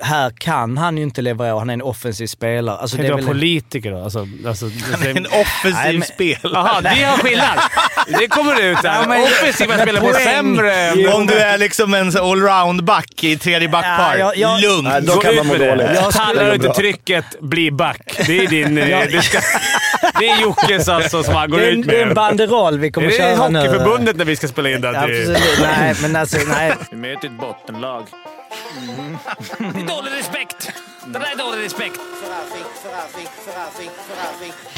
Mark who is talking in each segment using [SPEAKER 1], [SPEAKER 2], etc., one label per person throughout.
[SPEAKER 1] här kan han ju inte leverera, han är en offensiv spelare. Alltså,
[SPEAKER 2] Tänkte
[SPEAKER 1] är
[SPEAKER 2] jag
[SPEAKER 1] väl-
[SPEAKER 2] politiker då? Alltså, alltså,
[SPEAKER 3] En offensiv
[SPEAKER 1] men-
[SPEAKER 3] spelare.
[SPEAKER 2] Jaha, det är skillnad. Det kommer ut
[SPEAKER 1] Ja, men-
[SPEAKER 2] här. Offensiva spelare får
[SPEAKER 1] Poäng.
[SPEAKER 2] sämre...
[SPEAKER 3] Om du är liksom en så allround-back i tredje backpar.
[SPEAKER 1] Ja, jag- jag-
[SPEAKER 3] Lugn!
[SPEAKER 4] Nej, då
[SPEAKER 2] Gå
[SPEAKER 4] kan
[SPEAKER 2] ut
[SPEAKER 4] man må
[SPEAKER 2] med det.
[SPEAKER 4] dåligt.
[SPEAKER 1] Jag
[SPEAKER 2] Pallar
[SPEAKER 4] spelar
[SPEAKER 2] du inte
[SPEAKER 4] bra.
[SPEAKER 2] trycket, bli back. Det är din... eh, det, ska, det är Jockes alltså som han går
[SPEAKER 1] det är, en-
[SPEAKER 2] ut med.
[SPEAKER 1] det är en banderoll vi kommer
[SPEAKER 2] är det
[SPEAKER 1] köra nu.
[SPEAKER 2] Hockeyförbundet när vi ska spela in det? här? Det är-
[SPEAKER 1] Absolut. Nej, men alltså nej.
[SPEAKER 5] Vi möter ett bottenlag.
[SPEAKER 6] Det
[SPEAKER 5] Mm.
[SPEAKER 6] är dålig respekt. Det där är dålig respekt.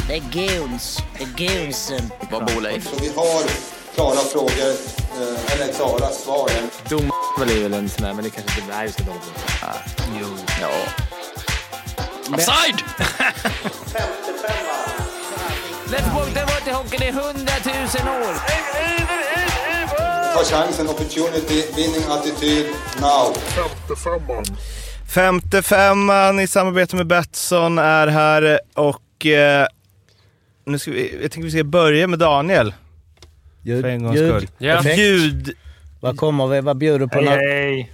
[SPEAKER 7] Det är goons. Det är goonsen.
[SPEAKER 5] Vad bor Leif?
[SPEAKER 8] Vi har klara frågor, eh, eller klara svar.
[SPEAKER 5] Dom väl är väl en sån där, men det kanske inte... Nej, vi ska dom. Jo. Ja.
[SPEAKER 6] Offside! Let's det har varit i hockey i hundratusen år.
[SPEAKER 8] Ta chansen, opportunity, winning attityd, now.
[SPEAKER 3] Femte femman i samarbete med Betsson är här och... Eh, nu ska vi, jag tänker vi ska börja med Daniel
[SPEAKER 1] Ljud,
[SPEAKER 3] för en gångs
[SPEAKER 1] ljud.
[SPEAKER 3] skull.
[SPEAKER 2] Ja.
[SPEAKER 1] Effekt.
[SPEAKER 3] Ljud...
[SPEAKER 1] Vad kommer vi? Vad bjuder du på? nu?
[SPEAKER 5] Hej!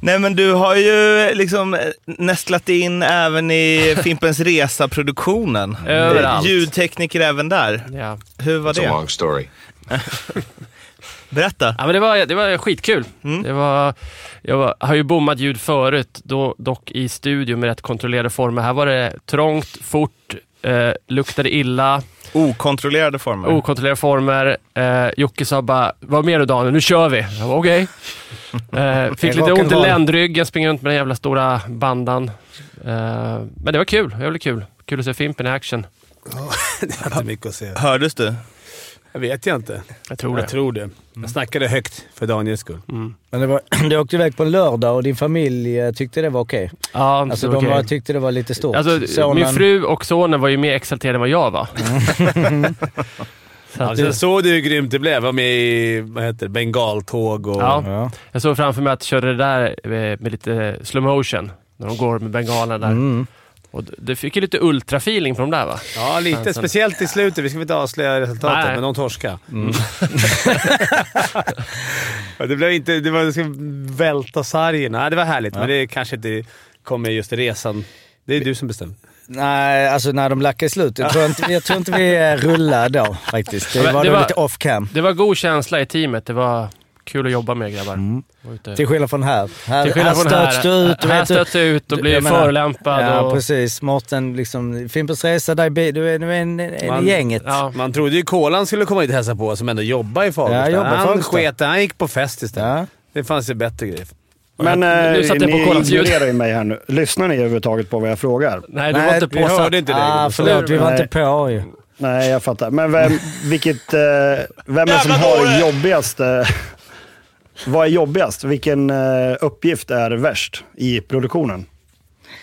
[SPEAKER 3] Nej men du har ju liksom eh, nästlat in även i Fimpens Resa-produktionen.
[SPEAKER 2] Överallt.
[SPEAKER 3] Ljudtekniker även där.
[SPEAKER 9] Ja.
[SPEAKER 3] Hur var det?
[SPEAKER 4] story.
[SPEAKER 3] Berätta.
[SPEAKER 9] Ja, men det, var, det var skitkul. Det var, jag var, har ju bommat ljud förut, då, dock i studio med rätt kontrollerade former. Här var det trångt, fort, eh, luktade illa,
[SPEAKER 3] Okontrollerade former.
[SPEAKER 9] okontrollerade former. Eh, Jocke sa bara, vad mer du Daniel, nu kör vi. Jag bara, Okej. Eh, fick lite ont i
[SPEAKER 1] Rock'n'roll.
[SPEAKER 9] ländryggen, springer runt med den jävla stora bandan. Eh, men det var kul, det var väldigt kul. Kul att se Fimpen i action.
[SPEAKER 2] Det är inte mycket att se.
[SPEAKER 3] Hördes du?
[SPEAKER 2] Jag vet jag inte.
[SPEAKER 9] Jag tror
[SPEAKER 2] Jag
[SPEAKER 9] det.
[SPEAKER 2] tror det.
[SPEAKER 1] Mm.
[SPEAKER 2] Jag snackade högt för Daniels skull.
[SPEAKER 1] Men det var, du åkte iväg på en lördag och din familj eh, tyckte det var okej.
[SPEAKER 9] Ja,
[SPEAKER 1] Alltså
[SPEAKER 9] det
[SPEAKER 1] de
[SPEAKER 9] okej.
[SPEAKER 1] var, tyckte det var lite stort.
[SPEAKER 9] Alltså,
[SPEAKER 1] Sonen-
[SPEAKER 9] Min fru och sonen var ju mer exalterade än vad jag var.
[SPEAKER 1] Mm.
[SPEAKER 9] så att,
[SPEAKER 2] Alltså, jag såg du hur grymt det blev. Jag var med i vad heter det, bengaltåg och...
[SPEAKER 9] ja,
[SPEAKER 1] Ja.
[SPEAKER 9] jag såg framför mig att jag körde det där eh, med lite slow motion när de går med bengalerna där.
[SPEAKER 1] Mm.
[SPEAKER 9] Och d- det fick ju lite ultra-feeling på de där va?
[SPEAKER 2] Ja, lite.
[SPEAKER 9] Sen- sen-
[SPEAKER 2] Speciellt i slutet. Vi ska väl inte avslöja resultatet,
[SPEAKER 9] Nej.
[SPEAKER 2] men de torskade.
[SPEAKER 1] Mm.
[SPEAKER 2] Ja, det blev inte... Det var, det ska välta sargen. Nej, det var härligt, men det kanske inte kommer just i resan. Det är du som bestämmer.
[SPEAKER 1] Nej, alltså när de lackade i slutet. Jag tror inte, jag tror inte vi eh, rullade då faktiskt. Det
[SPEAKER 9] Men
[SPEAKER 1] var,
[SPEAKER 9] det
[SPEAKER 1] nog
[SPEAKER 9] var-
[SPEAKER 1] lite off cam.
[SPEAKER 9] Det var god känsla i teamet. Det var kul att jobba med grabbar. Var ute.
[SPEAKER 1] Till skillnad från här. Här,
[SPEAKER 9] Till skillnad
[SPEAKER 1] Mm. här
[SPEAKER 9] från här.
[SPEAKER 1] stöts du ut. och
[SPEAKER 9] här
[SPEAKER 1] vet du-
[SPEAKER 9] stöts jag ut och
[SPEAKER 1] du-
[SPEAKER 9] blir
[SPEAKER 1] jag menar-
[SPEAKER 9] förolämpad.
[SPEAKER 1] Ja,
[SPEAKER 9] och,
[SPEAKER 1] precis. Mårten, liksom, Fimpens Resa, där, är bi- du är, du är en, en
[SPEAKER 2] Man-
[SPEAKER 1] i gänget.
[SPEAKER 9] Ja.
[SPEAKER 2] Man trodde ju Kolan skulle komma hit och hälsa på, som ändå jobbar i Fagersta.
[SPEAKER 1] Ja, jobbar i
[SPEAKER 2] han
[SPEAKER 1] Fagersta.
[SPEAKER 2] sket Han gick på fest istället.
[SPEAKER 1] Ja.
[SPEAKER 2] Det fanns ju bättre grejer.
[SPEAKER 4] Men
[SPEAKER 9] Nu
[SPEAKER 4] eh,
[SPEAKER 9] satte jag på
[SPEAKER 4] ni
[SPEAKER 9] kolans ljud.
[SPEAKER 4] ignorerar ju mig här nu. Lyssnar ni överhuvudtaget på vad jag frågar?
[SPEAKER 9] Nej, du
[SPEAKER 1] Nej,
[SPEAKER 9] var inte
[SPEAKER 2] Vi
[SPEAKER 9] påsatt.
[SPEAKER 2] hörde inte det.
[SPEAKER 1] Ah,
[SPEAKER 2] igår.
[SPEAKER 1] förlåt, vi var inte på ju.
[SPEAKER 4] Nej, jag fattar. Men vem, vilket, eh, vem är som har jobbigast? Eh, vad är jobbigast? Vilken eh, uppgift är värst i produktionen?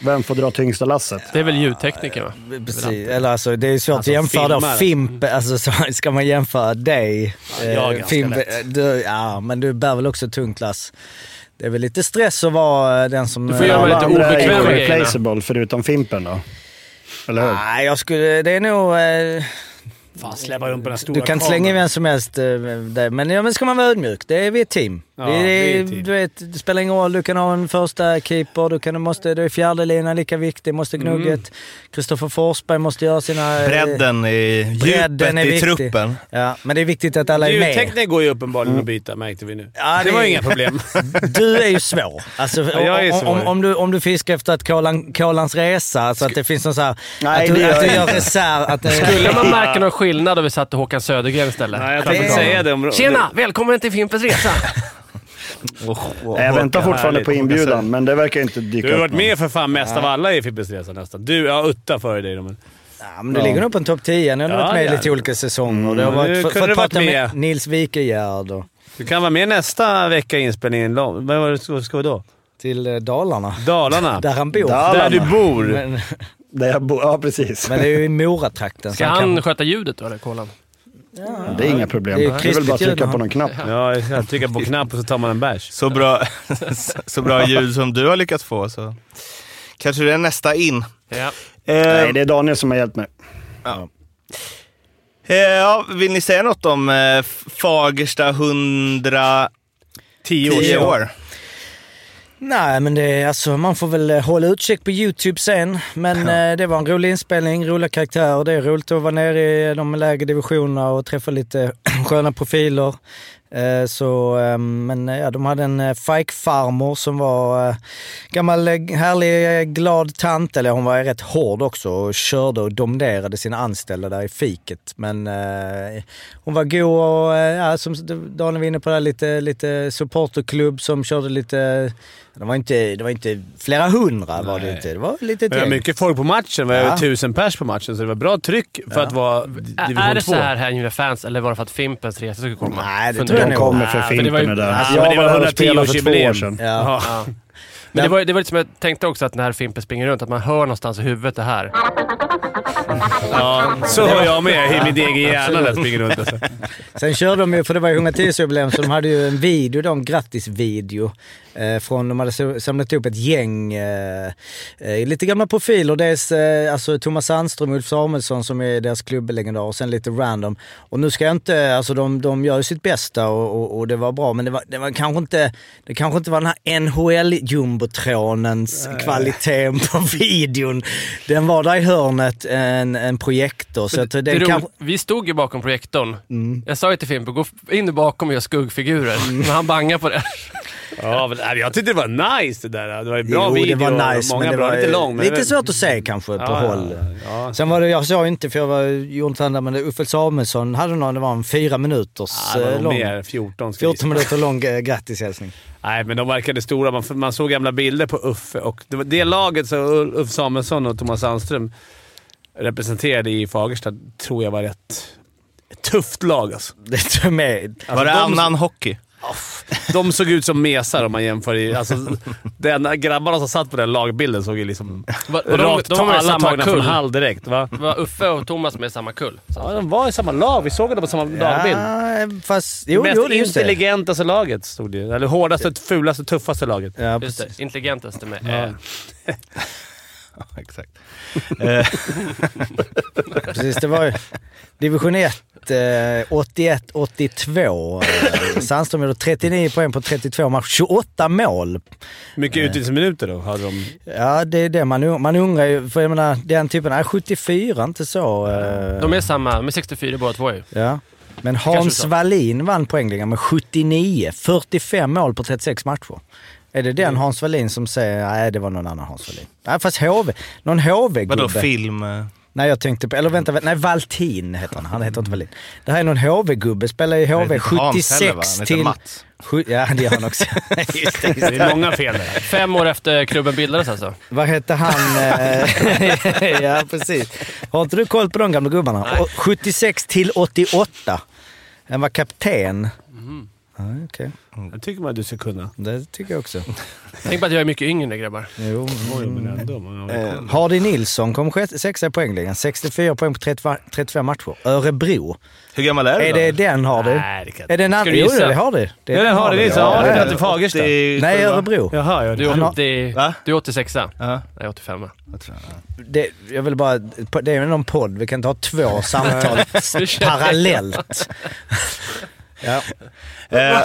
[SPEAKER 4] Vem får dra tyngsta lasset?
[SPEAKER 9] Det är väl ljudtekniker va?
[SPEAKER 1] Precis. Eller alltså, det är svårt att jämföra då.
[SPEAKER 2] filmare.
[SPEAKER 1] Fimp, alltså, så, ska man jämföra dig?
[SPEAKER 2] jag är
[SPEAKER 1] eh,
[SPEAKER 2] ganska lätt.
[SPEAKER 1] du, ja, men du bär väl också tungt lass. Det är väl lite stress att vara eh, den som...
[SPEAKER 9] Du får göra
[SPEAKER 4] Alla
[SPEAKER 9] lite
[SPEAKER 4] andra är
[SPEAKER 9] obekväma
[SPEAKER 4] ju
[SPEAKER 9] grejerna.
[SPEAKER 4] replaceable, förutom Fimpen då. Eller hur?
[SPEAKER 1] Nej, jag skulle... Det är nog... eh,
[SPEAKER 2] Fan, släppa runt på den här stora
[SPEAKER 1] Du kan slänga in vem som helst. eh, där. Men, ja, men ska man vara ödmjuk? Det är, vi är ett team.
[SPEAKER 2] Ja,
[SPEAKER 1] vi,
[SPEAKER 2] vi är ett team.
[SPEAKER 1] Du vet, det spelar ingen roll. Du kan ha en första keeper, du, kan, du måste, du är fjärde linan lika viktig, måste gnugget. Kristoffer Forsberg måste göra sina... eh,
[SPEAKER 3] Bredden i djupet
[SPEAKER 1] Bredden är
[SPEAKER 3] i
[SPEAKER 1] viktig.
[SPEAKER 3] truppen.
[SPEAKER 1] Ja, men det är viktigt att alla är med.
[SPEAKER 2] Ljudtekniker går ju uppenbarligen att byta, märkte vi nu.
[SPEAKER 1] Ja,
[SPEAKER 2] det
[SPEAKER 1] det-
[SPEAKER 2] var ju inga problem.
[SPEAKER 1] Du är ju svår. Alltså,
[SPEAKER 2] jag är
[SPEAKER 1] om- Om,
[SPEAKER 2] svår.
[SPEAKER 1] om, du, om du fiskar efter att kolan, kolans resa, så att det finns någon så här...
[SPEAKER 4] Nej,
[SPEAKER 1] att du,
[SPEAKER 4] det gör
[SPEAKER 1] att du
[SPEAKER 4] jag
[SPEAKER 1] gör
[SPEAKER 4] inte.
[SPEAKER 1] reserv. Att det,
[SPEAKER 9] Skulle man märka någon skillnad om vi satte Håkan Södergren istället?
[SPEAKER 2] Nej, jag
[SPEAKER 1] tänkte
[SPEAKER 2] tänkte
[SPEAKER 1] säga
[SPEAKER 2] säga det. Om,
[SPEAKER 9] Tjena! Välkommen till Fimpens Resa!
[SPEAKER 4] Nej, jag väntar fortfarande
[SPEAKER 2] härligt.
[SPEAKER 4] på inbjudan, men det verkar inte dyka
[SPEAKER 2] Du har
[SPEAKER 4] upp
[SPEAKER 2] varit
[SPEAKER 4] någon.
[SPEAKER 2] med för fan mest av alla i Fippes Resa nästan. Du, ja Utta före dig. då, Men.
[SPEAKER 1] Ja, men du ligger nog på en topp 10. Ni har nog
[SPEAKER 2] Ja,
[SPEAKER 1] varit med i
[SPEAKER 2] det är
[SPEAKER 1] lite
[SPEAKER 2] det.
[SPEAKER 1] olika säsonger. Det har
[SPEAKER 2] Mm, nu
[SPEAKER 1] varit, fått
[SPEAKER 2] kunde du varit
[SPEAKER 1] prata med,
[SPEAKER 2] med.
[SPEAKER 1] Nils Wikegärd och
[SPEAKER 2] Du kan vara med nästa vecka i inspelningen. Vad var det ska ska vi då?
[SPEAKER 1] till eh, Dalarna.
[SPEAKER 2] Dalarna.
[SPEAKER 1] Där han bor.
[SPEAKER 4] Dalarna.
[SPEAKER 2] Där du bor.
[SPEAKER 1] Men,
[SPEAKER 4] Där jag bo- ja, precis.
[SPEAKER 1] men det är ju i Moratrakten.
[SPEAKER 9] Ska
[SPEAKER 1] så kan-
[SPEAKER 9] han sköta ljudet då, eller Kolan?
[SPEAKER 4] Det är inga problem.
[SPEAKER 1] Det
[SPEAKER 4] Det
[SPEAKER 1] är
[SPEAKER 4] är, väl bara att
[SPEAKER 1] krispigt ljud,
[SPEAKER 4] trycka
[SPEAKER 1] va?
[SPEAKER 4] på någon knapp.
[SPEAKER 2] Ja, jag trycker på knapp och så tar man en bärs.
[SPEAKER 3] Så bra, så bra ljud som du har lyckats få så kanske det är nästa in.
[SPEAKER 9] Ja.
[SPEAKER 3] Eh,
[SPEAKER 4] Nej, det är Daniel som har hjälpt mig.
[SPEAKER 3] eh, ja, vill ni säga något om eh, Fagersta 110
[SPEAKER 2] Tio
[SPEAKER 3] år?
[SPEAKER 1] Nej, men det är alltså, man får väl eh, hålla utkik på YouTube sen. Men eh, det var en rolig inspelning, roliga karaktärer. Det är roligt att vara nere i de lägre divisionerna och träffa lite sköna profiler. Eh, Så, eh, men eh, ja, de hade en eh, fajkfarmor som var eh, gammal eh, härlig eh, glad tant, eller hon var rätt hård också och körde och domderade sina anställda där i fiket. Men eh, hon var god och eh, ja, som Daniel var inne på, där, lite, lite supporterklubb som körde lite... Det var inte, det var inte flera hundra var det inte. Det var lite
[SPEAKER 2] Det var
[SPEAKER 1] till.
[SPEAKER 2] mycket folk på matchen. Det var
[SPEAKER 1] Ja.
[SPEAKER 2] över tusen pers på matchen, så det var bra tryck för att vara division 2.
[SPEAKER 9] Är det så här hängivna fans, eller var det för att Fimpens resa skulle komma?
[SPEAKER 1] Nej, det
[SPEAKER 9] Funderar
[SPEAKER 1] tror jag
[SPEAKER 4] De
[SPEAKER 9] ni?
[SPEAKER 1] nog.
[SPEAKER 4] kommer för
[SPEAKER 9] Nej, men det var ju-
[SPEAKER 4] Fimpen är där.
[SPEAKER 9] Nej,
[SPEAKER 2] men
[SPEAKER 4] Jag
[SPEAKER 2] det
[SPEAKER 4] var
[SPEAKER 2] var
[SPEAKER 4] där och spelade för två
[SPEAKER 2] 110-årsjubileum.
[SPEAKER 4] år sedan.
[SPEAKER 1] Ja.
[SPEAKER 9] Ja. Men det var, det var lite som jag tänkte också, att när Fimpen springer runt, att man hör någonstans i huvudet det här.
[SPEAKER 2] Ja, så har jag med i min egen hjärna när jag springer runt. Alltså.
[SPEAKER 1] Sen körde de ju, för det var ju 110-årsjubileum, så de hade ju en video, då, en grattisvideo. Eh, från, de hade so- samlat ihop ett gäng, eh, eh, lite gamla profiler. Dels eh, alltså Thomas Sandström och Ulf Samuelsson som är deras klubblegendar och sen lite random. Och nu ska jag inte, alltså de, de gör ju sitt bästa och, och, och det var bra, men det var, det var kanske inte, det kanske inte var den här NHL-jumbotronens kvaliteten på videon. Den var där i hörnet, en, en projektor. Så att den
[SPEAKER 9] Det är
[SPEAKER 1] kanske...
[SPEAKER 9] roligt. Vi stod ju bakom projektorn. Jag sa ju till Fimpen, gå in bakom och gör skuggfigurer. Men han bangar på det.
[SPEAKER 2] Ja, men, nej, jag tyckte det var nice det där. Det var en bra
[SPEAKER 1] jo,
[SPEAKER 2] video.
[SPEAKER 1] det var nice,
[SPEAKER 2] många
[SPEAKER 1] men det
[SPEAKER 2] bra,
[SPEAKER 1] var
[SPEAKER 2] lite lång. Men
[SPEAKER 1] lite svårt att se kanske på
[SPEAKER 2] Ja,
[SPEAKER 1] håll.
[SPEAKER 2] ja, ja.
[SPEAKER 1] Sen var det, jag såg inte för jag var jordtandad, men Uffe Samuelsson hade någon, det var en fyra minuters
[SPEAKER 2] Ja, det var
[SPEAKER 1] eh,
[SPEAKER 2] nog
[SPEAKER 1] lång.
[SPEAKER 2] mer. 14 ska vi
[SPEAKER 1] 14 minuter lång eh, grattishälsning.
[SPEAKER 2] Nej, men de verkade stora. Man, man såg gamla bilder på Uffe och det, var det laget som Ul- Ulf Samuelsson och Thomas Sandström representerade i Fagersta tror jag var rätt ett tufft lag alltså.
[SPEAKER 1] Det tog med. Alltså,
[SPEAKER 3] Var det
[SPEAKER 2] de-
[SPEAKER 3] annan hockey?
[SPEAKER 2] De såg ut som mesar om man jämför. I, alltså, den, grabbarna som satt på den lagbilden såg ju liksom...
[SPEAKER 9] Var, var de,
[SPEAKER 2] Rakt,
[SPEAKER 9] de var i
[SPEAKER 2] alla
[SPEAKER 9] samma
[SPEAKER 2] tagna från
[SPEAKER 9] kull.
[SPEAKER 2] Hall direkt, va?
[SPEAKER 9] Var Uffe och Thomas med i samma kull?
[SPEAKER 2] Ja, de var i samma lag. Vi såg dem på samma lagbild.
[SPEAKER 1] Ja, fast... Jo,
[SPEAKER 2] Mest
[SPEAKER 1] jo, det är just det.
[SPEAKER 2] intelligentaste laget stod det ju. Eller hårdaste, fulaste, tuffaste laget.
[SPEAKER 1] Ja,
[SPEAKER 9] Just
[SPEAKER 1] precis.
[SPEAKER 9] det, intelligentaste med. Eh,
[SPEAKER 3] Exakt.
[SPEAKER 1] precis. Det var ju division 1. Eh, 81-82. Eh, Sandström gjorde 39 poäng på 32 matcher. 28 mål
[SPEAKER 2] Mycket utvisningsminuter då hade de.
[SPEAKER 1] Ja, det är det man, un- man undrar ju. För jag menar, den typen... Nej, 74, inte så. eh,
[SPEAKER 9] De är samma, de är 64 båda två ju.
[SPEAKER 1] Ja. Men
[SPEAKER 9] Kanske
[SPEAKER 1] Hans
[SPEAKER 9] så.
[SPEAKER 1] Wallin vann poängligan med 79. 45 mål på 36 matcher. Är det
[SPEAKER 3] Mm.
[SPEAKER 1] den Hans Wallin som säger nej det var någon annan Hans Wallin? Nej fast HV, någon
[SPEAKER 3] Vadå
[SPEAKER 1] HV-gubbe.
[SPEAKER 3] film? eh?
[SPEAKER 1] Nej jag tänkte på, eller vänta, vä- nej Valtin heter han. Han heter inte Wallin. Det här är någon HV-gubbe, spelar i
[SPEAKER 3] Det
[SPEAKER 1] HV
[SPEAKER 3] är inte Hans
[SPEAKER 1] 76
[SPEAKER 3] heller, va? Han heter
[SPEAKER 1] till...
[SPEAKER 3] Mats.
[SPEAKER 1] Sju- Ja det gör han också. just det, just det.
[SPEAKER 2] Det är många fel där.
[SPEAKER 9] Fem år efter klubben bildades alltså.
[SPEAKER 1] Vad hette han? Eh, ja, precis. Har inte du koll på de gamla gubbarna? Och 76 till 88. Han var kapten.
[SPEAKER 3] Mm.
[SPEAKER 1] Ja, okej.
[SPEAKER 2] Jag tycker man att du ska kunna.
[SPEAKER 1] Det tycker jag också.
[SPEAKER 9] Tänk på att jag är mycket yngre grabbar.
[SPEAKER 1] Jo.
[SPEAKER 2] Oj, men ändå. man har-
[SPEAKER 1] Eh, Hardy Nilsson kom sjätte- sexa i poängligan. 64 poäng på 30 35 matcher. Örebro.
[SPEAKER 3] Hur gammal är du
[SPEAKER 1] Är
[SPEAKER 3] då?
[SPEAKER 1] det den Hardy?
[SPEAKER 2] Nej, det kan
[SPEAKER 1] Är det en
[SPEAKER 9] Ska
[SPEAKER 1] annan?
[SPEAKER 9] du
[SPEAKER 1] Jo,
[SPEAKER 9] gissa?
[SPEAKER 1] det är Hardy. Det
[SPEAKER 2] Ja, det har det. Så
[SPEAKER 1] Ja,
[SPEAKER 2] har
[SPEAKER 1] det
[SPEAKER 2] det
[SPEAKER 1] är
[SPEAKER 2] inte Fagersta.
[SPEAKER 3] Det är-
[SPEAKER 1] Nej, Örebro.
[SPEAKER 2] Jaha, ja.
[SPEAKER 9] Du
[SPEAKER 2] det-
[SPEAKER 9] är
[SPEAKER 1] har-
[SPEAKER 9] 80,
[SPEAKER 3] Va?
[SPEAKER 9] du är 86 a
[SPEAKER 3] Ja.
[SPEAKER 9] Jag är 85
[SPEAKER 1] Det, jag vill bara... Det är någon podd. Vi kan inte ha två samtal parallellt. ja.
[SPEAKER 3] Eh,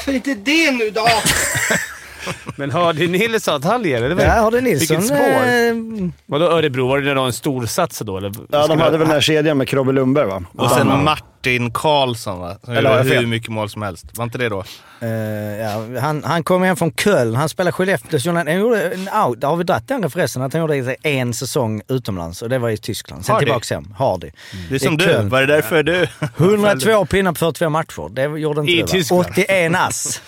[SPEAKER 2] Men hörde ni sa att han ger det? var-
[SPEAKER 1] Ja, Hardy Nilsson.
[SPEAKER 2] Vilket spår.
[SPEAKER 1] eh,
[SPEAKER 2] Vadå Örebro? Var det någon storsats då? Eller?
[SPEAKER 4] Ja, de hade väl den här kedjan med Krobbe Lundberg va?
[SPEAKER 3] och sen Martin Karlsson va? Som
[SPEAKER 4] Eller har
[SPEAKER 3] gjorde
[SPEAKER 4] jag fel?
[SPEAKER 3] hur mycket mål som helst. Var inte det då?
[SPEAKER 1] Eh, ja, han, han kom hem från Köln, han spelade Skellefteå. Så han, han gjorde en out, har vi dragit den referensen? Att han gjorde en säsong utomlands och det var i Tyskland. Sen
[SPEAKER 3] Hardy.
[SPEAKER 1] tillbaka hem. Hardy.
[SPEAKER 3] Det är som
[SPEAKER 1] Det är
[SPEAKER 3] du.
[SPEAKER 1] Köln.
[SPEAKER 3] Var det därför du...
[SPEAKER 1] 102 pinnar på 42 matcher. Det gjorde inte
[SPEAKER 2] I
[SPEAKER 1] du, va?
[SPEAKER 2] Tyskland.
[SPEAKER 1] 81 ass.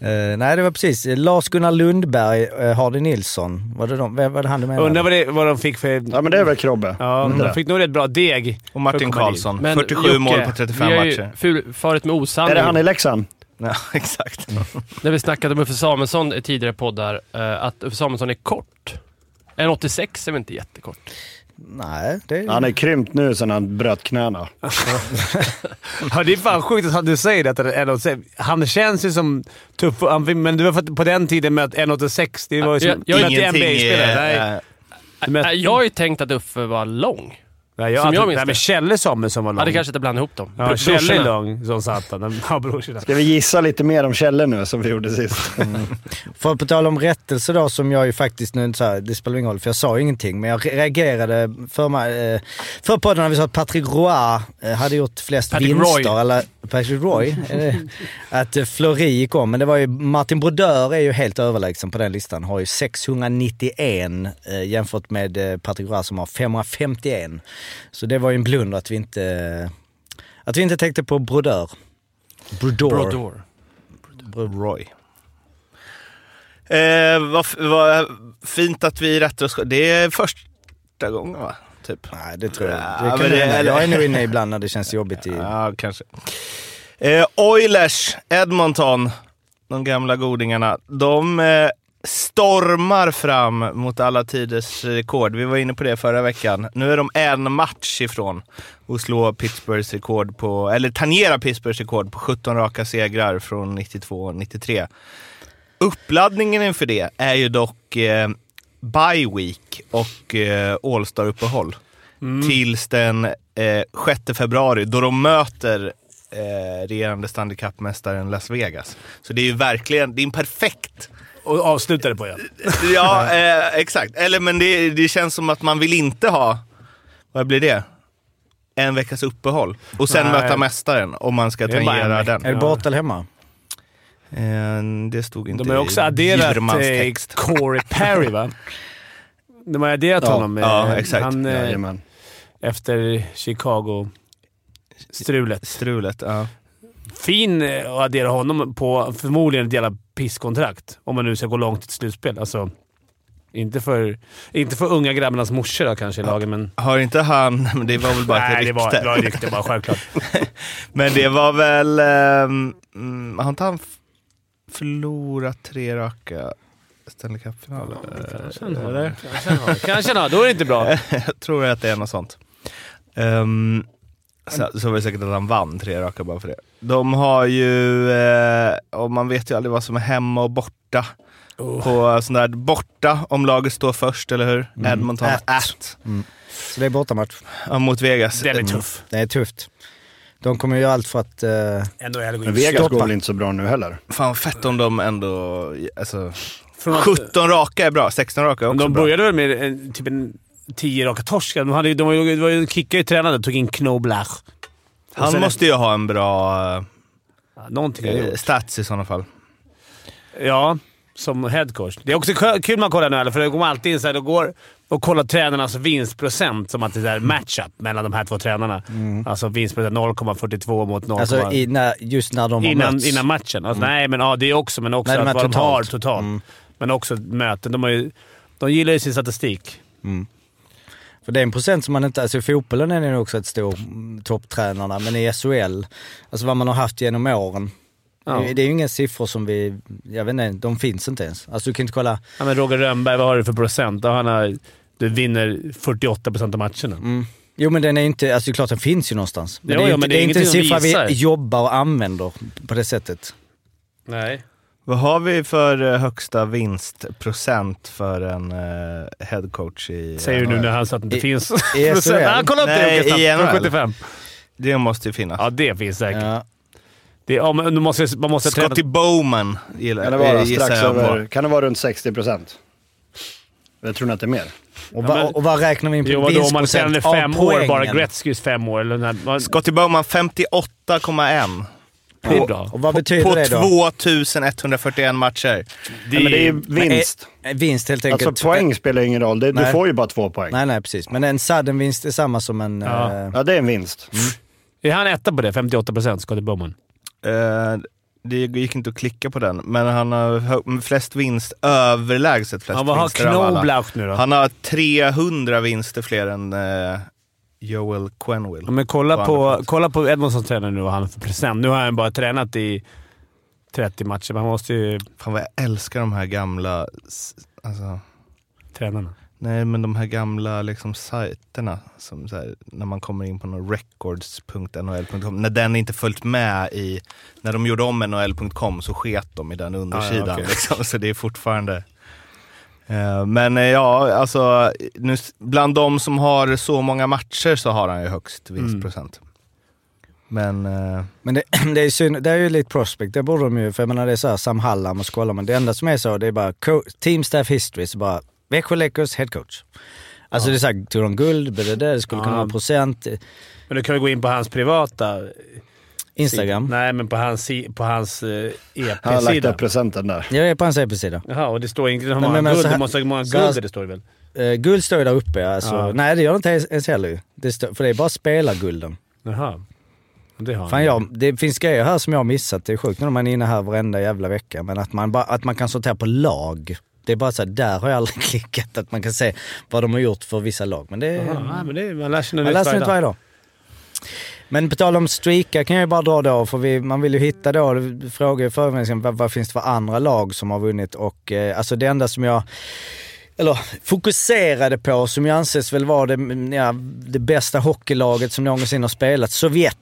[SPEAKER 1] Eh, nej, det var precis. Lars-Gunnar Lundberg, eh, Hardy Nilsson. Var det, de, vem var det han du menade?
[SPEAKER 2] Undrar vad, det, vad de fick för...
[SPEAKER 4] Ja, men det är väl Krobbe? Mm.
[SPEAKER 2] Ja, de fick nog rätt bra deg.
[SPEAKER 3] Och Martin
[SPEAKER 2] för att komma
[SPEAKER 3] Karlsson.
[SPEAKER 9] Men
[SPEAKER 3] 47
[SPEAKER 9] Jocke,
[SPEAKER 3] mål på 35
[SPEAKER 9] vi har ju
[SPEAKER 3] matcher.
[SPEAKER 9] ful- farit med
[SPEAKER 4] Är
[SPEAKER 9] osanning.
[SPEAKER 4] det han i Leksand?
[SPEAKER 3] Ja, exakt.
[SPEAKER 9] När vi snackade om Uffe Samuelsson i tidigare poddar, eh, att Uffe Samuelsson är kort. En 86 är väl inte jättekort?
[SPEAKER 1] Nej, det är...
[SPEAKER 4] Han är krympt nu sen han bröt knäna.
[SPEAKER 2] Ja, det är fan sjukt att han- du säger detta. eller att säga- Han känns ju som tuff, och- han- men det var för att på den tiden möt 1,86. Det var ju som...
[SPEAKER 9] Jag- eh, jag-
[SPEAKER 2] du mötte NBA-spelare. Nej.
[SPEAKER 3] eh,
[SPEAKER 2] Du mötte-
[SPEAKER 9] Nej, Jag har ju tänkt att Uffe var lång.
[SPEAKER 2] Nej, jag,
[SPEAKER 9] Som jag
[SPEAKER 2] jag
[SPEAKER 9] minns
[SPEAKER 2] Nej, men
[SPEAKER 9] det.
[SPEAKER 2] Kjelle Samuelsson var lång.
[SPEAKER 9] Hade kanske inte blandat ihop dem.
[SPEAKER 2] ja,
[SPEAKER 9] Bro-
[SPEAKER 2] Kjelle är
[SPEAKER 9] brorsorna.
[SPEAKER 2] lång som satan. Ja, brorsorna.
[SPEAKER 4] Ska vi gissa lite mer om Kjelle nu som vi gjorde sist?
[SPEAKER 1] För på tal om rättelse då som jag ju faktiskt nu, så här, det spelar ingen roll för jag sa ju ingenting, men jag reagerade för, mig, eh, för podden när vi sa att Patrick Roy eh, hade gjort flest
[SPEAKER 9] Patrick
[SPEAKER 1] vinster.
[SPEAKER 9] Roy.
[SPEAKER 1] Eller Patrick Roy. är det? att eh, Fleury gick om, men det var ju, Martin Brodeur är ju helt överlägsen på den listan. Har ju 691 eh, jämfört med eh, Patrick Roy som har 551. Så det var ju en blunder att vi inte, att vi inte tänkte på Brodeur. Brodeur.
[SPEAKER 9] Brodor.
[SPEAKER 3] Roy. Eh, vad, f- vad fint att vi rättar oss Det är första gången va? Typ.
[SPEAKER 1] Nej, det tror jag
[SPEAKER 3] Ja,
[SPEAKER 1] det kan
[SPEAKER 3] men det-
[SPEAKER 1] hända.
[SPEAKER 3] eller-
[SPEAKER 1] Jag är nog inne ibland när det känns jobbigt i...
[SPEAKER 3] Ja, kanske. Eh, Oilers, Edmonton, de gamla godingarna. De eh, stormar fram mot alla tiders rekord. Vi var inne på det förra veckan. Nu är de en match ifrån att slå Pittsburghs rekord på, eller tangera Pittsburghs rekord på 17 raka segrar från 92 och 93. Uppladdningen inför det är ju dock eh, bye week och eh, All Star-uppehåll.
[SPEAKER 2] Mm.
[SPEAKER 3] Tills den eh, 6 februari då de möter eh, regerande Stanley Cup-mästaren Las Vegas. Så det är ju verkligen, det är en perfekt...
[SPEAKER 2] Och avslutade på ja.
[SPEAKER 3] Ja, eh, exakt. Eller men det, det känns som att man vill inte ha, vad blir det? En veckas uppehåll. Och sen
[SPEAKER 2] Nej.
[SPEAKER 3] möta mästaren om man ska
[SPEAKER 2] Det är bara en
[SPEAKER 3] tangera
[SPEAKER 2] vecka.
[SPEAKER 3] den.
[SPEAKER 1] Är det borta eller hemma?
[SPEAKER 3] Eh, det stod inte
[SPEAKER 2] De har ju också
[SPEAKER 3] i
[SPEAKER 2] adderat
[SPEAKER 3] Bjurmans
[SPEAKER 2] eh,
[SPEAKER 3] text.
[SPEAKER 2] Corey Perry, va? De har adderat
[SPEAKER 4] Ja,
[SPEAKER 2] honom. eh,
[SPEAKER 3] ja, exakt.
[SPEAKER 2] Han, eh,
[SPEAKER 4] Jajamän.
[SPEAKER 2] efter Chicago-strulet.
[SPEAKER 3] Strulet, ja.
[SPEAKER 2] Fin eh, att addera honom på förmodligen ett jävla pisskontrakt. Om man nu ska gå långt i ett slutspel. Alltså, inte för, inte för unga grabbarnas morsor då, kanske i lagen, men...
[SPEAKER 3] Har inte han... Men det var väl bara ett
[SPEAKER 2] Nej, det
[SPEAKER 3] rykte.
[SPEAKER 2] var, det var ett rykte bara. Självklart.
[SPEAKER 3] Men det var väl... ehm, mm, har inte han f- förlorat tre raka Stanley Cup-finaler?
[SPEAKER 2] Eller? Kanske nå. Då är det inte bra.
[SPEAKER 3] Jag tror att det är något sånt. Ehm, så, så var det säkert att han vann tre raka bara för det. De har ju... eh, och man vet ju aldrig vad som är hemma och borta.
[SPEAKER 2] Oh.
[SPEAKER 3] På sån där borta, om laget står först, eller hur?
[SPEAKER 2] Mm.
[SPEAKER 3] Edmonton
[SPEAKER 1] At.
[SPEAKER 3] at.
[SPEAKER 1] Så det är bortamatch.
[SPEAKER 3] Ja, mot Vegas.
[SPEAKER 2] Den är tuff.
[SPEAKER 1] Det är tufft. De kommer göra allt för att... eh,
[SPEAKER 2] NHL går
[SPEAKER 4] Men
[SPEAKER 2] in.
[SPEAKER 4] Vegas
[SPEAKER 1] Stoppa.
[SPEAKER 4] går väl inte så bra nu heller?
[SPEAKER 3] Fan vad fett om de ändå... Alltså,
[SPEAKER 2] Från att-
[SPEAKER 3] 17 raka är bra, 16 raka är också
[SPEAKER 2] De
[SPEAKER 3] bra.
[SPEAKER 2] började väl med en, typ en tio raka torsk. De, hade, ju- de, var ju- de, var ju- de kickade ju tränaren och tog in Knoblach. Och
[SPEAKER 3] Han
[SPEAKER 2] sen-
[SPEAKER 3] måste ju ha en bra
[SPEAKER 2] Ja, Någonting har jag
[SPEAKER 3] eh,
[SPEAKER 2] gjort.
[SPEAKER 3] stats i sådana fall.
[SPEAKER 2] Ja, som headcoach. Det är också kö- kul man kollar nu, för det går alltid in så här, det går och kollar tränarnas vinstprocent som att det är matchup mellan de här två tränarna. Alltså vinstprocent 0,42 mot 0,
[SPEAKER 1] Mm. alltså i, när, just när de har
[SPEAKER 2] innan,
[SPEAKER 1] mötts.
[SPEAKER 2] innan matchen. Alltså, Nej, men ja, det är också, men också
[SPEAKER 1] Nej, de
[SPEAKER 2] att
[SPEAKER 1] är
[SPEAKER 2] vad de har
[SPEAKER 1] totalt. Mm.
[SPEAKER 2] totalt. Men också möten. De, har ju, de gillar ju sin statistik.
[SPEAKER 1] För det är en procent som man inte... Alltså i fotbollen är det nog också ett stor mm, topptränarna, men i SHL, alltså vad man har haft genom åren.
[SPEAKER 2] Ja.
[SPEAKER 1] Det, det är ju inga siffror som vi... Jag vet inte, de finns inte ens. Alltså du kan inte kolla...
[SPEAKER 2] Ja, men Roger Rönnberg, vad har du för procent? Ja, han har, du vinner 48 procent av matcherna.
[SPEAKER 1] Mm. Jo men den är inte... Alltså det är klart den finns ju någonstans. Men
[SPEAKER 2] Jo,
[SPEAKER 1] det är,
[SPEAKER 2] jo,
[SPEAKER 1] inte,
[SPEAKER 2] men det
[SPEAKER 1] det
[SPEAKER 2] är
[SPEAKER 1] är inte en
[SPEAKER 2] ingenting de
[SPEAKER 1] siffra vi
[SPEAKER 2] visar.
[SPEAKER 1] jobbar och använder på det sättet.
[SPEAKER 2] Nej.
[SPEAKER 3] Vad har vi för eh, högsta vinstprocent för en uh, headcoach i eh,
[SPEAKER 2] Säger du nu
[SPEAKER 3] NHL?
[SPEAKER 2] när han sa att det inte
[SPEAKER 1] I-
[SPEAKER 2] finns.
[SPEAKER 1] i
[SPEAKER 2] Men sen-
[SPEAKER 1] SHL?
[SPEAKER 2] Ja, kolla upp
[SPEAKER 3] Nej,
[SPEAKER 2] det
[SPEAKER 3] i
[SPEAKER 2] Jocke
[SPEAKER 3] NHL.
[SPEAKER 2] snabbt. 75.
[SPEAKER 3] Det måste ju finnas.
[SPEAKER 2] Ja, det finns säkert.
[SPEAKER 1] Ja.
[SPEAKER 2] Det, ja, men du måste, man måste träna...
[SPEAKER 3] Scotty Bowman
[SPEAKER 4] Kan det
[SPEAKER 3] gillar,
[SPEAKER 4] vara
[SPEAKER 3] eh, gissar
[SPEAKER 4] strax
[SPEAKER 3] jag
[SPEAKER 4] över...
[SPEAKER 3] på.
[SPEAKER 4] Kan det vara runt 60 procent? Jag tror ni att det är mer.
[SPEAKER 1] Och, vad-
[SPEAKER 2] Ja, men-
[SPEAKER 1] och vad räknar vi in på
[SPEAKER 2] Jo, vadå? Om man sänder
[SPEAKER 1] av
[SPEAKER 2] fem år, bara
[SPEAKER 1] poängen?
[SPEAKER 2] Gretzkys fem år. Eller när, man,
[SPEAKER 3] Scotty Bowman 58,1.
[SPEAKER 2] det är bra.
[SPEAKER 1] Och vad betyder
[SPEAKER 3] på
[SPEAKER 1] det då?
[SPEAKER 3] 2141 matcher.
[SPEAKER 4] Nej, men det är vinst.
[SPEAKER 1] Eh, vinst helt enkelt.
[SPEAKER 4] Alltså poäng spelar ingen roll. Det, du
[SPEAKER 1] Nej.
[SPEAKER 4] får ju bara två poäng.
[SPEAKER 1] Nej, nej, precis. Men en sudden vinst är samma som en...
[SPEAKER 2] Ja.
[SPEAKER 1] eh,
[SPEAKER 4] Ja, det är en vinst.
[SPEAKER 2] Är han etta på det? 58 procent, Scotty Bowman.
[SPEAKER 3] Eh, det gick inte att klicka på den, men han har hö- flest vinst, överlägset flest
[SPEAKER 2] Ja, vad har
[SPEAKER 3] vinster av alla.
[SPEAKER 2] Knoblauch nu då?
[SPEAKER 3] Han har 300 vinster fler än eh, Joel Quenville.
[SPEAKER 2] Ja, men kolla
[SPEAKER 3] På
[SPEAKER 2] på,
[SPEAKER 3] andra
[SPEAKER 2] kolla på Edmondsons tränare nu vad han har för present. Nu har han bara tränat i 30 matcher, men han måste ju...
[SPEAKER 3] Fan vad jag älskar de här gamla... s- Alltså,
[SPEAKER 2] Tränarna.
[SPEAKER 3] nej, men de här gamla liksom, sajterna. Som, så här, när man kommer in på någon records.nhl.com. När den inte följt med i... När de gjorde om nhl.com så sket de i den undersidan.
[SPEAKER 2] okej.
[SPEAKER 3] liksom, så det är fortfarande... Eh, Men eh, ja, alltså nu, s- bland de som har så många matcher så har han ju högst vinstprocent.
[SPEAKER 2] Mm.
[SPEAKER 3] Men... eh,
[SPEAKER 1] Men det, det, är synd, det är ju lite prospect, det borde de ju, för jag menar det är så här Sam Hallam och Skålar, men det enda som är så det är bara co- team staff history, så bara Växjö Lakers head coach. Alltså det är såhär, tog de guld, det, det, det skulle kunna
[SPEAKER 2] Ja.
[SPEAKER 1] vara procent,
[SPEAKER 2] Men du kan väl gå in på hans privata...
[SPEAKER 1] Instagram.
[SPEAKER 2] Nej, men på hans, si- på hans eh,
[SPEAKER 4] Han har lagt
[SPEAKER 2] EP-sida.
[SPEAKER 4] upp presenten där.
[SPEAKER 1] Jag är på hans EP-sida.
[SPEAKER 2] Jaha, och det står inte hur
[SPEAKER 1] Nej,
[SPEAKER 2] många
[SPEAKER 1] men
[SPEAKER 2] guld.
[SPEAKER 1] så här-
[SPEAKER 2] Det måste ha många
[SPEAKER 1] så här-
[SPEAKER 2] guld det står det väl?
[SPEAKER 1] Eh, guld står ju där uppe, alltså.
[SPEAKER 2] Ja.
[SPEAKER 1] Nej det gör det inte ens- ens heller ju. Det står- För det är bara spelargulden.
[SPEAKER 2] Jaha. Det har
[SPEAKER 1] Fan,
[SPEAKER 2] han.
[SPEAKER 1] jag, det finns grejer här som jag har missat. Det är sjukt när man är inne här varenda jävla vecka. Men att man, bara, att man kan sortera på lag. Det är bara så här, där har jag aldrig klickat. Att man kan se vad de har gjort för vissa lag. Men det,
[SPEAKER 2] Jaha, nej, men det, man lär sig något
[SPEAKER 1] Mm. man
[SPEAKER 2] nytt
[SPEAKER 1] läser
[SPEAKER 2] varje
[SPEAKER 1] inte varje
[SPEAKER 2] dag.
[SPEAKER 1] dag. Men på tal om streaka kan jag ju bara dra då, för vi, man vill ju hitta då, frågor i förväg, vad, vad finns det för andra lag som har vunnit? Och eh, alltså det enda som jag eller fokuserade på, som ju anses väl vara det, ja, det bästa hockeylaget som någonsin har spelat, Sovjet.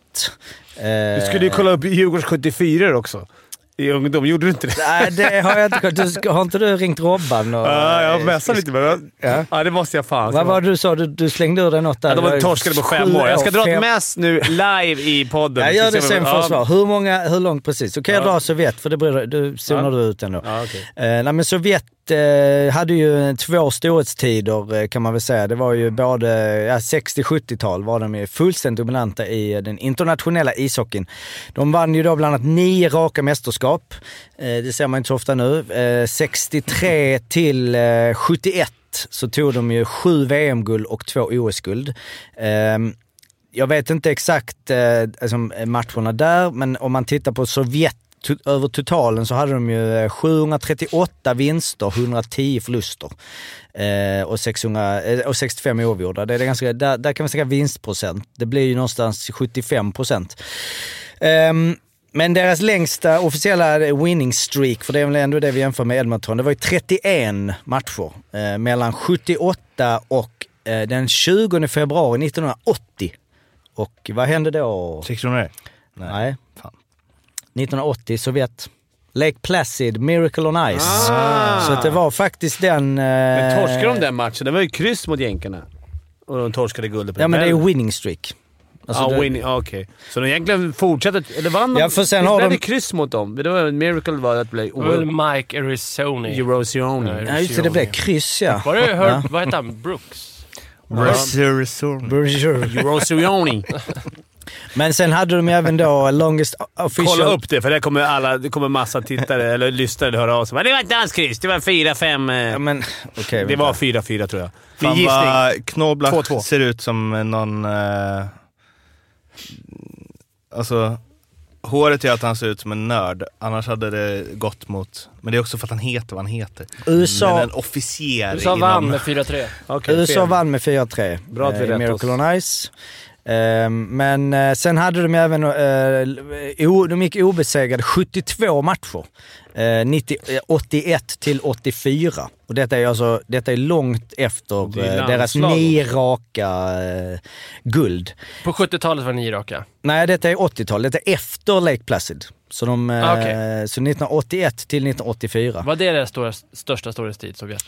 [SPEAKER 1] Eh,
[SPEAKER 2] Du skulle ju kolla upp Djurgårdens 74 också. I ungdom. Gjorde du inte det?
[SPEAKER 1] Eh, Nej, det har jag inte kunnat. Du, ska- har inte du ringt Robban? Och,
[SPEAKER 2] Ja, jag messade lite med det. Ja. det måste jag fan.
[SPEAKER 1] Vad var det du sa? Du, du slängde ur dig något där.
[SPEAKER 2] Ja, de
[SPEAKER 1] Det
[SPEAKER 2] var
[SPEAKER 1] var
[SPEAKER 2] torskade på fem
[SPEAKER 1] sju
[SPEAKER 2] år. Jag ska dra
[SPEAKER 1] fem-
[SPEAKER 2] ett mess nu live i podden.
[SPEAKER 1] Jag gör det
[SPEAKER 2] Så ser
[SPEAKER 1] sen
[SPEAKER 2] vi-
[SPEAKER 1] för
[SPEAKER 2] Ja.
[SPEAKER 1] att svara. Hur, många, hur långt precis? Så kan jag
[SPEAKER 2] Ja.
[SPEAKER 1] dra Sovjet, för det bryr, dig- du zonar
[SPEAKER 2] Ja.
[SPEAKER 1] du ut ändå.
[SPEAKER 2] Ja, okej.
[SPEAKER 1] Eh, nej, men Sovjet eh, hade ju två storhetstider eh, kan man väl säga. Det var ju
[SPEAKER 2] Mm.
[SPEAKER 1] både ja, 60-70-tal var de ju fullständigt dominanta i eh, den internationella ishockeyn. De vann ju då bland annat nio raka mästerskap. Eh, det ser man inte så ofta nu. Eh, 63 till eh, 71 så tog de ju sju VM-guld och två OS-guld. Ehm, jag vet inte exakt eh, alltså, matcherna där, men om man tittar på Sovjet to- över totalen så hade de ju eh, 738 vinster, 110 förluster eh, och, 600, eh, och 65 oavgjorda. Det är ganska, där, där kan man snacka vinstprocent. Det blir ju någonstans 75 procent. Ehm, men deras längsta officiella eh, winning streak, för det är väl ändå det vi jämför med Edmonton, det var ju 31 matcher eh, mellan 78 och eh, den 20 februari 1980. Och vad hände då?
[SPEAKER 3] Tyckte du om det?
[SPEAKER 1] Nej.
[SPEAKER 3] Fan.
[SPEAKER 1] 1980, Sovjet. Lake Placid, Miracle on Ice. Så att det var faktiskt den... Eh,
[SPEAKER 2] Ah. Men torskade de den matchen? Det var ju kryss mot jänkarna. Och de torskade guldet på
[SPEAKER 1] Ja men det är
[SPEAKER 2] den.
[SPEAKER 1] winning streak. Alltså
[SPEAKER 2] ja,
[SPEAKER 1] det-
[SPEAKER 2] win- ja, okej. Så de egentligen fortsätter... Eller vann de?
[SPEAKER 1] Ja, för sen
[SPEAKER 2] Visst
[SPEAKER 1] har
[SPEAKER 2] blev
[SPEAKER 1] de-
[SPEAKER 2] det kryss mot dem? Det var en miracle var att bli
[SPEAKER 9] Det var väl
[SPEAKER 2] oerhört...
[SPEAKER 9] Mike Arizona.
[SPEAKER 2] Eurosione.
[SPEAKER 1] Ja just det, det blev kryss ja.
[SPEAKER 9] Var det
[SPEAKER 1] Ja.
[SPEAKER 9] Herb, vad hette han? Brooks?
[SPEAKER 3] Resursorm.
[SPEAKER 2] Eurosione.
[SPEAKER 1] Men sen hade de ju även då longest official...
[SPEAKER 2] Kolla upp det, för där kommer alla, det kommer massa tittare eller lyssnare höra av sig. Men det var inte alls kryss. Det var 4-5... eh,
[SPEAKER 1] Ja, men, okej,
[SPEAKER 2] det
[SPEAKER 1] vänta.
[SPEAKER 2] var 4-4 tror jag. Min
[SPEAKER 3] Fan
[SPEAKER 2] gissning.
[SPEAKER 3] vad Knoblach
[SPEAKER 2] 2-2.
[SPEAKER 3] ser ut som eh, någon... Eh, alltså, håret gör att han ser ut som en nörd. Annars hade det gått mot... Men det är också för att han heter vad han heter.
[SPEAKER 1] USA,
[SPEAKER 3] Men en officer
[SPEAKER 9] USA vann
[SPEAKER 3] inom...
[SPEAKER 9] med 4-3.
[SPEAKER 2] Okej,
[SPEAKER 1] USA
[SPEAKER 2] fel.
[SPEAKER 1] vann med 4-3
[SPEAKER 2] Bra att vi
[SPEAKER 1] eh, i
[SPEAKER 2] rätt
[SPEAKER 1] Miracle
[SPEAKER 2] oss.
[SPEAKER 1] on Ice. Ehm, Men eh, sen hade de ju även, eh, o- de gick obesegrade 72 matcher. Eh, 90, eh, 81 till 84. Och detta är alltså, detta är långt efter
[SPEAKER 2] Det är
[SPEAKER 1] eh, deras
[SPEAKER 2] landslag.
[SPEAKER 1] nio raka eh, guld.
[SPEAKER 9] På 70-talet var det nio raka.
[SPEAKER 1] Nej, detta är 80-tal. Detta är efter Lake Placid. Så, de, eh,
[SPEAKER 9] Ah, okej.
[SPEAKER 1] så 1981 till 1984.
[SPEAKER 9] Var det deras stora, största storhetstid, Sovjet?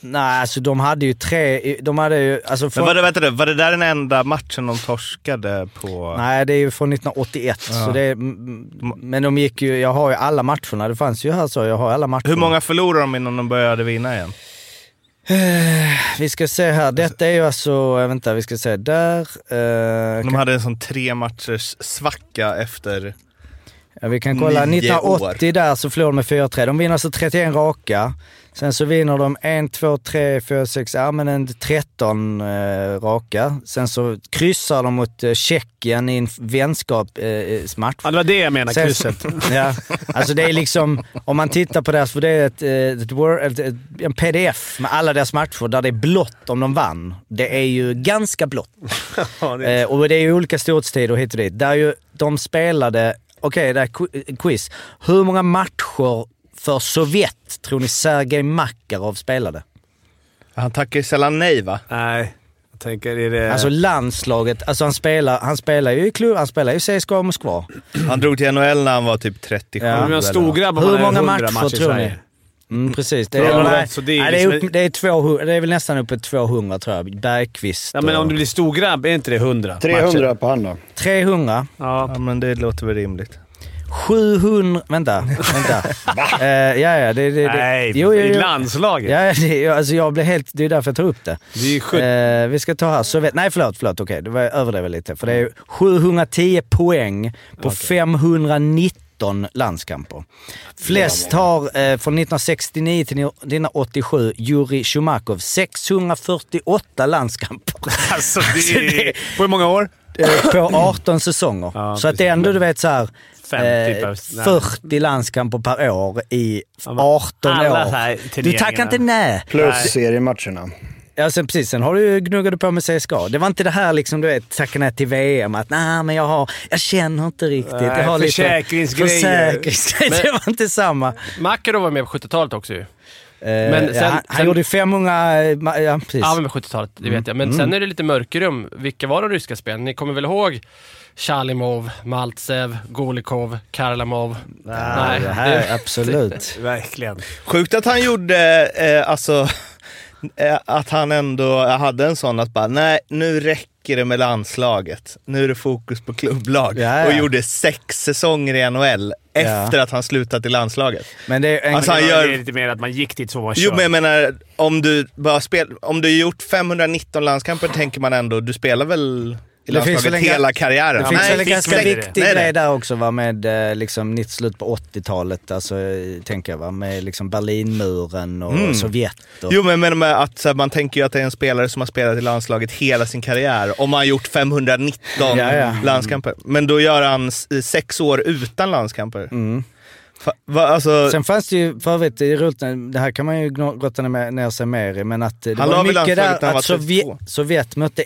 [SPEAKER 1] Nej, alltså de hade ju tre... De hade ju... Alltså
[SPEAKER 3] Men
[SPEAKER 1] från,
[SPEAKER 3] var det, vänta, nu, var det där den enda matchen de torskade på?
[SPEAKER 1] Nej, det är ju från 1981. Så det, är- m- m- men de gick ju... Jag har ju alla matcherna. Det fanns ju här så. Jag har alla matcherna.
[SPEAKER 3] Hur många förlorade de innan de började vinna igen?
[SPEAKER 1] Vi ska se här. Detta är ju alltså... eh, Vänta, vi ska se där. Eh,
[SPEAKER 3] De hade en sån tre matchers svacka efter...
[SPEAKER 1] ja, vi kan kolla.
[SPEAKER 3] nio
[SPEAKER 1] 1980 där så förlorade de med 4-3. De vinner alltså 31 raka. Sen så vinner de 1, 2, 3, 4, 6, ja men en 13 eh, raka. Sen så kryssar de mot eh, Tjeckien i en eh, vänskapsmatch.
[SPEAKER 2] Ja, det var det jag menade.
[SPEAKER 1] Sen-
[SPEAKER 2] Krysset.
[SPEAKER 1] ja, alltså det är liksom, om man tittar på deras, för det är ett, eh, ett, Word- ett, ett, en pdf med alla deras matcher där det är blått om de vann. Det är ju ganska blått.
[SPEAKER 2] Ja, det-
[SPEAKER 1] Eh, och det är ju olika storhetstider hit och dit. Där ju de spelade, okej det här är qu- eh, quiz. Hur många matcher för Sovjet tror ni Sergej Makarov spelade?
[SPEAKER 3] Han tackar ju sällan nej va?
[SPEAKER 2] Nej, jag tänker... Är det...
[SPEAKER 1] Alltså landslaget, alltså han spelar, han spelar ju i klubb, han spelar ju i CSKA Moskva.
[SPEAKER 3] Han drog till NHL när han var typ 37
[SPEAKER 1] Ja,
[SPEAKER 2] om jag
[SPEAKER 3] eller
[SPEAKER 2] stod grabb om
[SPEAKER 1] Hur
[SPEAKER 2] man är
[SPEAKER 1] många
[SPEAKER 2] 100
[SPEAKER 1] matcher tror ni?
[SPEAKER 2] Sverige.
[SPEAKER 1] Mm, precis. Det
[SPEAKER 2] Ja,
[SPEAKER 1] är, nej,
[SPEAKER 2] så det är
[SPEAKER 1] nej, det, är
[SPEAKER 2] liksom-
[SPEAKER 1] upp, det, är 200, det är väl nästan uppe 200 tror jag. Bergqvist
[SPEAKER 2] Ja, men om
[SPEAKER 1] och-
[SPEAKER 2] du blir stor grabb, är inte det 100?
[SPEAKER 4] 300 på han då.
[SPEAKER 1] 300.
[SPEAKER 2] Ja.
[SPEAKER 3] Ja, men det låter väl rimligt.
[SPEAKER 1] 700... Vänta, vänta. Eh, ja, ja, det, det, det.
[SPEAKER 2] Nej,
[SPEAKER 1] jo, jo,
[SPEAKER 2] i
[SPEAKER 1] jo.
[SPEAKER 2] landslaget.
[SPEAKER 1] Ja, det, jag- alltså jag blir helt... Det är därför jag tar upp det.
[SPEAKER 2] Det är ju sjukt.
[SPEAKER 1] Eh, vi ska ta här. Sovjet, nej, förlåt. förlåt Okej, det var jag överdrev lite. För det är 710 poäng på 519 landskamper. Flest har eh, från 1969 till 1987 Jurij Schumakov 648 landskamper.
[SPEAKER 2] Alltså, det är... På hur många år?
[SPEAKER 1] eh, på 18 säsonger.
[SPEAKER 2] Ja,
[SPEAKER 1] så att det är ändå, du vet så här,
[SPEAKER 2] Femtio
[SPEAKER 1] eh,
[SPEAKER 2] per- nej.
[SPEAKER 1] 40 landskamper per år i
[SPEAKER 2] men
[SPEAKER 1] 18
[SPEAKER 2] alla så här
[SPEAKER 1] år. Du
[SPEAKER 2] turneringarna.
[SPEAKER 1] tackar inte nej.
[SPEAKER 4] Plus seriematcherna.
[SPEAKER 1] Ja, sen precis. Sen har du ju gnuggade på med CSKA. Det var inte det här liksom, du vet, tacka nej till VM. Att nej, men jag har... Jag känner inte riktigt. jag
[SPEAKER 2] Nej,
[SPEAKER 1] har lite-
[SPEAKER 2] försäkringsgrejer.
[SPEAKER 1] Försäkringsgrejer. Det var inte samma.
[SPEAKER 9] Makarov var med på 70-talet också ju.
[SPEAKER 1] Men
[SPEAKER 9] sen-
[SPEAKER 1] ja, han, han
[SPEAKER 9] sen-
[SPEAKER 1] gjorde ju 500... eh, ma- Ja, precis.
[SPEAKER 9] Ja, men med 70-talet, det
[SPEAKER 1] Mm.
[SPEAKER 9] vet jag. Men sen är det lite mörkerum. Vilka var de ryska spelen? Ni kommer väl ihåg Chalimov, Maltsev, Golikov, Karlamov? Nej,
[SPEAKER 1] det här,
[SPEAKER 9] det-
[SPEAKER 1] absolut.
[SPEAKER 2] Verkligen.
[SPEAKER 3] Sjukt att han gjorde, eh, alltså, eh, att han ändå hade en sån att bara, nej nu räcker det med landslaget. Nu är det fokus på klubblag.
[SPEAKER 1] Ja, ja.
[SPEAKER 3] Och gjorde sex säsonger i NHL efter att han slutat i landslaget.
[SPEAKER 1] Men det är en...
[SPEAKER 3] Alltså, han
[SPEAKER 2] Det
[SPEAKER 3] gör-
[SPEAKER 2] är lite mer att man gick dit så man
[SPEAKER 3] Jo men jag menar, om du bara spel, om du gjort 519 landskamper tänker man ändå, du spelar väl i
[SPEAKER 1] Det finns väl
[SPEAKER 3] landslaget
[SPEAKER 1] en
[SPEAKER 3] hela
[SPEAKER 1] ga-
[SPEAKER 3] karriären?
[SPEAKER 1] Det finns
[SPEAKER 3] Nej,
[SPEAKER 1] väl en
[SPEAKER 2] fick
[SPEAKER 1] ganska
[SPEAKER 2] väl det.
[SPEAKER 1] viktig
[SPEAKER 3] Nej, nej.
[SPEAKER 1] grej där också va, med eh, liksom, nytt slut på 80-talet, alltså, eh, tänker jag. Va, med liksom Berlinmuren och
[SPEAKER 2] Mm.
[SPEAKER 1] Sovjet. Och,
[SPEAKER 3] Jo, men jag menar med att så här, man tänker ju att det är en spelare som har spelat i landslaget hela sin karriär. Om han gjort 519
[SPEAKER 1] Ja, ja.
[SPEAKER 3] landskamper. Men då gör han s- sex år utan landskamper. Fa, va, alltså,
[SPEAKER 1] Mm. Sen fanns det ju för övrigt i rulten, det här kan man ju gno- grotta ner ner sig mer i, men att eh, det
[SPEAKER 3] Han la
[SPEAKER 1] var mycket
[SPEAKER 3] väl landslaget
[SPEAKER 1] där
[SPEAKER 3] när han
[SPEAKER 1] att
[SPEAKER 3] var
[SPEAKER 1] Sovjet,
[SPEAKER 3] 32.
[SPEAKER 1] Sovjet mötte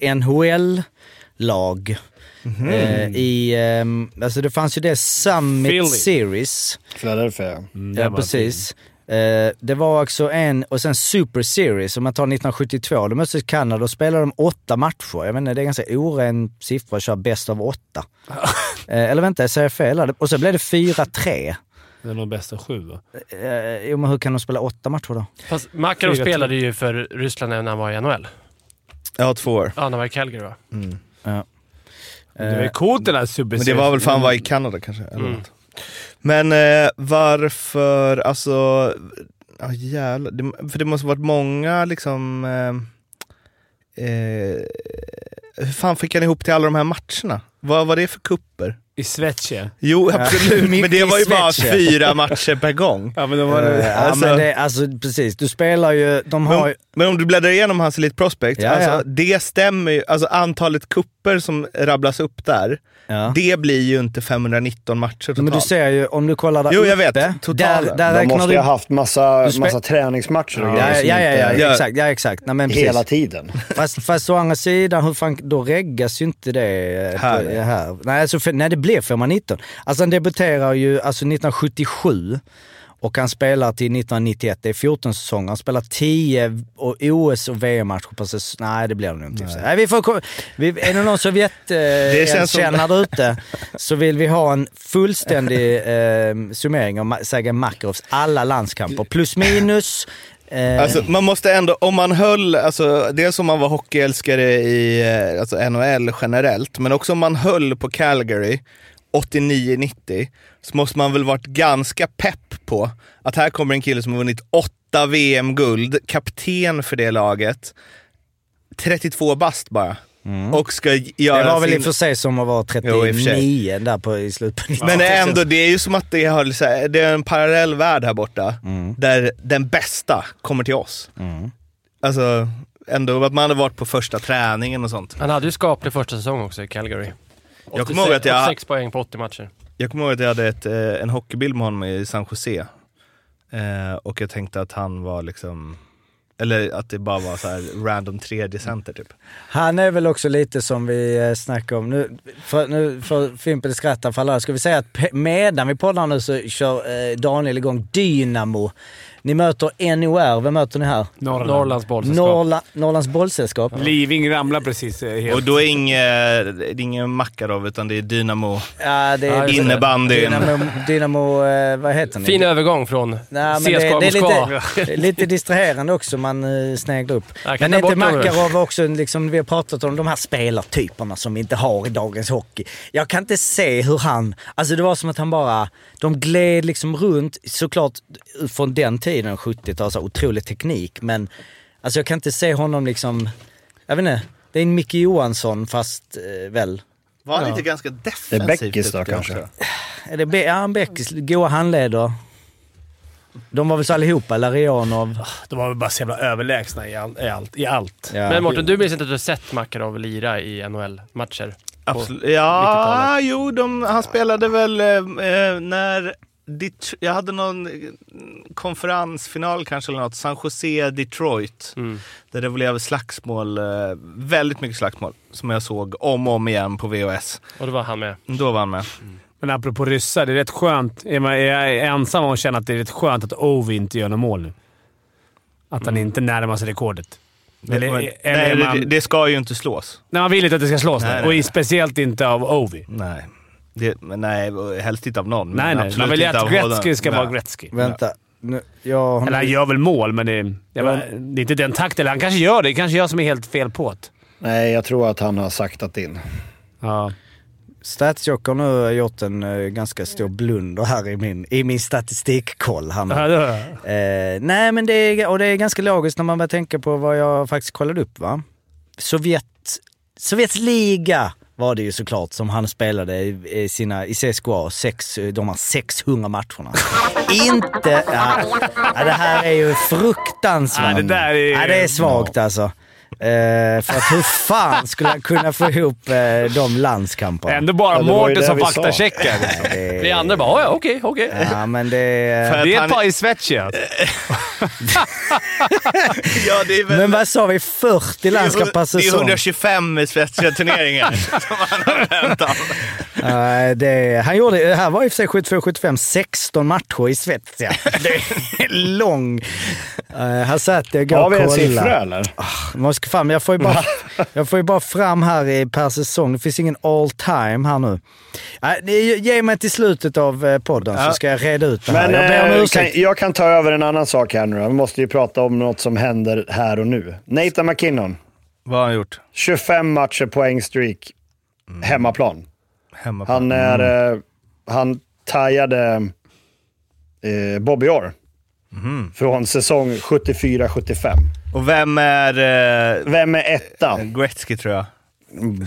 [SPEAKER 1] NHL-lag.
[SPEAKER 3] Mhm.
[SPEAKER 1] Eh, i, ehm, alltså det fanns ju det Summit
[SPEAKER 2] Philly.
[SPEAKER 1] Series.
[SPEAKER 4] Philadelphia.
[SPEAKER 3] Mm,
[SPEAKER 2] typ-
[SPEAKER 1] Ja, precis. Eh, det var också en, och sen Super Series, om man tar 1972, då möttes Kanada och spelade de åtta matcher. Jag menar, det är ganska oren siffra att köra bäst av åtta. eh, eller vänta, jag säger fel? Och så blev det 4-3.
[SPEAKER 2] Det är nog bästa sju va?
[SPEAKER 1] Eh, jo, men hur kan de spela åtta matcher då?
[SPEAKER 9] Fast Makarov
[SPEAKER 2] Fyra till.
[SPEAKER 9] spelade ju för Ryssland även när han var i NHL.
[SPEAKER 3] ja, två år.
[SPEAKER 9] Ja, när han var i Calgary va?
[SPEAKER 1] Eh,
[SPEAKER 2] Det var ju coolt den här super
[SPEAKER 3] Men det var väl fan var i
[SPEAKER 1] Mm.
[SPEAKER 3] Kanada kanske. Eller något. Men eh, varför, alltså... Ja jävlar. Det, för det måste varit många liksom... Eh, eh, hur fan fick han ihop till alla de här matcherna? Vad var det för kupper?
[SPEAKER 2] I Svetje.
[SPEAKER 3] Jo, absolut.
[SPEAKER 1] Mitt
[SPEAKER 3] Men det
[SPEAKER 1] i
[SPEAKER 3] var ju bara
[SPEAKER 1] Sverige.
[SPEAKER 3] fyra matcher per gång.
[SPEAKER 2] Ja, men det var
[SPEAKER 1] Eh,
[SPEAKER 2] det.
[SPEAKER 1] ja,
[SPEAKER 3] alltså-
[SPEAKER 1] men det, alltså precis. Du spelar ju, de
[SPEAKER 3] Men
[SPEAKER 1] har
[SPEAKER 3] om,
[SPEAKER 1] ju...
[SPEAKER 3] men om du bläddrar igenom hans Elite Prospect,
[SPEAKER 1] Ja,
[SPEAKER 3] alltså,
[SPEAKER 1] ja.
[SPEAKER 3] det stämmer ju. Alltså antalet kupper som rabblas upp där,
[SPEAKER 1] Ja.
[SPEAKER 3] det blir ju inte 519 matcher
[SPEAKER 1] Men du
[SPEAKER 3] totalt.
[SPEAKER 1] ser ju, om du kollar där
[SPEAKER 3] Jo, jag
[SPEAKER 1] uppe,
[SPEAKER 3] vet. Totalen.
[SPEAKER 1] Där, där
[SPEAKER 4] De
[SPEAKER 1] räknar
[SPEAKER 4] måste
[SPEAKER 1] du...
[SPEAKER 4] ju ha haft massa,
[SPEAKER 1] Du spe-
[SPEAKER 4] massa träningsmatcher och
[SPEAKER 1] Ja,
[SPEAKER 4] grejer
[SPEAKER 1] ja,
[SPEAKER 4] som
[SPEAKER 1] ja, ja,
[SPEAKER 4] inte-
[SPEAKER 1] ja, exakt. Ja, exakt. Nej, men precis.
[SPEAKER 4] Hela tiden.
[SPEAKER 1] Fast, fast å andra sidan, hur fan, då reggas ju inte det eh,
[SPEAKER 3] Här.
[SPEAKER 1] På, här. Nej, alltså, för, nej, det blev 519. Alltså han debuterar ju alltså 1977 och han spelar till 1991. Det är 14 säsonger. Han spelar 10 och OS och VM-matcher på säsong. Nej, det blir det nog inte. Nej. Nej, vi får, ko- vi, är det någon
[SPEAKER 3] känns som-
[SPEAKER 1] Sovjetkännare där ute så vill vi ha en fullständig eh, summering av Ma- Sergej Makarovs alla landskamper. Plus minus. Eh,
[SPEAKER 3] Alltså, man måste ändå, om man höll, alltså, dels om man var hockeyälskare i eh, alltså, NHL generellt, men också om man höll på Calgary 89-90, så måste man väl varit ganska pepp på att här kommer en kille som har vunnit åtta VM-guld, kapten för det laget, 32 bast bara. Och ska g- göra
[SPEAKER 1] Mm. Det var väl i
[SPEAKER 3] sin...
[SPEAKER 1] och för sig som att vara
[SPEAKER 3] Jo, i och för sig.
[SPEAKER 1] 39 där på, i slutet på 90
[SPEAKER 3] Men det är ändå, det är ju som att det, har, så här- det är en parallell värld här borta,
[SPEAKER 4] Mm.
[SPEAKER 3] där den bästa kommer till oss. Alltså, ändå att man hade varit på första träningen och sånt.
[SPEAKER 9] Han hade ju skaplig första säsong också i Calgary.
[SPEAKER 3] Jag kommer ihåg att jag-
[SPEAKER 9] 86 poäng på 80 matcher.
[SPEAKER 3] Jag kommer ihåg att jag hade ett, eh, en hockeybild med honom i San Jose. Eh, och jag tänkte att han var liksom, eller att det bara var så här random 3D-center typ.
[SPEAKER 1] Han är väl också lite som vi eh, snackade om. Nu, för, nu får Fimpen skratta för alla. Ska vi säga att pe- medan vi poddar nu så kör eh, Daniel igång Dynamo. Ni möter NOR. Vem möter ni här?
[SPEAKER 2] Norrland.
[SPEAKER 9] Norrlands bollsällskap.
[SPEAKER 1] Norla, Norrlands bollsällskap.
[SPEAKER 2] Living ramlar precis eh,
[SPEAKER 4] Mm.
[SPEAKER 2] helt.
[SPEAKER 3] Och då är inget, det är ingen Makarov, utan det är Dynamo.
[SPEAKER 1] Ja, det
[SPEAKER 9] Ja,
[SPEAKER 1] är
[SPEAKER 9] just det.
[SPEAKER 3] Innebandyn.
[SPEAKER 1] Dynamo... Dynamo eh, vad heter ni?
[SPEAKER 9] Fin övergång från
[SPEAKER 1] Nej,
[SPEAKER 9] CSKA
[SPEAKER 1] men det, det är
[SPEAKER 9] Moskva.
[SPEAKER 1] lite, lite distraherande också. Man uh, sneglar upp.
[SPEAKER 9] Jag kan
[SPEAKER 1] Men
[SPEAKER 9] ta
[SPEAKER 1] är inte
[SPEAKER 9] bort dem nu.
[SPEAKER 1] Makarov också, liksom, vi har pratat om de här spelartyperna som vi inte har i dagens hockey. Jag kan inte se hur han, alltså det var som att han bara, de gled liksom runt, såklart från den tiden, 70-talet, så otrolig teknik. Men alltså jag kan inte se honom liksom, jag vet inte, det är en Micke Johansson fast eh, väl.
[SPEAKER 3] Var han
[SPEAKER 1] Ja.
[SPEAKER 3] inte ganska defensivt
[SPEAKER 4] Beckis då,
[SPEAKER 3] duktig
[SPEAKER 4] kanske?
[SPEAKER 3] också?
[SPEAKER 1] Är det Be- ja, han Beckis, goa handleder. De var väl så allihopa, Larianov.
[SPEAKER 2] De var väl bara så jävla överlägsna i, all, i allt. I allt.
[SPEAKER 1] Ja.
[SPEAKER 9] Men Mårten, du minns inte att du har sett Makarov lira i NHL-matcher?
[SPEAKER 3] Absolut. Ja,
[SPEAKER 9] 90-talet.
[SPEAKER 3] jo, de, han spelade väl eh, eh, när... Det, jag hade någon eh, konferensfinal kanske eller något. San Jose, Detroit.
[SPEAKER 9] Mm.
[SPEAKER 3] Där det blev slagsmål. Eh, väldigt mycket slagsmål. Som jag såg om och om igen på VHS.
[SPEAKER 9] Och då var han med.
[SPEAKER 3] Då var han med.
[SPEAKER 2] Men apropå ryssar, det är rätt skönt. Är man- är jag är ensam om att känna att det är rätt skönt att Ovi inte gör något mål nu? Att han inte närmar sig rekordet. Eller,
[SPEAKER 3] Men-
[SPEAKER 2] eller
[SPEAKER 3] nej,
[SPEAKER 2] är man,
[SPEAKER 3] det, det ska ju inte slås.
[SPEAKER 2] nej, man vill inte att det ska slås
[SPEAKER 3] Nej,
[SPEAKER 2] nej,
[SPEAKER 3] nej. Mm,
[SPEAKER 2] och i- speciellt inte av Ovi.
[SPEAKER 3] Nej. Det, men nej, helst inte av någon. men
[SPEAKER 2] Nej, nej.
[SPEAKER 3] absolut
[SPEAKER 2] Man vill ju
[SPEAKER 3] inte
[SPEAKER 2] att
[SPEAKER 3] av
[SPEAKER 2] Gretzky ska
[SPEAKER 3] båda.
[SPEAKER 2] vara
[SPEAKER 3] Nej.
[SPEAKER 2] Gretzky.
[SPEAKER 1] Vänta. Nu, jag har
[SPEAKER 2] Eller han gör väl mål, men det, det, var, det är inte den takten. Eller han kanske gör det. Det är kanske jag som är helt fel på det.
[SPEAKER 4] Nej, jag tror att han har saktat in.
[SPEAKER 2] Ja.
[SPEAKER 1] Statsjockern nu har gjort en eh, ganska stor blunder här i min, i min statistikkoll. Han.
[SPEAKER 2] Ja, det-
[SPEAKER 1] Eh, nej, men det är, och det är ganska logiskt när man börjar tänka på vad jag faktiskt kollade upp. Va? Sovjet, Sovjets liga var det ju såklart som han spelade i, i sina, i CSKA, sex, de här 600 matcherna. Inte... Ja, ja, det här är ju fruktansvärt.
[SPEAKER 2] Ja, det där är-
[SPEAKER 1] ja, det är svagt alltså. Eh, för att hur fan skulle han kunna få ihop eh, de landskamperna?
[SPEAKER 2] Ändå bara
[SPEAKER 4] Ja, det var ju
[SPEAKER 2] Mårten
[SPEAKER 4] det
[SPEAKER 2] som
[SPEAKER 4] vi sa.
[SPEAKER 2] faktacheckar.
[SPEAKER 1] Det-
[SPEAKER 9] Vi andra bara, "Ja, ja, okej, okej.
[SPEAKER 1] Ja, men det är...
[SPEAKER 3] För
[SPEAKER 2] Det är alltså.
[SPEAKER 3] att
[SPEAKER 2] ett
[SPEAKER 3] han-
[SPEAKER 2] par i Svetja.
[SPEAKER 3] Ja, det är väl...
[SPEAKER 1] Men vad sa vi? 40 landskamp per
[SPEAKER 3] Det är
[SPEAKER 1] säsong?
[SPEAKER 3] 125 svetsiga turneringar som han har vänt av.
[SPEAKER 1] Nej, Eh, det, han gjorde, det här var i och för sig 72-75, 16 matcher i Schweiz. Ja. Det är lång. Eh, här satt jag igår
[SPEAKER 4] Har vi en
[SPEAKER 1] och
[SPEAKER 4] siffra
[SPEAKER 1] kollade. Ah,
[SPEAKER 4] eller?
[SPEAKER 1] Man ska fram, jag, får ju bara, jag får ju bara fram här i, per säsong. Det finns ingen all time här nu. Nej, det- ge mig till slutet av eh, podden så ska jag reda ut det här.
[SPEAKER 4] Men
[SPEAKER 1] jag ber om
[SPEAKER 4] eh,
[SPEAKER 1] ursäkt.
[SPEAKER 4] kan, jag kan ta över en annan sak här nu då. Vi måste ju prata om något som händer här och nu. Nathan McKinnon,
[SPEAKER 3] Vad har han gjort?
[SPEAKER 4] 25 matcher poängstreak, Mm. hemmaplan.
[SPEAKER 3] Hemma på.
[SPEAKER 4] Han är... Eh, han tajade eh, Bobby Orr från säsong 74-75.
[SPEAKER 3] Och vem är... Eh,
[SPEAKER 4] Vem är etta?
[SPEAKER 3] Gretzky tror jag.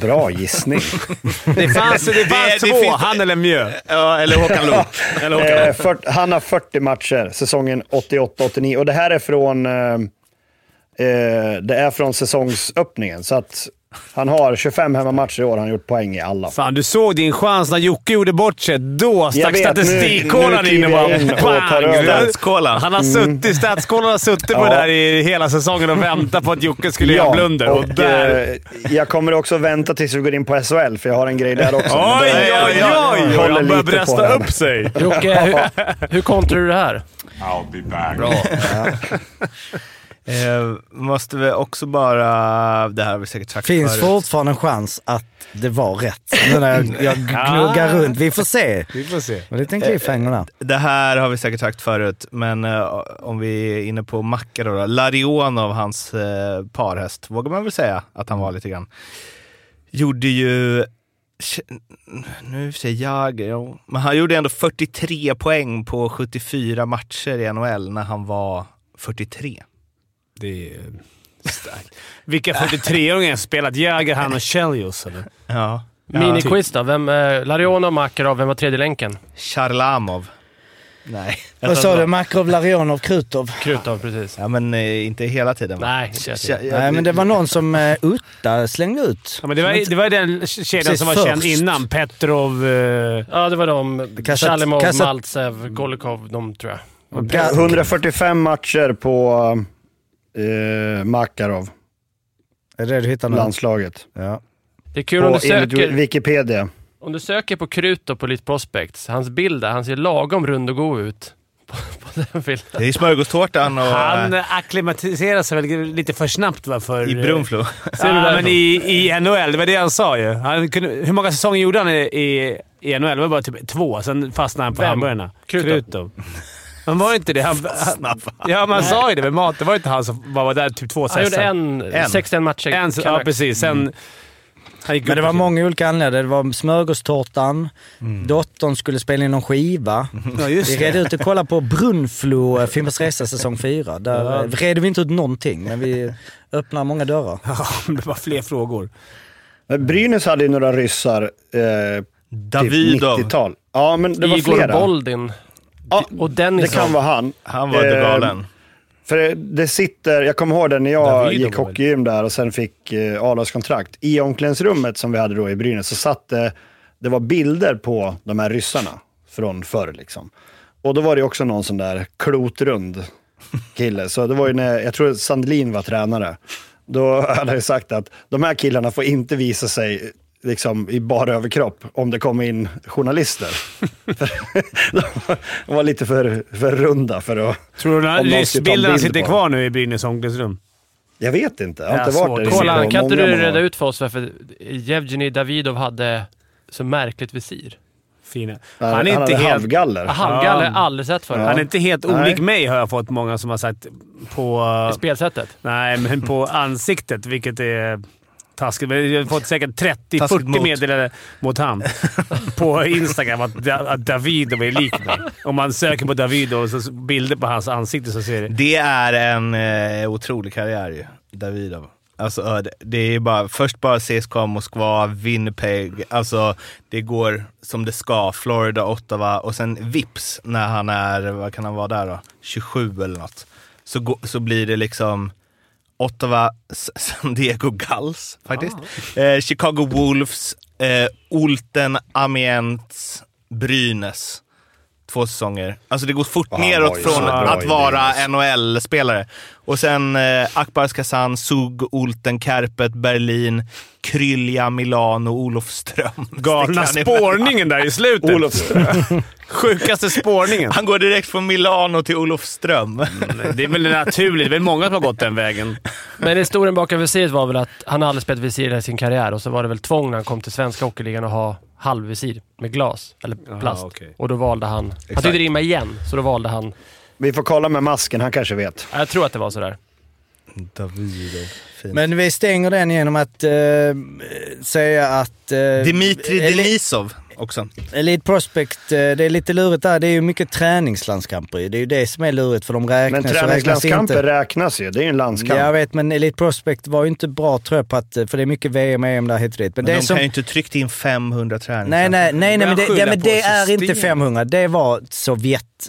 [SPEAKER 4] Bra gissning.
[SPEAKER 2] Det fanns, det fanns
[SPEAKER 3] det
[SPEAKER 2] två.
[SPEAKER 3] finns-
[SPEAKER 2] han eller Mjö.
[SPEAKER 3] Ja, eller Håkan Loop. eller Håkan
[SPEAKER 4] Eh, fyrt- han har 40 matcher säsongen 88-89 och det här är från, eh, eh, det är från säsongsöppningen. Så att han har 25 hemmamatcher i år, han har gjort poäng i alla.
[SPEAKER 2] Fan, du såg din chans när Jocke gjorde bort sig. Då
[SPEAKER 4] Jag
[SPEAKER 2] stack
[SPEAKER 4] vet, nu-
[SPEAKER 2] statistikkålan
[SPEAKER 4] nu
[SPEAKER 2] in och
[SPEAKER 4] kliver
[SPEAKER 2] bara...
[SPEAKER 4] jag in och tar
[SPEAKER 2] Pang!
[SPEAKER 4] över. Mm.
[SPEAKER 3] Statskålan.
[SPEAKER 2] Han har suttit, statskålan har suttit på
[SPEAKER 4] Ja.
[SPEAKER 2] det där i hela säsongen och väntat på att Jocke skulle göra blunder. Och
[SPEAKER 4] och,
[SPEAKER 2] där...
[SPEAKER 4] eh, jag kommer också vänta tills vi går in på SHL, för jag har en grej där också. Men
[SPEAKER 2] Oj,
[SPEAKER 4] den-
[SPEAKER 2] oj,
[SPEAKER 4] jag-
[SPEAKER 2] oj!
[SPEAKER 4] jag
[SPEAKER 2] oj.
[SPEAKER 4] håller
[SPEAKER 2] Han börjar
[SPEAKER 4] lite på
[SPEAKER 2] brösta
[SPEAKER 4] den.
[SPEAKER 2] upp sig.
[SPEAKER 9] Jocke, hur, hur kontrar du det här?
[SPEAKER 3] Eh, måste vi också bara... Det här har vi säkert sagt
[SPEAKER 1] Finns
[SPEAKER 3] förut.
[SPEAKER 1] fortfarande en chans att det var rätt? Nu när jag, jag gnuggar runt. Vi får se.
[SPEAKER 2] Vi får se.
[SPEAKER 1] Det är en liten
[SPEAKER 4] Eh,
[SPEAKER 1] cliffhanger där.
[SPEAKER 3] Det här har vi säkert sagt förut, men eh, om vi är inne på Macka då. då. Larionov, hans eh, parhäst, vågar man väl säga att han var lite grann. Gjorde ju... Nu säger jag, jo. men han gjorde ändå 43 poäng på 74 matcher i NHL när han var 43.
[SPEAKER 2] Det är starkt. Vilka 43-åringar har spelat Jäger, han och Chelios? eller?
[SPEAKER 3] Ja.
[SPEAKER 9] Miniquiz då. Vem, eh, Larionov, Makarov, vem var tredje länken?
[SPEAKER 3] Charlamov. Nej.
[SPEAKER 1] Vad sa du? Makrov, Larionov, Krutov?
[SPEAKER 9] Krutov, precis.
[SPEAKER 3] Ja, men eh, inte hela tiden. va?
[SPEAKER 9] Nej, inte jag
[SPEAKER 3] Tja,
[SPEAKER 9] till.
[SPEAKER 3] jag-
[SPEAKER 1] Nej, men det var någon som eh, Utta slängde ut.
[SPEAKER 2] Ja, men det, var, det var den kedjan
[SPEAKER 1] Precis,
[SPEAKER 2] som var känd
[SPEAKER 1] först.
[SPEAKER 2] innan. Petrov... eh,
[SPEAKER 9] Ja, det var de.
[SPEAKER 1] Kastat-
[SPEAKER 9] Chalimov,
[SPEAKER 1] kastat-
[SPEAKER 9] Maltsev, Golikov, de tror jag.
[SPEAKER 1] Ga-
[SPEAKER 4] 145 matcher på eh, Makarov,
[SPEAKER 1] Är det det du hittar nu?
[SPEAKER 4] landslaget.
[SPEAKER 1] Ja.
[SPEAKER 9] Det är kul om
[SPEAKER 4] På,
[SPEAKER 9] du
[SPEAKER 4] enligt
[SPEAKER 9] söker...
[SPEAKER 4] Wikipedia.
[SPEAKER 9] Om du söker på Krutov på Elite Prospects, hans bild där, han ser lagom rund och god ut. på, på den filmen.
[SPEAKER 3] Det är smörgåstårtan och... eh,
[SPEAKER 2] Han akklimatiserar sig väl lite för snabbt va? För,
[SPEAKER 3] I Brunflo.
[SPEAKER 2] Ser du men i, i NHL. Det var det han sa ju. Han kunde, hur många säsonger gjorde han i, i, i NHL? Det var bara typ två. Sen fastnade han på
[SPEAKER 9] Vem?
[SPEAKER 2] hamburgarna.
[SPEAKER 9] Krutov.
[SPEAKER 2] Men var det inte det? Han, han, ja, man sa ju det med mat. Det var inte han som bara var där typ två
[SPEAKER 9] Han gjorde
[SPEAKER 2] säsonger.
[SPEAKER 9] en, Mm.
[SPEAKER 3] En.
[SPEAKER 9] 61 matcher.
[SPEAKER 2] En, ja, precis. Sen... Han gick
[SPEAKER 1] Men det
[SPEAKER 2] upp
[SPEAKER 1] var
[SPEAKER 2] och-
[SPEAKER 1] många olika anledningar. Det var smörgåstårtan, dottern skulle spela in någon skiva.
[SPEAKER 2] Ja, just
[SPEAKER 1] Vi
[SPEAKER 2] det.
[SPEAKER 1] red ut och kollade på Brunflo, eh, Fimpens Resa säsong 4. Där eh, redde vi inte ut någonting, men vi öppnar många dörrar.
[SPEAKER 2] Ja, det var fler frågor.
[SPEAKER 4] Men Brynäs hade ju några ryssar eh, typ
[SPEAKER 3] Davidov.
[SPEAKER 4] 90-tal. Ja, men det var
[SPEAKER 9] Igor
[SPEAKER 4] flera.
[SPEAKER 9] Boldin
[SPEAKER 4] Ja,
[SPEAKER 9] och
[SPEAKER 4] det
[SPEAKER 9] Dennis.
[SPEAKER 4] kan vara han.
[SPEAKER 3] Han var inte
[SPEAKER 4] Eh,
[SPEAKER 3] galen.
[SPEAKER 4] För det- det sitter, jag kommer ihåg det när jag
[SPEAKER 2] Davidov
[SPEAKER 4] gick
[SPEAKER 2] var väl-
[SPEAKER 4] hockeygym där och sen fick eh, A-lagskontrakt. I omklädningsrummet som vi hade då i Brynäs så satt det, det var bilder på de här ryssarna från förr liksom. Och då var det också någon sån där klotrund kille. Så det var ju när, jag tror Sandelin var tränare. Då hade jag sagt att de här killarna får inte visa sig liksom, i bara överkropp om det kommer in journalister. För de var- de var lite för, för runda för att...
[SPEAKER 2] Tror du att
[SPEAKER 4] Om någon ska ta en
[SPEAKER 2] ryssbilderna
[SPEAKER 4] bild
[SPEAKER 2] sitter
[SPEAKER 4] på
[SPEAKER 2] kvar nu i Brynäs omklädningsrum?
[SPEAKER 4] Jag vet inte. Jag har
[SPEAKER 2] Ja,
[SPEAKER 4] inte
[SPEAKER 2] svårt.
[SPEAKER 4] varit där. i
[SPEAKER 9] Kolla,
[SPEAKER 4] så
[SPEAKER 9] kan inte
[SPEAKER 4] många
[SPEAKER 9] du
[SPEAKER 4] månader.
[SPEAKER 9] reda ut för oss varför Jevgenij Davidov hade så märkligt visir?
[SPEAKER 2] Fina.
[SPEAKER 4] Nej,
[SPEAKER 2] Han är
[SPEAKER 4] han
[SPEAKER 2] inte
[SPEAKER 4] hade
[SPEAKER 2] helt...
[SPEAKER 4] halvgaller.
[SPEAKER 9] Halvgaller har jag aldrig sett förut.
[SPEAKER 2] Han är inte helt
[SPEAKER 4] Nej.
[SPEAKER 2] olik mig har jag fått många som har sagt på...
[SPEAKER 9] I spelsättet.
[SPEAKER 2] Nej, men på ansiktet, vilket är taskigt. Men Jag har fått säkert 30-40
[SPEAKER 3] Taskigt mot.
[SPEAKER 2] meddelanden mot han på Instagram att, Da- att David är lik mig. Om man söker på David och så s- bilder på hans ansikte så ser det...
[SPEAKER 3] Det är en eh, otrolig karriär ju, Davidov. Alltså, ö, det- det är bara, först bara CSKA Moskva, Winnipeg, alltså det går som det ska. Florida, Ottawa och sen vips när han är, vad kan han vara där då? 27 eller något. Så, gå- så blir det liksom Ottawa, S- San Diego Gulls faktiskt. Eh, Chicago Wolves, eh, Olten, Amiens, Brynäs. Två säsonger. Alltså det går fort
[SPEAKER 4] Och han var
[SPEAKER 3] neråt
[SPEAKER 4] ju
[SPEAKER 3] från
[SPEAKER 4] så bra
[SPEAKER 3] att
[SPEAKER 4] i
[SPEAKER 3] vara
[SPEAKER 4] Brynäs.
[SPEAKER 3] NHL-spelare. Och sen eh, Akbars Kazan, Zug, Olten, Kärpet, Berlin, Krylja, Milano, Olofström.
[SPEAKER 2] Galna
[SPEAKER 3] Sticker han i-
[SPEAKER 2] spårningen där i slutet.
[SPEAKER 4] Typ.
[SPEAKER 2] Sjukaste spårningen.
[SPEAKER 3] Han går direkt från Milano till Olofström.
[SPEAKER 2] Det är väl naturligt. Det är väl många som har gått den vägen.
[SPEAKER 9] Men historien bakom visiret var väl att han aldrig spelat visir i hela sin karriär och så var det väl tvång när han kom till svenska hockeyligan att ha halvvisir med glas eller plast.
[SPEAKER 2] okej.
[SPEAKER 9] Och då valde han... Han tyckte det rimmade igen, så då valde han...
[SPEAKER 4] Vi får kolla med masken, han kanske vet.
[SPEAKER 9] Jag tror att det var sådär.
[SPEAKER 3] Davidov. Fint.
[SPEAKER 1] Men vi stänger den genom att eh, säga att... Eh,
[SPEAKER 3] Dimitri
[SPEAKER 1] Eli-
[SPEAKER 3] Denisov också.
[SPEAKER 1] Elite Prospect, eh, det är lite lurigt där. Det är ju mycket träningslandskamper ju. Det är ju det som är lurigt för de räknas
[SPEAKER 4] Men
[SPEAKER 1] och räknas inte.
[SPEAKER 4] träningslandskamper räknas ju. Det är ju en landskamp.
[SPEAKER 1] Jag vet, men Elite Prospect var ju inte bra tror jag på att... För det är mycket VM och EM där hit och dit. Men,
[SPEAKER 3] Men
[SPEAKER 1] det
[SPEAKER 3] de
[SPEAKER 1] som...
[SPEAKER 3] kan ju inte tryckt in 500 träningar.
[SPEAKER 1] Nej, nej, nej, nej men det, ja,
[SPEAKER 2] Börjar skylla
[SPEAKER 1] men
[SPEAKER 2] på
[SPEAKER 1] det är
[SPEAKER 2] system.
[SPEAKER 1] inte 500. Det var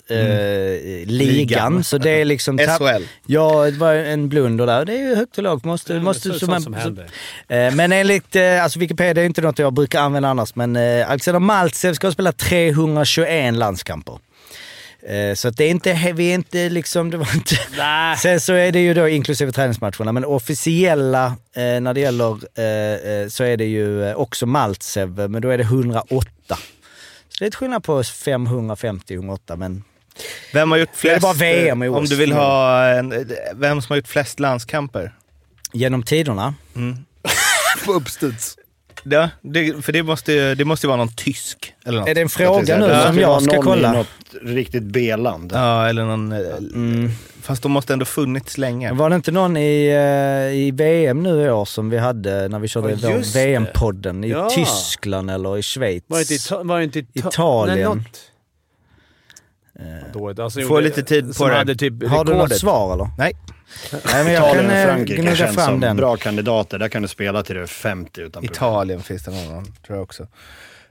[SPEAKER 1] Sovjetligan.
[SPEAKER 3] Mm. Ligan.
[SPEAKER 1] så det är liksom... tapp-
[SPEAKER 3] SHL.
[SPEAKER 1] Ja, det var en blunder där. Det är ju högt och lågt. Måste, måste,
[SPEAKER 2] så-
[SPEAKER 1] så
[SPEAKER 2] sånt
[SPEAKER 1] man-
[SPEAKER 2] som
[SPEAKER 1] så-
[SPEAKER 2] händer.
[SPEAKER 1] Eh, Men enligt eh, alltså Wikipedia är inte något jag brukar använda annars, men eh, Alexander Maltsev ska spela 321 landskamper. Eh, Så att det är inte, he- vi är inte liksom, det var inte...
[SPEAKER 2] Nej.
[SPEAKER 1] Sen så är det ju då inklusive träningsmatcherna, men officiella eh, när det gäller eh, eh, så är det ju eh, också Maltsev, eh, men då är det 108. Så det är ett skillnad på 550, 108, men
[SPEAKER 3] Vem har gjort
[SPEAKER 1] Det är
[SPEAKER 3] flest? eh,
[SPEAKER 1] bara VM i Mm.
[SPEAKER 3] om
[SPEAKER 1] OS.
[SPEAKER 3] du vill ha en, eh, Vem som har gjort flest landskamper?
[SPEAKER 1] genom tiderna.
[SPEAKER 3] På uppstuds. Ja, det, för det måste, ju- det måste ju vara någon tysk eller något.
[SPEAKER 1] Är det en
[SPEAKER 4] Jag
[SPEAKER 1] fråga
[SPEAKER 4] tänkte
[SPEAKER 1] nu
[SPEAKER 4] säga, det
[SPEAKER 1] som
[SPEAKER 4] skulle vara
[SPEAKER 1] jag ska
[SPEAKER 4] någon i
[SPEAKER 1] kolla?
[SPEAKER 4] något riktigt B-land.
[SPEAKER 3] Ja, eller någon... eh,
[SPEAKER 1] Mm.
[SPEAKER 3] Fast de måste ändå funnits länge.
[SPEAKER 1] Var det inte någon i, eh, i VM nu i år som vi hade när vi körde
[SPEAKER 2] Ja,
[SPEAKER 1] vår
[SPEAKER 2] just det.
[SPEAKER 1] VM-podden? I
[SPEAKER 2] Ja.
[SPEAKER 1] Tyskland eller i Schweiz?
[SPEAKER 2] Var det inte, Ita- var det inte Ita-
[SPEAKER 1] Italien.
[SPEAKER 2] Nej, något. Dåligt. Alltså,
[SPEAKER 3] Få
[SPEAKER 2] gjorde-
[SPEAKER 3] lite tid på
[SPEAKER 2] som
[SPEAKER 3] det.
[SPEAKER 2] hade typ
[SPEAKER 1] Har du något
[SPEAKER 2] rekordet.
[SPEAKER 1] svar eller?
[SPEAKER 3] Nej.
[SPEAKER 1] Nej, men jag
[SPEAKER 4] Italien
[SPEAKER 1] kan
[SPEAKER 4] och
[SPEAKER 1] eh,
[SPEAKER 4] Frankrike
[SPEAKER 1] gnugga
[SPEAKER 4] känns
[SPEAKER 1] fram
[SPEAKER 4] som
[SPEAKER 1] den.
[SPEAKER 4] bra kandidater. Där kan du spela till du är 50 utan problem.
[SPEAKER 3] Italien finns det någon, tror jag också.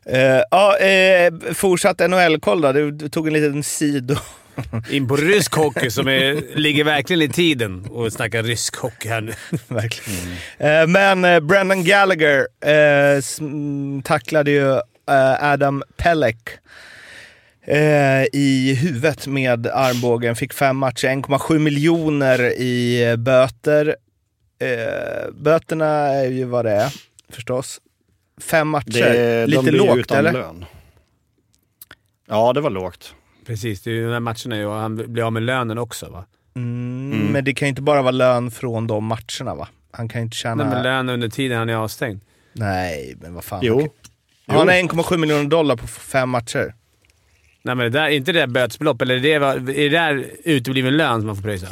[SPEAKER 3] Eh, Ja, eh, fortsatt NHL-koll då. Du, du tog en liten sido...
[SPEAKER 2] In på rysk hockey som är, ligger verkligen i tiden och snackar rysk hockey här nu.
[SPEAKER 3] Verkligen. Eh, men eh, Brendan Gallagher eh, sm- tacklade ju eh, Adam Pelek eh, i huvudet med armbågen. Fick fem matcher, 1,7 miljoner i eh, böter. Eh, böterna är ju vad det är, förstås. Fem matcher.
[SPEAKER 4] Det, de
[SPEAKER 3] Lite
[SPEAKER 4] blir ju
[SPEAKER 3] lågt,
[SPEAKER 4] utan
[SPEAKER 3] eller?
[SPEAKER 4] lön. Ja, det var lågt.
[SPEAKER 2] Precis, det är ju de här matcherna ju, och han blir av med lönen också va?
[SPEAKER 3] Mm, Men det kan ju inte bara vara lön från de matcherna va? Han kan ju inte tjäna...
[SPEAKER 2] Nej, men lön under tiden han är avstängd.
[SPEAKER 3] Nej, men vad fan.
[SPEAKER 4] Jo.
[SPEAKER 3] Han har 1,7 miljoner dollar på f- fem matcher.
[SPEAKER 2] Nej, men det där, inte det där bötesbelopp, eller det var, är det där utebliven lön som man får pröjsa?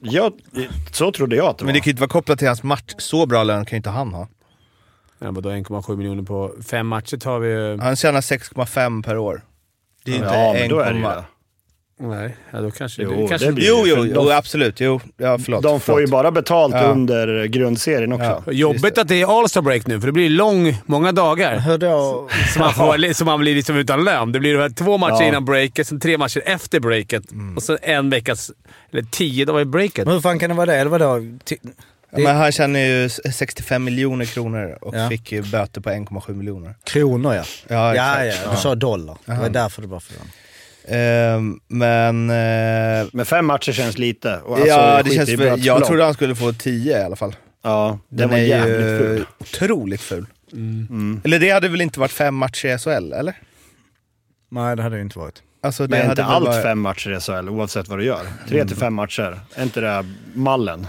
[SPEAKER 4] Jag, så trodde jag att det var.
[SPEAKER 3] Men det kan ju inte vara kopplat till hans match. Så bra lön kan ju inte han ha.
[SPEAKER 2] Ja, vadå 1,7 miljoner på fem matcher tar vi ju...
[SPEAKER 3] Han tjänar 6,5 per år. Det är ju inte
[SPEAKER 4] ja, men då är det
[SPEAKER 3] 1,7.
[SPEAKER 4] ju det.
[SPEAKER 2] Nej, ja, då kanske
[SPEAKER 4] Jo,
[SPEAKER 2] det kanske
[SPEAKER 4] det blir-
[SPEAKER 3] Jo, jo,
[SPEAKER 4] För
[SPEAKER 3] jo
[SPEAKER 4] de-
[SPEAKER 3] absolut. Jo, ja, förlåt.
[SPEAKER 4] De får ju
[SPEAKER 3] förlåt.
[SPEAKER 4] bara betalt
[SPEAKER 3] Ja.
[SPEAKER 4] under grundserien också.
[SPEAKER 3] Ja.
[SPEAKER 2] Jobbigt att det är All-Star break nu, för det blir lång, många dagar.
[SPEAKER 1] Hur då?
[SPEAKER 2] Så man, får, så man blir liksom utan lön. Det blir de här två matcher
[SPEAKER 4] Ja.
[SPEAKER 2] innan breaket, sen tre matcher efter breaket och sen en veckas... Eller tio dagar i breaket.
[SPEAKER 1] Men hur fan kan det vara det? Eller vadå? Ty-
[SPEAKER 3] Ja, men han tjänar ju s- 65 miljoner kronor och
[SPEAKER 1] Ja.
[SPEAKER 3] fick ju böter på 1,7 miljoner.
[SPEAKER 1] Kronor ja.
[SPEAKER 3] Ja,
[SPEAKER 1] Ja,
[SPEAKER 3] exakt.
[SPEAKER 1] ja. Du sa dollar. Det var därför det var för dem.
[SPEAKER 3] Ehm, men... eh,
[SPEAKER 4] Men fem matcher känns lite. Och alltså,
[SPEAKER 3] ja, det
[SPEAKER 4] skit
[SPEAKER 3] känns
[SPEAKER 4] i
[SPEAKER 3] väl, jag
[SPEAKER 4] bötesbelopp.
[SPEAKER 3] trodde han skulle få 10 i alla fall.
[SPEAKER 4] Ja, den
[SPEAKER 3] Den
[SPEAKER 4] var
[SPEAKER 3] är
[SPEAKER 4] jävligt
[SPEAKER 3] ju
[SPEAKER 4] ful. Mm.
[SPEAKER 3] otroligt ful.
[SPEAKER 2] Mm.
[SPEAKER 3] Eller det hade väl inte varit fem matcher i SHL, eller?
[SPEAKER 1] Nej, det hade det inte varit.
[SPEAKER 3] Alltså, det
[SPEAKER 4] Men
[SPEAKER 3] hade Mm.
[SPEAKER 4] inte
[SPEAKER 3] väl
[SPEAKER 4] allt
[SPEAKER 3] varit-
[SPEAKER 4] fem matcher i SHL, oavsett vad du gör. Tre till fem matcher. Är inte det mallen?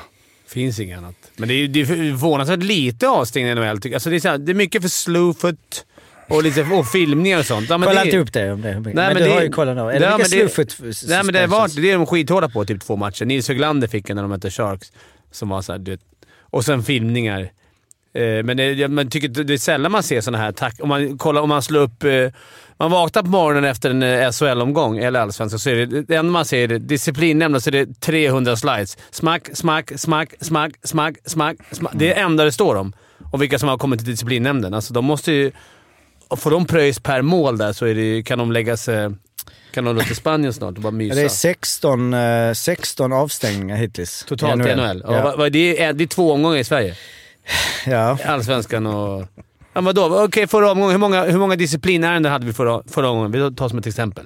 [SPEAKER 2] Finns inget annat. Men det är ju det är förvånansvärt lite avstängning i NHL. tycker jag. Alltså det, är så här, det är mycket för slowfoot och, lite, och filmningar och sånt. Ja, men
[SPEAKER 1] Kolla typ
[SPEAKER 2] det,
[SPEAKER 1] inte upp det om det. Men, du har ju kollat då. Eller
[SPEAKER 2] Ja,
[SPEAKER 1] vilka
[SPEAKER 2] men det-
[SPEAKER 1] slowfoot
[SPEAKER 2] Nej, men det, var, det är de skithårda på, typ två matcher. Nils Höglander fick en när de mötte Sharks. Som var så här, du vet, och sen filmningar. Eh, men det, jag- man tycker, inte- det är sällan man ser såna här tack om man kollar Om man slår upp... Eh, man vaknar på morgonen efter en eh, SHL-omgång, eller allsvenskan, så är det, det enda man ser är det- disciplinnämnden så är det 300 slides. Smack, smack, smack, smack, smack, smack. smack. Det är det enda det står om. Och vilka som har kommit till disciplinnämnden. Alltså, de måste ju... och Får de pröjs per mål där så är det, ju- kan de lägga sig... Kan de dra till Spanien snart och bara mysa?
[SPEAKER 1] Det är 16, eh, 16 avstängningar hittills.
[SPEAKER 2] Totalt i NHL. Ja.
[SPEAKER 1] Ja.
[SPEAKER 2] vad- vad- det, är, det är två omgångar i Sverige.
[SPEAKER 1] ja.
[SPEAKER 2] Allsvenskan och... Ja, vadå? Okej, förra omgången. Hur många, hur många disciplinärenden hade vi förra, förra omgången? Vi tar som ett exempel.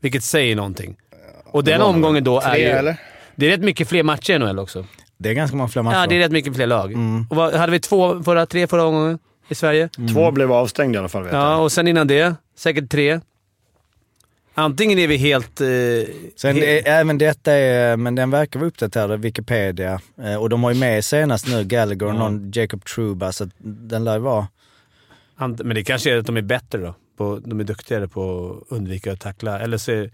[SPEAKER 2] Vilket säger någonting. Och den omgången då är
[SPEAKER 3] Tre,
[SPEAKER 2] ju...
[SPEAKER 3] eller?
[SPEAKER 2] Det är rätt mycket fler matcher i NHL också.
[SPEAKER 1] Det är ganska många fler matcher.
[SPEAKER 2] Ja, det är rätt mycket fler lag. Och vad, hade vi två förra, tre förra omgången i Sverige?
[SPEAKER 3] Mm.
[SPEAKER 4] Två blev avstängda i alla fall vet
[SPEAKER 2] Ja, och sen innan det säkert tre. Antingen är vi helt... Eh,
[SPEAKER 1] Sen,
[SPEAKER 2] helt-
[SPEAKER 1] eh, även detta är, men den verkar vara uppdaterad, Wikipedia. Eh, Och de har ju med senast nu Gallagher och någon Jacob Truba, så att den lär ju vara...
[SPEAKER 2] Ant- Men det kanske är att de är bättre då. På, de är duktigare på att undvika att tackla. Eller så är,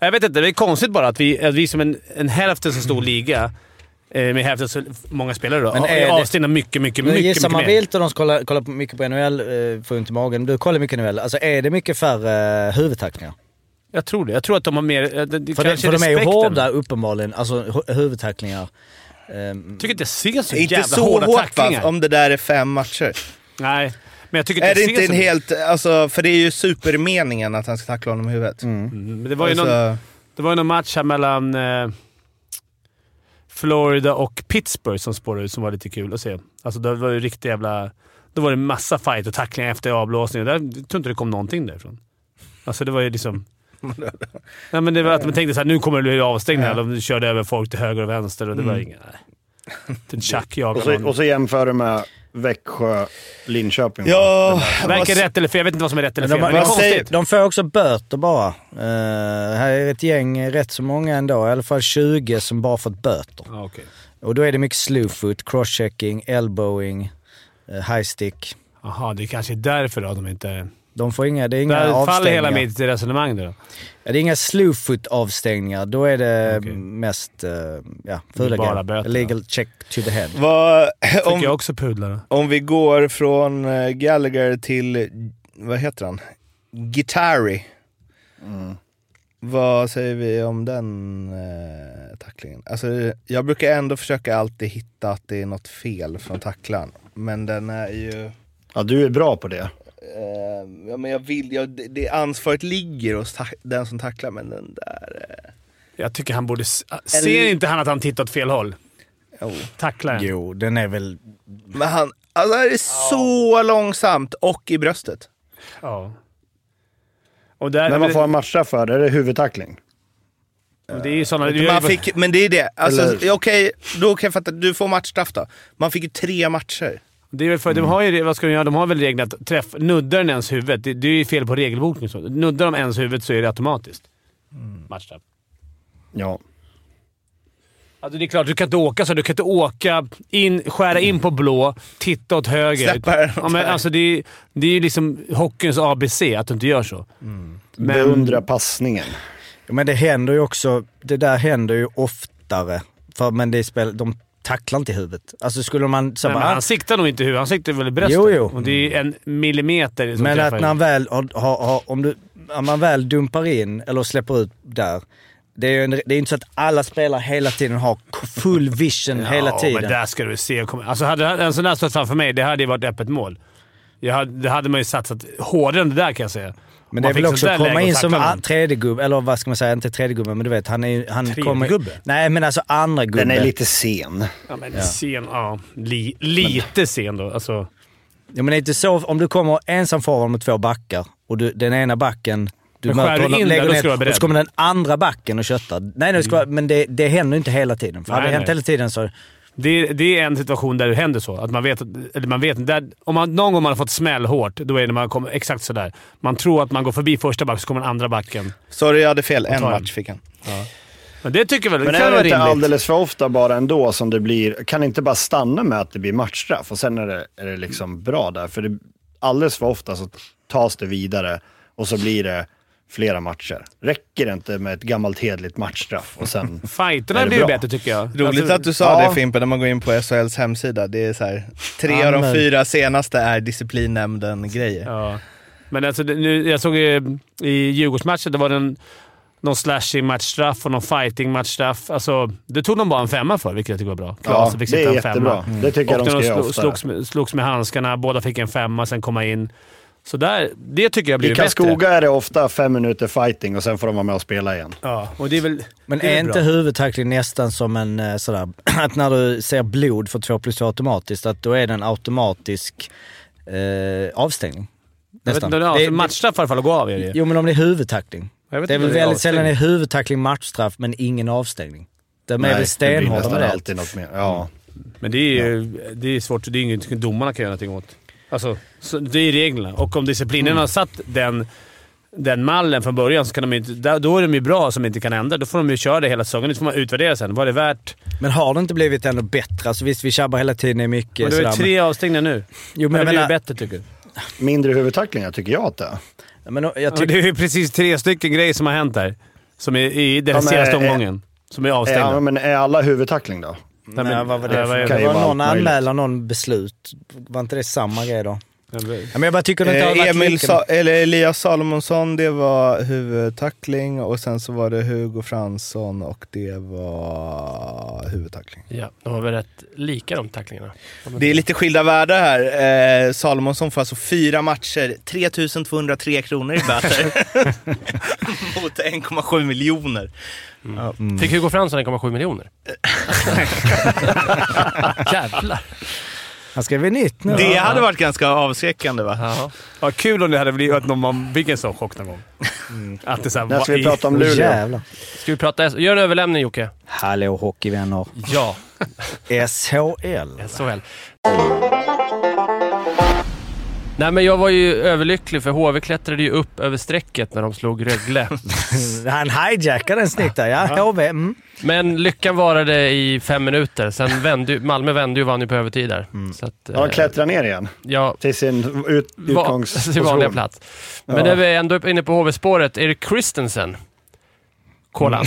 [SPEAKER 2] jag vet inte, det är konstigt bara att vi, att vi som en, en hälften så stor liga eh, med hälften så många spelare då,
[SPEAKER 1] Men
[SPEAKER 2] har-
[SPEAKER 1] är
[SPEAKER 2] är
[SPEAKER 1] det-
[SPEAKER 2] avstängda mycket, mycket,
[SPEAKER 1] Nu
[SPEAKER 2] mycket,
[SPEAKER 1] gissar
[SPEAKER 2] mycket
[SPEAKER 1] man
[SPEAKER 2] mer.
[SPEAKER 1] vilt och de ska kolla, kolla på mycket på NHL, eh, får ont i magen. Du kollar mycket NHL. Alltså är det mycket färre eh, huvudtacklingar?
[SPEAKER 2] Jag tror det. Jag tror att de har mer... eh, Det, det
[SPEAKER 1] För, de-
[SPEAKER 2] kanske
[SPEAKER 1] för de är ju
[SPEAKER 2] respekten.
[SPEAKER 1] hårda uppenbarligen, alltså hu- huvudtacklingar. Ehm,
[SPEAKER 2] Jag tycker inte jag ser så
[SPEAKER 3] Inte
[SPEAKER 2] jävla
[SPEAKER 3] så
[SPEAKER 2] hårda
[SPEAKER 3] hårt va?
[SPEAKER 2] tacklingar.
[SPEAKER 3] Om det där är fem matcher.
[SPEAKER 2] Nej, men jag tycker
[SPEAKER 3] Är
[SPEAKER 2] inte
[SPEAKER 3] det
[SPEAKER 2] jag
[SPEAKER 3] inte
[SPEAKER 2] ser
[SPEAKER 3] en
[SPEAKER 2] så-
[SPEAKER 3] helt... Alltså, för det är ju supermeningen att han ska tackla honom i huvudet.
[SPEAKER 2] Mm, men Det var ju
[SPEAKER 3] Alltså,
[SPEAKER 2] någon, det var ju någon match här mellan eh, Florida och Pittsburgh som spårade ut som var lite kul att se. Alltså det var ju riktigt jävla... Då var det massa fight och tacklingar efter avblåsningen. Där jag tror inte det kom någonting därifrån. Alltså det var ju liksom... Nej, men det var att man tänkte såhär, nu kommer det bli avstängning här. De körde över folk till höger och vänster och det var inga... nej. Typ Chuck
[SPEAKER 4] Och så,
[SPEAKER 2] jagade
[SPEAKER 4] och
[SPEAKER 2] någon.
[SPEAKER 4] så jämför du med Växjö, Linköping.
[SPEAKER 3] Ja,
[SPEAKER 2] Verkar
[SPEAKER 3] vad-
[SPEAKER 2] rätt eller fel. Jag vet inte vad som är rätt eller
[SPEAKER 1] Men
[SPEAKER 2] fel.
[SPEAKER 1] de, de,
[SPEAKER 2] Men det är
[SPEAKER 3] vad säger-
[SPEAKER 2] konstigt.
[SPEAKER 1] de får också böter bara. Eh, här är ett gäng, eh, rätt så många ändå, i alla fall 20 som bara fått böter.
[SPEAKER 2] Ja, okej.
[SPEAKER 1] Och då är det mycket slowfoot, crosschecking, elbowing, eh, high stick.
[SPEAKER 2] Jaha, det är kanske är därför då de inte...
[SPEAKER 1] De får inga, det är inga
[SPEAKER 2] Där faller
[SPEAKER 1] avstängningar.
[SPEAKER 2] hela mitt resonemang då.
[SPEAKER 1] Ja, Det är inga slowfoot avstängningar. Då är det
[SPEAKER 2] Okej.
[SPEAKER 1] mest eh, ja,
[SPEAKER 2] Det
[SPEAKER 1] fula
[SPEAKER 2] är bara
[SPEAKER 1] grejer.
[SPEAKER 2] böter,
[SPEAKER 1] Illegal check to the head.
[SPEAKER 3] Vad,
[SPEAKER 2] Tycker
[SPEAKER 3] om,
[SPEAKER 2] jag också pudlar. då.
[SPEAKER 3] om vi går från eh, Gallagher till, vad heter han? Guitari. Vad säger vi om den eh, tacklingen? Alltså, jag brukar ändå försöka alltid hitta att det är något fel från tacklaren. Men den är ju...
[SPEAKER 4] Ja, du är bra på det.
[SPEAKER 3] Eh, ja, men jag vill, jag, det, det ansvaret ligger hos ta- den som tacklar, men den där... eh,
[SPEAKER 2] Jag tycker han borde... s- ah, Ser inte han att han tittar åt fel håll?
[SPEAKER 3] Eh, oh.
[SPEAKER 2] Tacklar den.
[SPEAKER 1] Jo, den är väl...
[SPEAKER 3] Men han, alltså det är så långsamt och i bröstet.
[SPEAKER 2] Ja. Och där,
[SPEAKER 4] När man får en matcha för det, är det huvudtackling?
[SPEAKER 2] det är ju såna, det är ju-
[SPEAKER 3] Man fick, men det är det. Alltså,
[SPEAKER 4] Eller-
[SPEAKER 3] Okej, då kan jag fatta. Du får matchstraff då. Man fick ju tre matcher.
[SPEAKER 2] det är väl för, De har ju, vad ska de göra? De har väl regeln att träff, nuddar den ens huvudet. Det, det är ju fel på regelboken. och Så. Nuddar de ens huvudet så är det automatiskt.
[SPEAKER 3] Mm.
[SPEAKER 2] matchstraff.
[SPEAKER 4] Ja.
[SPEAKER 2] Alltså det är klart, du kan inte åka så. Du kan inte åka, in, skära in på blå, titta åt höger.
[SPEAKER 3] Släppa den åt
[SPEAKER 2] ja, men,
[SPEAKER 3] höger.
[SPEAKER 2] alltså, det, är, det är ju liksom hockeyns ABC att du inte gör så. Men-
[SPEAKER 4] Beundra passningen.
[SPEAKER 1] Ja, Men det händer ju också, det där händer ju oftare. För, men det är spel, de tacklar inte i huvudet. Alltså skulle man... Så
[SPEAKER 2] Men
[SPEAKER 1] bara,
[SPEAKER 2] han siktar nog inte i huvudet. Han siktar väl i bröstet.
[SPEAKER 1] Jo, jo.
[SPEAKER 2] Och det är en millimeter som
[SPEAKER 1] men
[SPEAKER 2] träffar
[SPEAKER 1] att när han
[SPEAKER 2] in.
[SPEAKER 1] väl har, har, har, om du, om man väl dumpar in eller släpper ut där. Det är ju en, det är inte så att alla spelare hela tiden har full vision hela
[SPEAKER 2] Ja,
[SPEAKER 1] tiden.
[SPEAKER 2] men där ska du se. Kom- Alltså, hade en sån där stått framför mig, det hade ju varit öppet mål. Jag hade, det hade man ju satsat hårdare än det där kan jag säga.
[SPEAKER 1] Men det
[SPEAKER 2] Om man
[SPEAKER 1] är väl
[SPEAKER 2] fick
[SPEAKER 1] också
[SPEAKER 2] sånt där
[SPEAKER 1] att komma
[SPEAKER 2] läge
[SPEAKER 1] in
[SPEAKER 2] och
[SPEAKER 1] som
[SPEAKER 2] tackla någon.
[SPEAKER 1] an- tredje gubbe, eller vad ska man säga? Inte tredje gubbe, men du vet. Han är ju... han kommer-
[SPEAKER 2] gubbe?
[SPEAKER 1] Nej, men alltså andra gubbe.
[SPEAKER 4] Den är lite sen.
[SPEAKER 2] Ja, men sen. Ja, li, lite sen då. Alltså,
[SPEAKER 1] Ja, men det är inte så. Om du kommer ensam forward med två backar och du, den ena backen... Du
[SPEAKER 2] Men skär du in där, då ska du vara beredd. Mm.
[SPEAKER 1] och så kommer den andra backen och köttar. Nej, det ska, vara- men det, det händer ju inte hela tiden. För hade
[SPEAKER 2] Nej,
[SPEAKER 1] det hänt
[SPEAKER 2] nej.
[SPEAKER 1] hela tiden så...
[SPEAKER 2] det, det är en situation där det händer så. Att man vet, att- eller man vet, där, om man, någon gång man har fått smäll hårt, då är det när man kommer exakt sådär. Man tror att man går förbi första backen, så kommer den andra backen.
[SPEAKER 3] Sorry, jag hade fel. En
[SPEAKER 2] ta en.
[SPEAKER 3] match fick han.
[SPEAKER 2] Men det tycker jag väl
[SPEAKER 4] Men
[SPEAKER 2] det
[SPEAKER 4] är
[SPEAKER 2] kan
[SPEAKER 4] det
[SPEAKER 2] vara
[SPEAKER 4] inte
[SPEAKER 2] rimligt.
[SPEAKER 4] alldeles för ofta bara ändå som det blir? Kan det inte bara stanna med att det blir matchstraff och sen är det, är det liksom bra där? För det, alldeles för ofta så tas det vidare och så blir det flera matcher. Räcker det inte med ett gammalt hederligt matchstraff och sen... Är
[SPEAKER 2] Fighterna
[SPEAKER 4] det
[SPEAKER 2] blir ju
[SPEAKER 4] bra?
[SPEAKER 2] bättre tycker jag.
[SPEAKER 3] Roligt
[SPEAKER 2] Alltså-
[SPEAKER 3] att du sa
[SPEAKER 4] ja.
[SPEAKER 3] det Fimpen, när man går in på SHLs hemsida. Det är så här, tre av de
[SPEAKER 1] Amen.
[SPEAKER 3] fyra senaste är disciplinnämnden-grejer.
[SPEAKER 2] Ja. Men alltså, det- nu, jag såg eh, i Djurgårdsmatchen, det var en, någon slashing-matchstraff och någon fighting-matchstraff. Alltså, det tog de bara en femma för, vilket jag tycker var bra.
[SPEAKER 4] Ja,
[SPEAKER 2] Klaasen fick
[SPEAKER 4] det
[SPEAKER 2] sitta
[SPEAKER 4] är
[SPEAKER 2] en femma.
[SPEAKER 4] jättebra. Det tycker jag
[SPEAKER 2] Och
[SPEAKER 4] de
[SPEAKER 2] när
[SPEAKER 4] ska göra
[SPEAKER 2] slo,
[SPEAKER 4] oftare.
[SPEAKER 2] slogs, med- slogs med handskarna. Båda fick en femma, sen komma in. Så där, det tycker jag
[SPEAKER 4] I
[SPEAKER 2] blir bättre.
[SPEAKER 4] Karlskoga är det ofta fem minuter fighting och sen får de vara med och spela igen.
[SPEAKER 2] Ja, och det är väl...
[SPEAKER 1] Men
[SPEAKER 2] det
[SPEAKER 1] är,
[SPEAKER 2] väl
[SPEAKER 1] inte
[SPEAKER 2] bra.
[SPEAKER 1] huvudtackling nästan som en eh, sådär, att när du ser blod för 2 plus 2 automatiskt, att då är det en automatisk eh, avstängning?
[SPEAKER 2] Jag vet
[SPEAKER 1] Nästan.
[SPEAKER 2] inte, ja,
[SPEAKER 1] Det-
[SPEAKER 2] alltså, matchstraff i alla fall att gå av är det ju.
[SPEAKER 1] Jo, men om det är huvudtackling.
[SPEAKER 2] Jag vet
[SPEAKER 1] Det är
[SPEAKER 2] inte
[SPEAKER 1] väl
[SPEAKER 2] om det är
[SPEAKER 1] väldigt sällan det
[SPEAKER 2] avstängning.
[SPEAKER 1] är huvudtackling, matchstraff, men ingen avstängning. De är väl
[SPEAKER 4] det blir
[SPEAKER 1] stenhårda med
[SPEAKER 4] nästan
[SPEAKER 1] det.
[SPEAKER 4] alltid något mer. Ja.
[SPEAKER 2] Men det är ju det är svårt. Det är inget domarna kan göra någonting åt. Alltså, så det är reglerna. Och om disciplinen har satt den, den mallen från början så kan de ju inte... där- Då är de ju bra som inte kan ändra. Då får de ju köra det hela säsongen. Nu får man utvärdera sen. Var det värt...
[SPEAKER 1] Men har det inte blivit ändå bättre? Alltså visst, vi tjabbar hela tiden i mycket
[SPEAKER 2] Men det var ju
[SPEAKER 1] sådär,
[SPEAKER 2] tre avstängningar nu.
[SPEAKER 1] Jo,
[SPEAKER 2] Men
[SPEAKER 1] men jag
[SPEAKER 2] det blir ju
[SPEAKER 1] menar-
[SPEAKER 2] bättre tycker jag.
[SPEAKER 4] Mindre huvudtacklingar tycker jag att det är.
[SPEAKER 1] men, men jag
[SPEAKER 2] Ja,
[SPEAKER 1] tycker...
[SPEAKER 2] det är ju precis tre stycken grejer som har hänt där. Som är i den
[SPEAKER 4] Ja, men,
[SPEAKER 2] senaste
[SPEAKER 4] eh,
[SPEAKER 2] omgången. Som är avstängda.
[SPEAKER 4] Ja, men är alla huvudtackling då?
[SPEAKER 2] Nej, men-
[SPEAKER 1] vad var
[SPEAKER 2] Nej,
[SPEAKER 1] det?
[SPEAKER 2] vad är
[SPEAKER 1] för-
[SPEAKER 4] det?
[SPEAKER 1] det var
[SPEAKER 4] Kan ju vara
[SPEAKER 1] någon
[SPEAKER 4] allt möjligt.
[SPEAKER 1] anmälan, någon beslut. Var inte det samma grej då?
[SPEAKER 2] det?
[SPEAKER 1] Ja, men jag bara tycker det inte har
[SPEAKER 3] Eh,
[SPEAKER 1] varit
[SPEAKER 3] Emil
[SPEAKER 1] lika-
[SPEAKER 3] Sa- eller Elias Salomonsson, det var huvudtackling och sen så var det Hugo Fransson och det var huvudtackling.
[SPEAKER 9] Ja, de var väl rätt lika de tacklingarna.
[SPEAKER 3] Det är lite skilda världar här. Eh, Salomonsson får alltså fyra matcher, 3203 kronor i böter. Mot 1,7 miljoner.
[SPEAKER 9] Fick Hugo Fransson 1,7 miljoner? Jävlar!
[SPEAKER 1] Han skrev väl nytt nu?
[SPEAKER 3] Det hade varit ganska avskräckande va?
[SPEAKER 9] Ja.
[SPEAKER 2] Ja, kul om det hade blivit att någon man fick en sån chock någon gång. Att det såhär...
[SPEAKER 4] När ska vi prata om
[SPEAKER 1] Åh,
[SPEAKER 4] Luleå?
[SPEAKER 1] jävlar.
[SPEAKER 9] Ska vi prata... Gör en överlämning Jocke.
[SPEAKER 1] Hallå hockeyvänner.
[SPEAKER 9] Ja,
[SPEAKER 1] SHL.
[SPEAKER 9] SHL. Nej, men jag var ju överlycklig för HV klättrade ju upp över strecket när de slog Rögle.
[SPEAKER 1] Mm, Han hijackade en snitt där, ja. HV. Mm.
[SPEAKER 9] Men lyckan varade i fem minuter. Sen vände ju, Malmö vände ju och vann ju på övertid där. Så att,
[SPEAKER 4] Ja,
[SPEAKER 9] eh,
[SPEAKER 4] klättra ner igen
[SPEAKER 9] ja,
[SPEAKER 4] till sin ut-
[SPEAKER 9] va, till vanliga
[SPEAKER 4] utgångsposition.
[SPEAKER 9] plats. Men när vi är ändå är inne på HV-spåret, Erik Christensen. Kolan.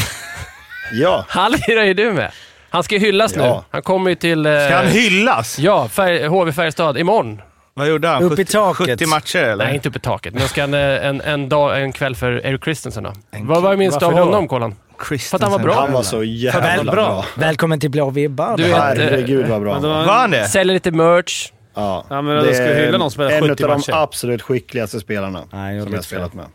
[SPEAKER 4] Ja,
[SPEAKER 9] Han lirar ju du med. Han ska ju hyllas nu.
[SPEAKER 4] Ja.
[SPEAKER 9] Han kommer ju till... eh,
[SPEAKER 3] Ska han hyllas?
[SPEAKER 9] Ja, Färg, HV Färjestad imorgon.
[SPEAKER 3] Vad gjorde han?
[SPEAKER 1] Upp i
[SPEAKER 3] 70
[SPEAKER 1] taket.
[SPEAKER 3] 70 matcher eller?
[SPEAKER 9] Nej, inte uppe i taket. Men ska han eh, en, en, dag, en kväll för Eric Christensen då. Vad var det minst av
[SPEAKER 2] Varför då?
[SPEAKER 9] honom, Kolan? För att han var bra.
[SPEAKER 4] han var så jävla bra.
[SPEAKER 1] Välkommen till Blå vibbar.
[SPEAKER 9] Du
[SPEAKER 1] Det
[SPEAKER 9] vet-
[SPEAKER 1] här-
[SPEAKER 4] Herregud vad bra han var.
[SPEAKER 3] Var han det?
[SPEAKER 9] Säljer lite merch.
[SPEAKER 4] Ja,
[SPEAKER 2] Ja, men då ska vi hylla någon som spelar
[SPEAKER 4] en
[SPEAKER 2] 70
[SPEAKER 4] av de
[SPEAKER 2] matcher.
[SPEAKER 4] absolut skickligaste spelarna
[SPEAKER 1] Nej, jag
[SPEAKER 4] som
[SPEAKER 1] vet
[SPEAKER 4] jag spelat med.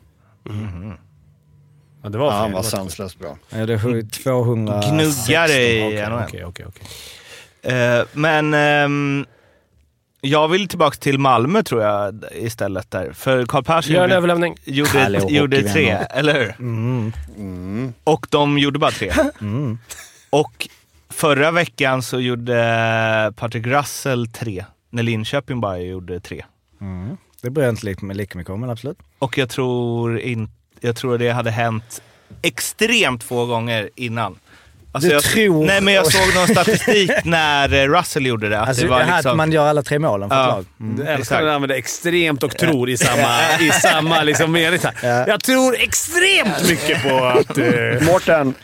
[SPEAKER 2] Ja, det var
[SPEAKER 4] Ja, han
[SPEAKER 2] fel.
[SPEAKER 4] var
[SPEAKER 2] Det
[SPEAKER 4] sanslöst bra.
[SPEAKER 1] Ja, det är sju- 200...
[SPEAKER 3] Gnuggare i
[SPEAKER 2] Okej,
[SPEAKER 3] NHL.
[SPEAKER 2] okej, okej, okej.
[SPEAKER 3] Eh, men ehm, jag vill tillbaka till Malmö tror jag istället där. För Karl Persson
[SPEAKER 9] Gör en
[SPEAKER 3] gjorde,
[SPEAKER 9] överlämning.
[SPEAKER 1] Hallå,
[SPEAKER 3] gjorde, gjorde tre,
[SPEAKER 1] hockeyvänner.
[SPEAKER 3] eller hur? Och de gjorde bara tre. Och förra veckan så gjorde Patrick Russell tre, när Linköping bara gjorde tre.
[SPEAKER 1] Det bryr jag inte lika, lika mycket om, men absolut.
[SPEAKER 3] Och jag tror, in, jag tror det hade hänt extremt få gånger innan. Alltså
[SPEAKER 1] Du
[SPEAKER 3] jag,
[SPEAKER 1] tror-
[SPEAKER 3] Nej, men jag såg någon statistik när eh, Russell gjorde det. Att
[SPEAKER 1] Alltså,
[SPEAKER 3] det var
[SPEAKER 1] att
[SPEAKER 3] liksom...
[SPEAKER 1] man gör alla tre målen för ett
[SPEAKER 3] Ja. Mm,
[SPEAKER 1] lag.
[SPEAKER 2] Du älskar
[SPEAKER 3] Exakt.
[SPEAKER 2] när du använder extremt och tror i samma, i samma liksom mening. så här.
[SPEAKER 1] Ja.
[SPEAKER 2] Jag tror extremt mycket på att... eh,
[SPEAKER 4] Mårten,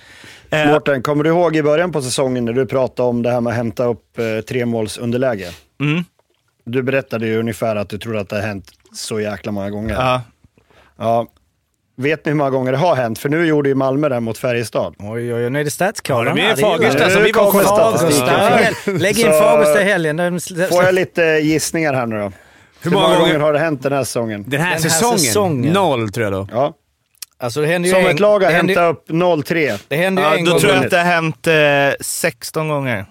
[SPEAKER 3] Eh.
[SPEAKER 4] Mårten, kommer du ihåg i början på säsongen när du pratade om det här med att hämta upp eh, tremålsunderläge?
[SPEAKER 3] Mm.
[SPEAKER 4] Du berättade ju ungefär att du trodde att det har hänt så jäkla många gånger.
[SPEAKER 3] Ja.
[SPEAKER 4] Ja. Vet ni hur många gånger det har hänt? För nu gjorde ju Malmö det mot Färjestad.
[SPEAKER 1] Oj, oj, oj. Nu är det statskarlarna.
[SPEAKER 2] Var det med
[SPEAKER 1] här. är-
[SPEAKER 2] Fagersta
[SPEAKER 4] som vi var
[SPEAKER 1] Fagersta.
[SPEAKER 4] statistiken
[SPEAKER 1] Fagersta. Lägg in
[SPEAKER 4] Så-
[SPEAKER 1] Fagersta i helgen. Den-
[SPEAKER 4] Får jag lite gissningar här nu då? Hur många, gånger? har det hänt den här säsongen?
[SPEAKER 2] Den här,
[SPEAKER 1] Den här
[SPEAKER 2] säsongen,
[SPEAKER 1] säsongen.
[SPEAKER 2] Noll, tror jag då.
[SPEAKER 4] Ja.
[SPEAKER 1] Alltså, det händer ju
[SPEAKER 4] Som
[SPEAKER 1] en-
[SPEAKER 4] ett lag har
[SPEAKER 1] det händer ju-
[SPEAKER 4] hämtat upp 0-3.
[SPEAKER 1] Det händer ju
[SPEAKER 3] Ja,
[SPEAKER 1] en
[SPEAKER 3] då
[SPEAKER 1] gång
[SPEAKER 3] tror jag att det har hänt eh, 16 gånger.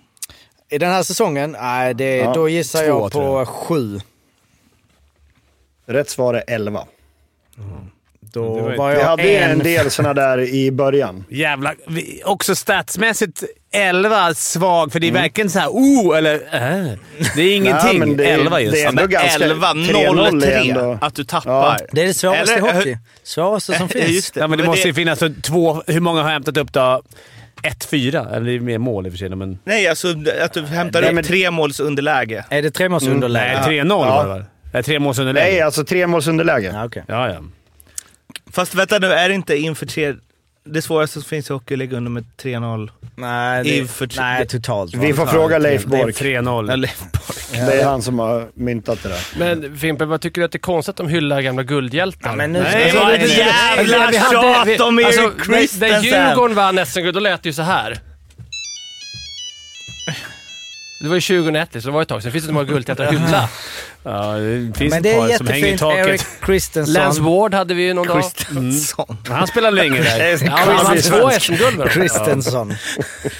[SPEAKER 1] i den här säsongen. Nej, det,
[SPEAKER 4] Ja.
[SPEAKER 1] då gissar
[SPEAKER 2] Två,
[SPEAKER 1] jag
[SPEAKER 2] tror
[SPEAKER 1] på sju.
[SPEAKER 4] Rätt svar är 11.
[SPEAKER 1] Då
[SPEAKER 2] Det var ju-
[SPEAKER 1] var
[SPEAKER 4] Vi
[SPEAKER 1] jag
[SPEAKER 4] hade ju en del sådana där i början.
[SPEAKER 2] Jävla... vi- Också statsmässigt 11 svag, för det är verkligen så här oh eller äh. Det är ingenting.
[SPEAKER 4] Mm. men det är-
[SPEAKER 2] 11 just.
[SPEAKER 4] det är
[SPEAKER 2] Ja,
[SPEAKER 4] ändå
[SPEAKER 2] men-
[SPEAKER 4] ganska-
[SPEAKER 3] 11,
[SPEAKER 4] 3-0 är
[SPEAKER 3] 0-3.
[SPEAKER 4] ändå-
[SPEAKER 3] Att du tappar.
[SPEAKER 4] Ja.
[SPEAKER 1] Det är det svåraste i
[SPEAKER 3] Eller-
[SPEAKER 1] hockey. Svåraste som
[SPEAKER 3] Ja,
[SPEAKER 1] finns.
[SPEAKER 3] just det.
[SPEAKER 2] Ja, men det
[SPEAKER 3] Men
[SPEAKER 2] måste ju
[SPEAKER 3] det-
[SPEAKER 2] finnas så två... Hur många har hämtat upp då? 1-4. Eller det är mer mål i och för sig, men...
[SPEAKER 3] Nej, alltså att du hämtar
[SPEAKER 4] Nej,
[SPEAKER 3] upp
[SPEAKER 4] men-
[SPEAKER 3] tre måls underläge.
[SPEAKER 1] Är det tremålsunderläge?
[SPEAKER 2] Nej,
[SPEAKER 1] Mm.
[SPEAKER 2] 3-0 var det väl? Nej, tre målsunderläge.
[SPEAKER 4] Nej, alltså tremålsunderläge.
[SPEAKER 1] Ja, okej.
[SPEAKER 2] Ja, ja.
[SPEAKER 3] Fast vänta nu, är det inte inför tre... Det svåraste som finns i hockey är att ligga under med 3-0.
[SPEAKER 1] Nej,
[SPEAKER 3] I för-
[SPEAKER 1] det, nej, totalt. va?
[SPEAKER 4] Vi får fråga Leif
[SPEAKER 2] Det är
[SPEAKER 4] Bork.
[SPEAKER 2] 3-0.
[SPEAKER 3] Eller
[SPEAKER 4] Det är han som har myntat det där.
[SPEAKER 9] Men Fimpen, vad tycker du att det är konstigt att de hyllar gamla guldhjältar?
[SPEAKER 1] Ja, men nu-
[SPEAKER 2] Nej,
[SPEAKER 1] Alltså,
[SPEAKER 2] vad
[SPEAKER 1] det-
[SPEAKER 2] är det?
[SPEAKER 1] det-
[SPEAKER 3] jävla
[SPEAKER 9] vi hade- vi-
[SPEAKER 3] tjat om Erik
[SPEAKER 9] alltså, när, när
[SPEAKER 3] Christensen!
[SPEAKER 9] Djurgården vann SM-guld, då lät det ju så här. Det var ju 2001, så det var ju ett tag sedan. Det finns inte många guldhjältar att hylla.
[SPEAKER 2] Ja, det finns
[SPEAKER 1] Men
[SPEAKER 2] ett
[SPEAKER 1] det är
[SPEAKER 2] par som hänger i
[SPEAKER 1] jättefint.
[SPEAKER 2] taket.
[SPEAKER 1] Eric
[SPEAKER 9] Lance
[SPEAKER 1] Christensen.
[SPEAKER 9] Ward hade vi ju någon dag.
[SPEAKER 3] Christensen.
[SPEAKER 2] Men Han spelar länge där.
[SPEAKER 9] Ja, men han vann två SM-guld med dem.
[SPEAKER 1] Christensen.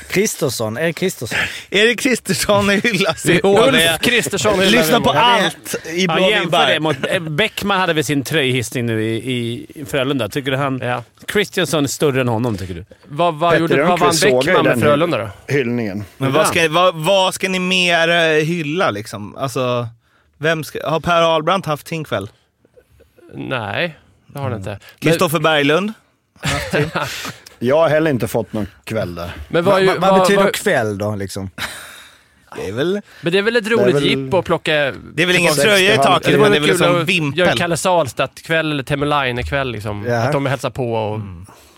[SPEAKER 1] Kristersson. Erik Kristersson.
[SPEAKER 3] Erik Kristersson hyllas i år.
[SPEAKER 9] Ulf Kristersson hyllar
[SPEAKER 3] Lyssna
[SPEAKER 9] vi.
[SPEAKER 3] på
[SPEAKER 9] Ja, det är-
[SPEAKER 3] allt i
[SPEAKER 2] Ja,
[SPEAKER 3] Blå
[SPEAKER 2] jämför det
[SPEAKER 3] vibbar.
[SPEAKER 2] mot... eh, Bäckman hade väl sin tröjhissning nu i, i i Frölunda. Tycker du han...
[SPEAKER 9] Ja.
[SPEAKER 2] Christiansen är större än honom, tycker du?
[SPEAKER 9] Vad, vad,
[SPEAKER 4] Petter
[SPEAKER 9] gjorde, vad vann
[SPEAKER 4] Rönnqvist sågar ju
[SPEAKER 9] Bäckman med
[SPEAKER 4] den.
[SPEAKER 9] Frölunda då?
[SPEAKER 4] Hyllningen.
[SPEAKER 3] Men vad ska, vad, vad ska ni mer eh, hylla liksom? Alltså, vem ska, har Per Ahlbrandt haft sin kväll?
[SPEAKER 9] Nej, det har han inte. Men,
[SPEAKER 3] Kristoffer Berglund?
[SPEAKER 4] Jag har heller inte fått någon kväll där.
[SPEAKER 9] men, vad,
[SPEAKER 1] Vad,
[SPEAKER 9] ju-
[SPEAKER 1] vad,
[SPEAKER 9] vad-
[SPEAKER 1] betyder
[SPEAKER 9] vad-
[SPEAKER 1] kväll då, liksom?
[SPEAKER 3] Det är väl,
[SPEAKER 9] Men det är väl ett
[SPEAKER 4] Det är
[SPEAKER 9] roligt
[SPEAKER 4] väl-
[SPEAKER 9] jippo att plocka...
[SPEAKER 3] det är väl ingen
[SPEAKER 4] Sex
[SPEAKER 3] tröja i
[SPEAKER 4] till
[SPEAKER 2] Typ.
[SPEAKER 3] taket,
[SPEAKER 4] hand.
[SPEAKER 3] men det är väl
[SPEAKER 9] vore kul
[SPEAKER 2] liksom
[SPEAKER 3] som
[SPEAKER 9] att Göra
[SPEAKER 3] vimpel.
[SPEAKER 9] Kalle Sahlstadt-kväll eller Temmerlein-kväll liksom.
[SPEAKER 1] Ja.
[SPEAKER 9] Att de hälsar på och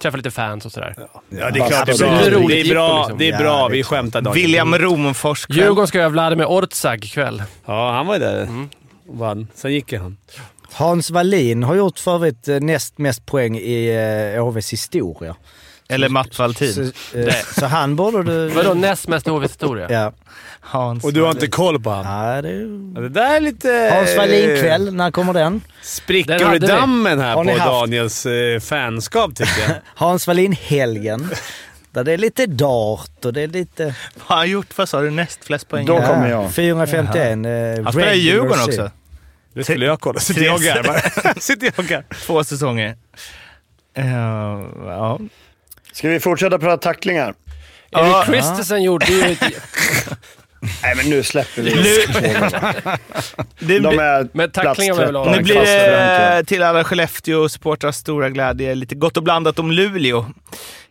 [SPEAKER 9] träffar lite fans och sådär.
[SPEAKER 2] Mm. Ja, det är klart.
[SPEAKER 1] absolut.
[SPEAKER 2] Det
[SPEAKER 9] Det är
[SPEAKER 2] är bra. Det
[SPEAKER 9] roligt
[SPEAKER 2] är
[SPEAKER 9] jippo,
[SPEAKER 2] bra.
[SPEAKER 9] liksom.
[SPEAKER 2] Det är bra. Vi skämtar Daniel.
[SPEAKER 3] William Rosenfors kväll.
[SPEAKER 9] Djurgården ska göra Vladimir Ortzag ikväll.
[SPEAKER 2] Ja, han var ju där. Vann. Sen gick ju han.
[SPEAKER 1] Hans Wallin har gjort för övrigt eh, näst mest poäng i eh, HVs historia.
[SPEAKER 3] Eller Mats
[SPEAKER 1] Så,
[SPEAKER 3] Valtin.
[SPEAKER 1] eh, så han borde du...
[SPEAKER 9] Vadå näst mest i HVs historia?
[SPEAKER 1] Ja.
[SPEAKER 3] Hans.
[SPEAKER 2] Och du har inte koll på han?
[SPEAKER 1] Nej, det är ju...
[SPEAKER 2] Det där är lite... eh,
[SPEAKER 1] Hans Wallin-kväll, när kommer den?
[SPEAKER 9] Den
[SPEAKER 2] Sprickor
[SPEAKER 9] hade
[SPEAKER 2] i
[SPEAKER 9] vi.
[SPEAKER 2] dammen här
[SPEAKER 1] Har
[SPEAKER 2] på
[SPEAKER 1] ni haft?
[SPEAKER 2] Daniels eh, fanskap, tycker jag.
[SPEAKER 1] Hans Wallin-helgen. Där det är lite dart och det är lite...
[SPEAKER 3] Vad har han gjort? Vad sa du? Näst flest poäng?
[SPEAKER 4] Då
[SPEAKER 1] Ja,
[SPEAKER 4] kommer jag.
[SPEAKER 1] 451. eh,
[SPEAKER 3] Han spelar i
[SPEAKER 1] regular
[SPEAKER 3] Djurgården
[SPEAKER 1] season.
[SPEAKER 3] också.
[SPEAKER 2] Det skulle jag kolla. Sitter jag och garvar. Sitter jag och garvar.
[SPEAKER 3] Två säsonger. Eh, ja.
[SPEAKER 4] Ska vi fortsätta prata tacklingar?
[SPEAKER 9] Erik
[SPEAKER 3] Ja.
[SPEAKER 9] Christensen gjorde ju... ett-
[SPEAKER 4] Nej, men nu släpper vi
[SPEAKER 3] Det,
[SPEAKER 4] De
[SPEAKER 3] blir-
[SPEAKER 4] är
[SPEAKER 9] Men
[SPEAKER 4] plats
[SPEAKER 9] tacklingar var väl
[SPEAKER 4] 13.
[SPEAKER 9] av-
[SPEAKER 3] nu blir
[SPEAKER 4] Fast
[SPEAKER 3] det
[SPEAKER 4] Frankrike.
[SPEAKER 3] till alla Skellefteå-supportrars stora glädje lite gott och blandat om Luleå.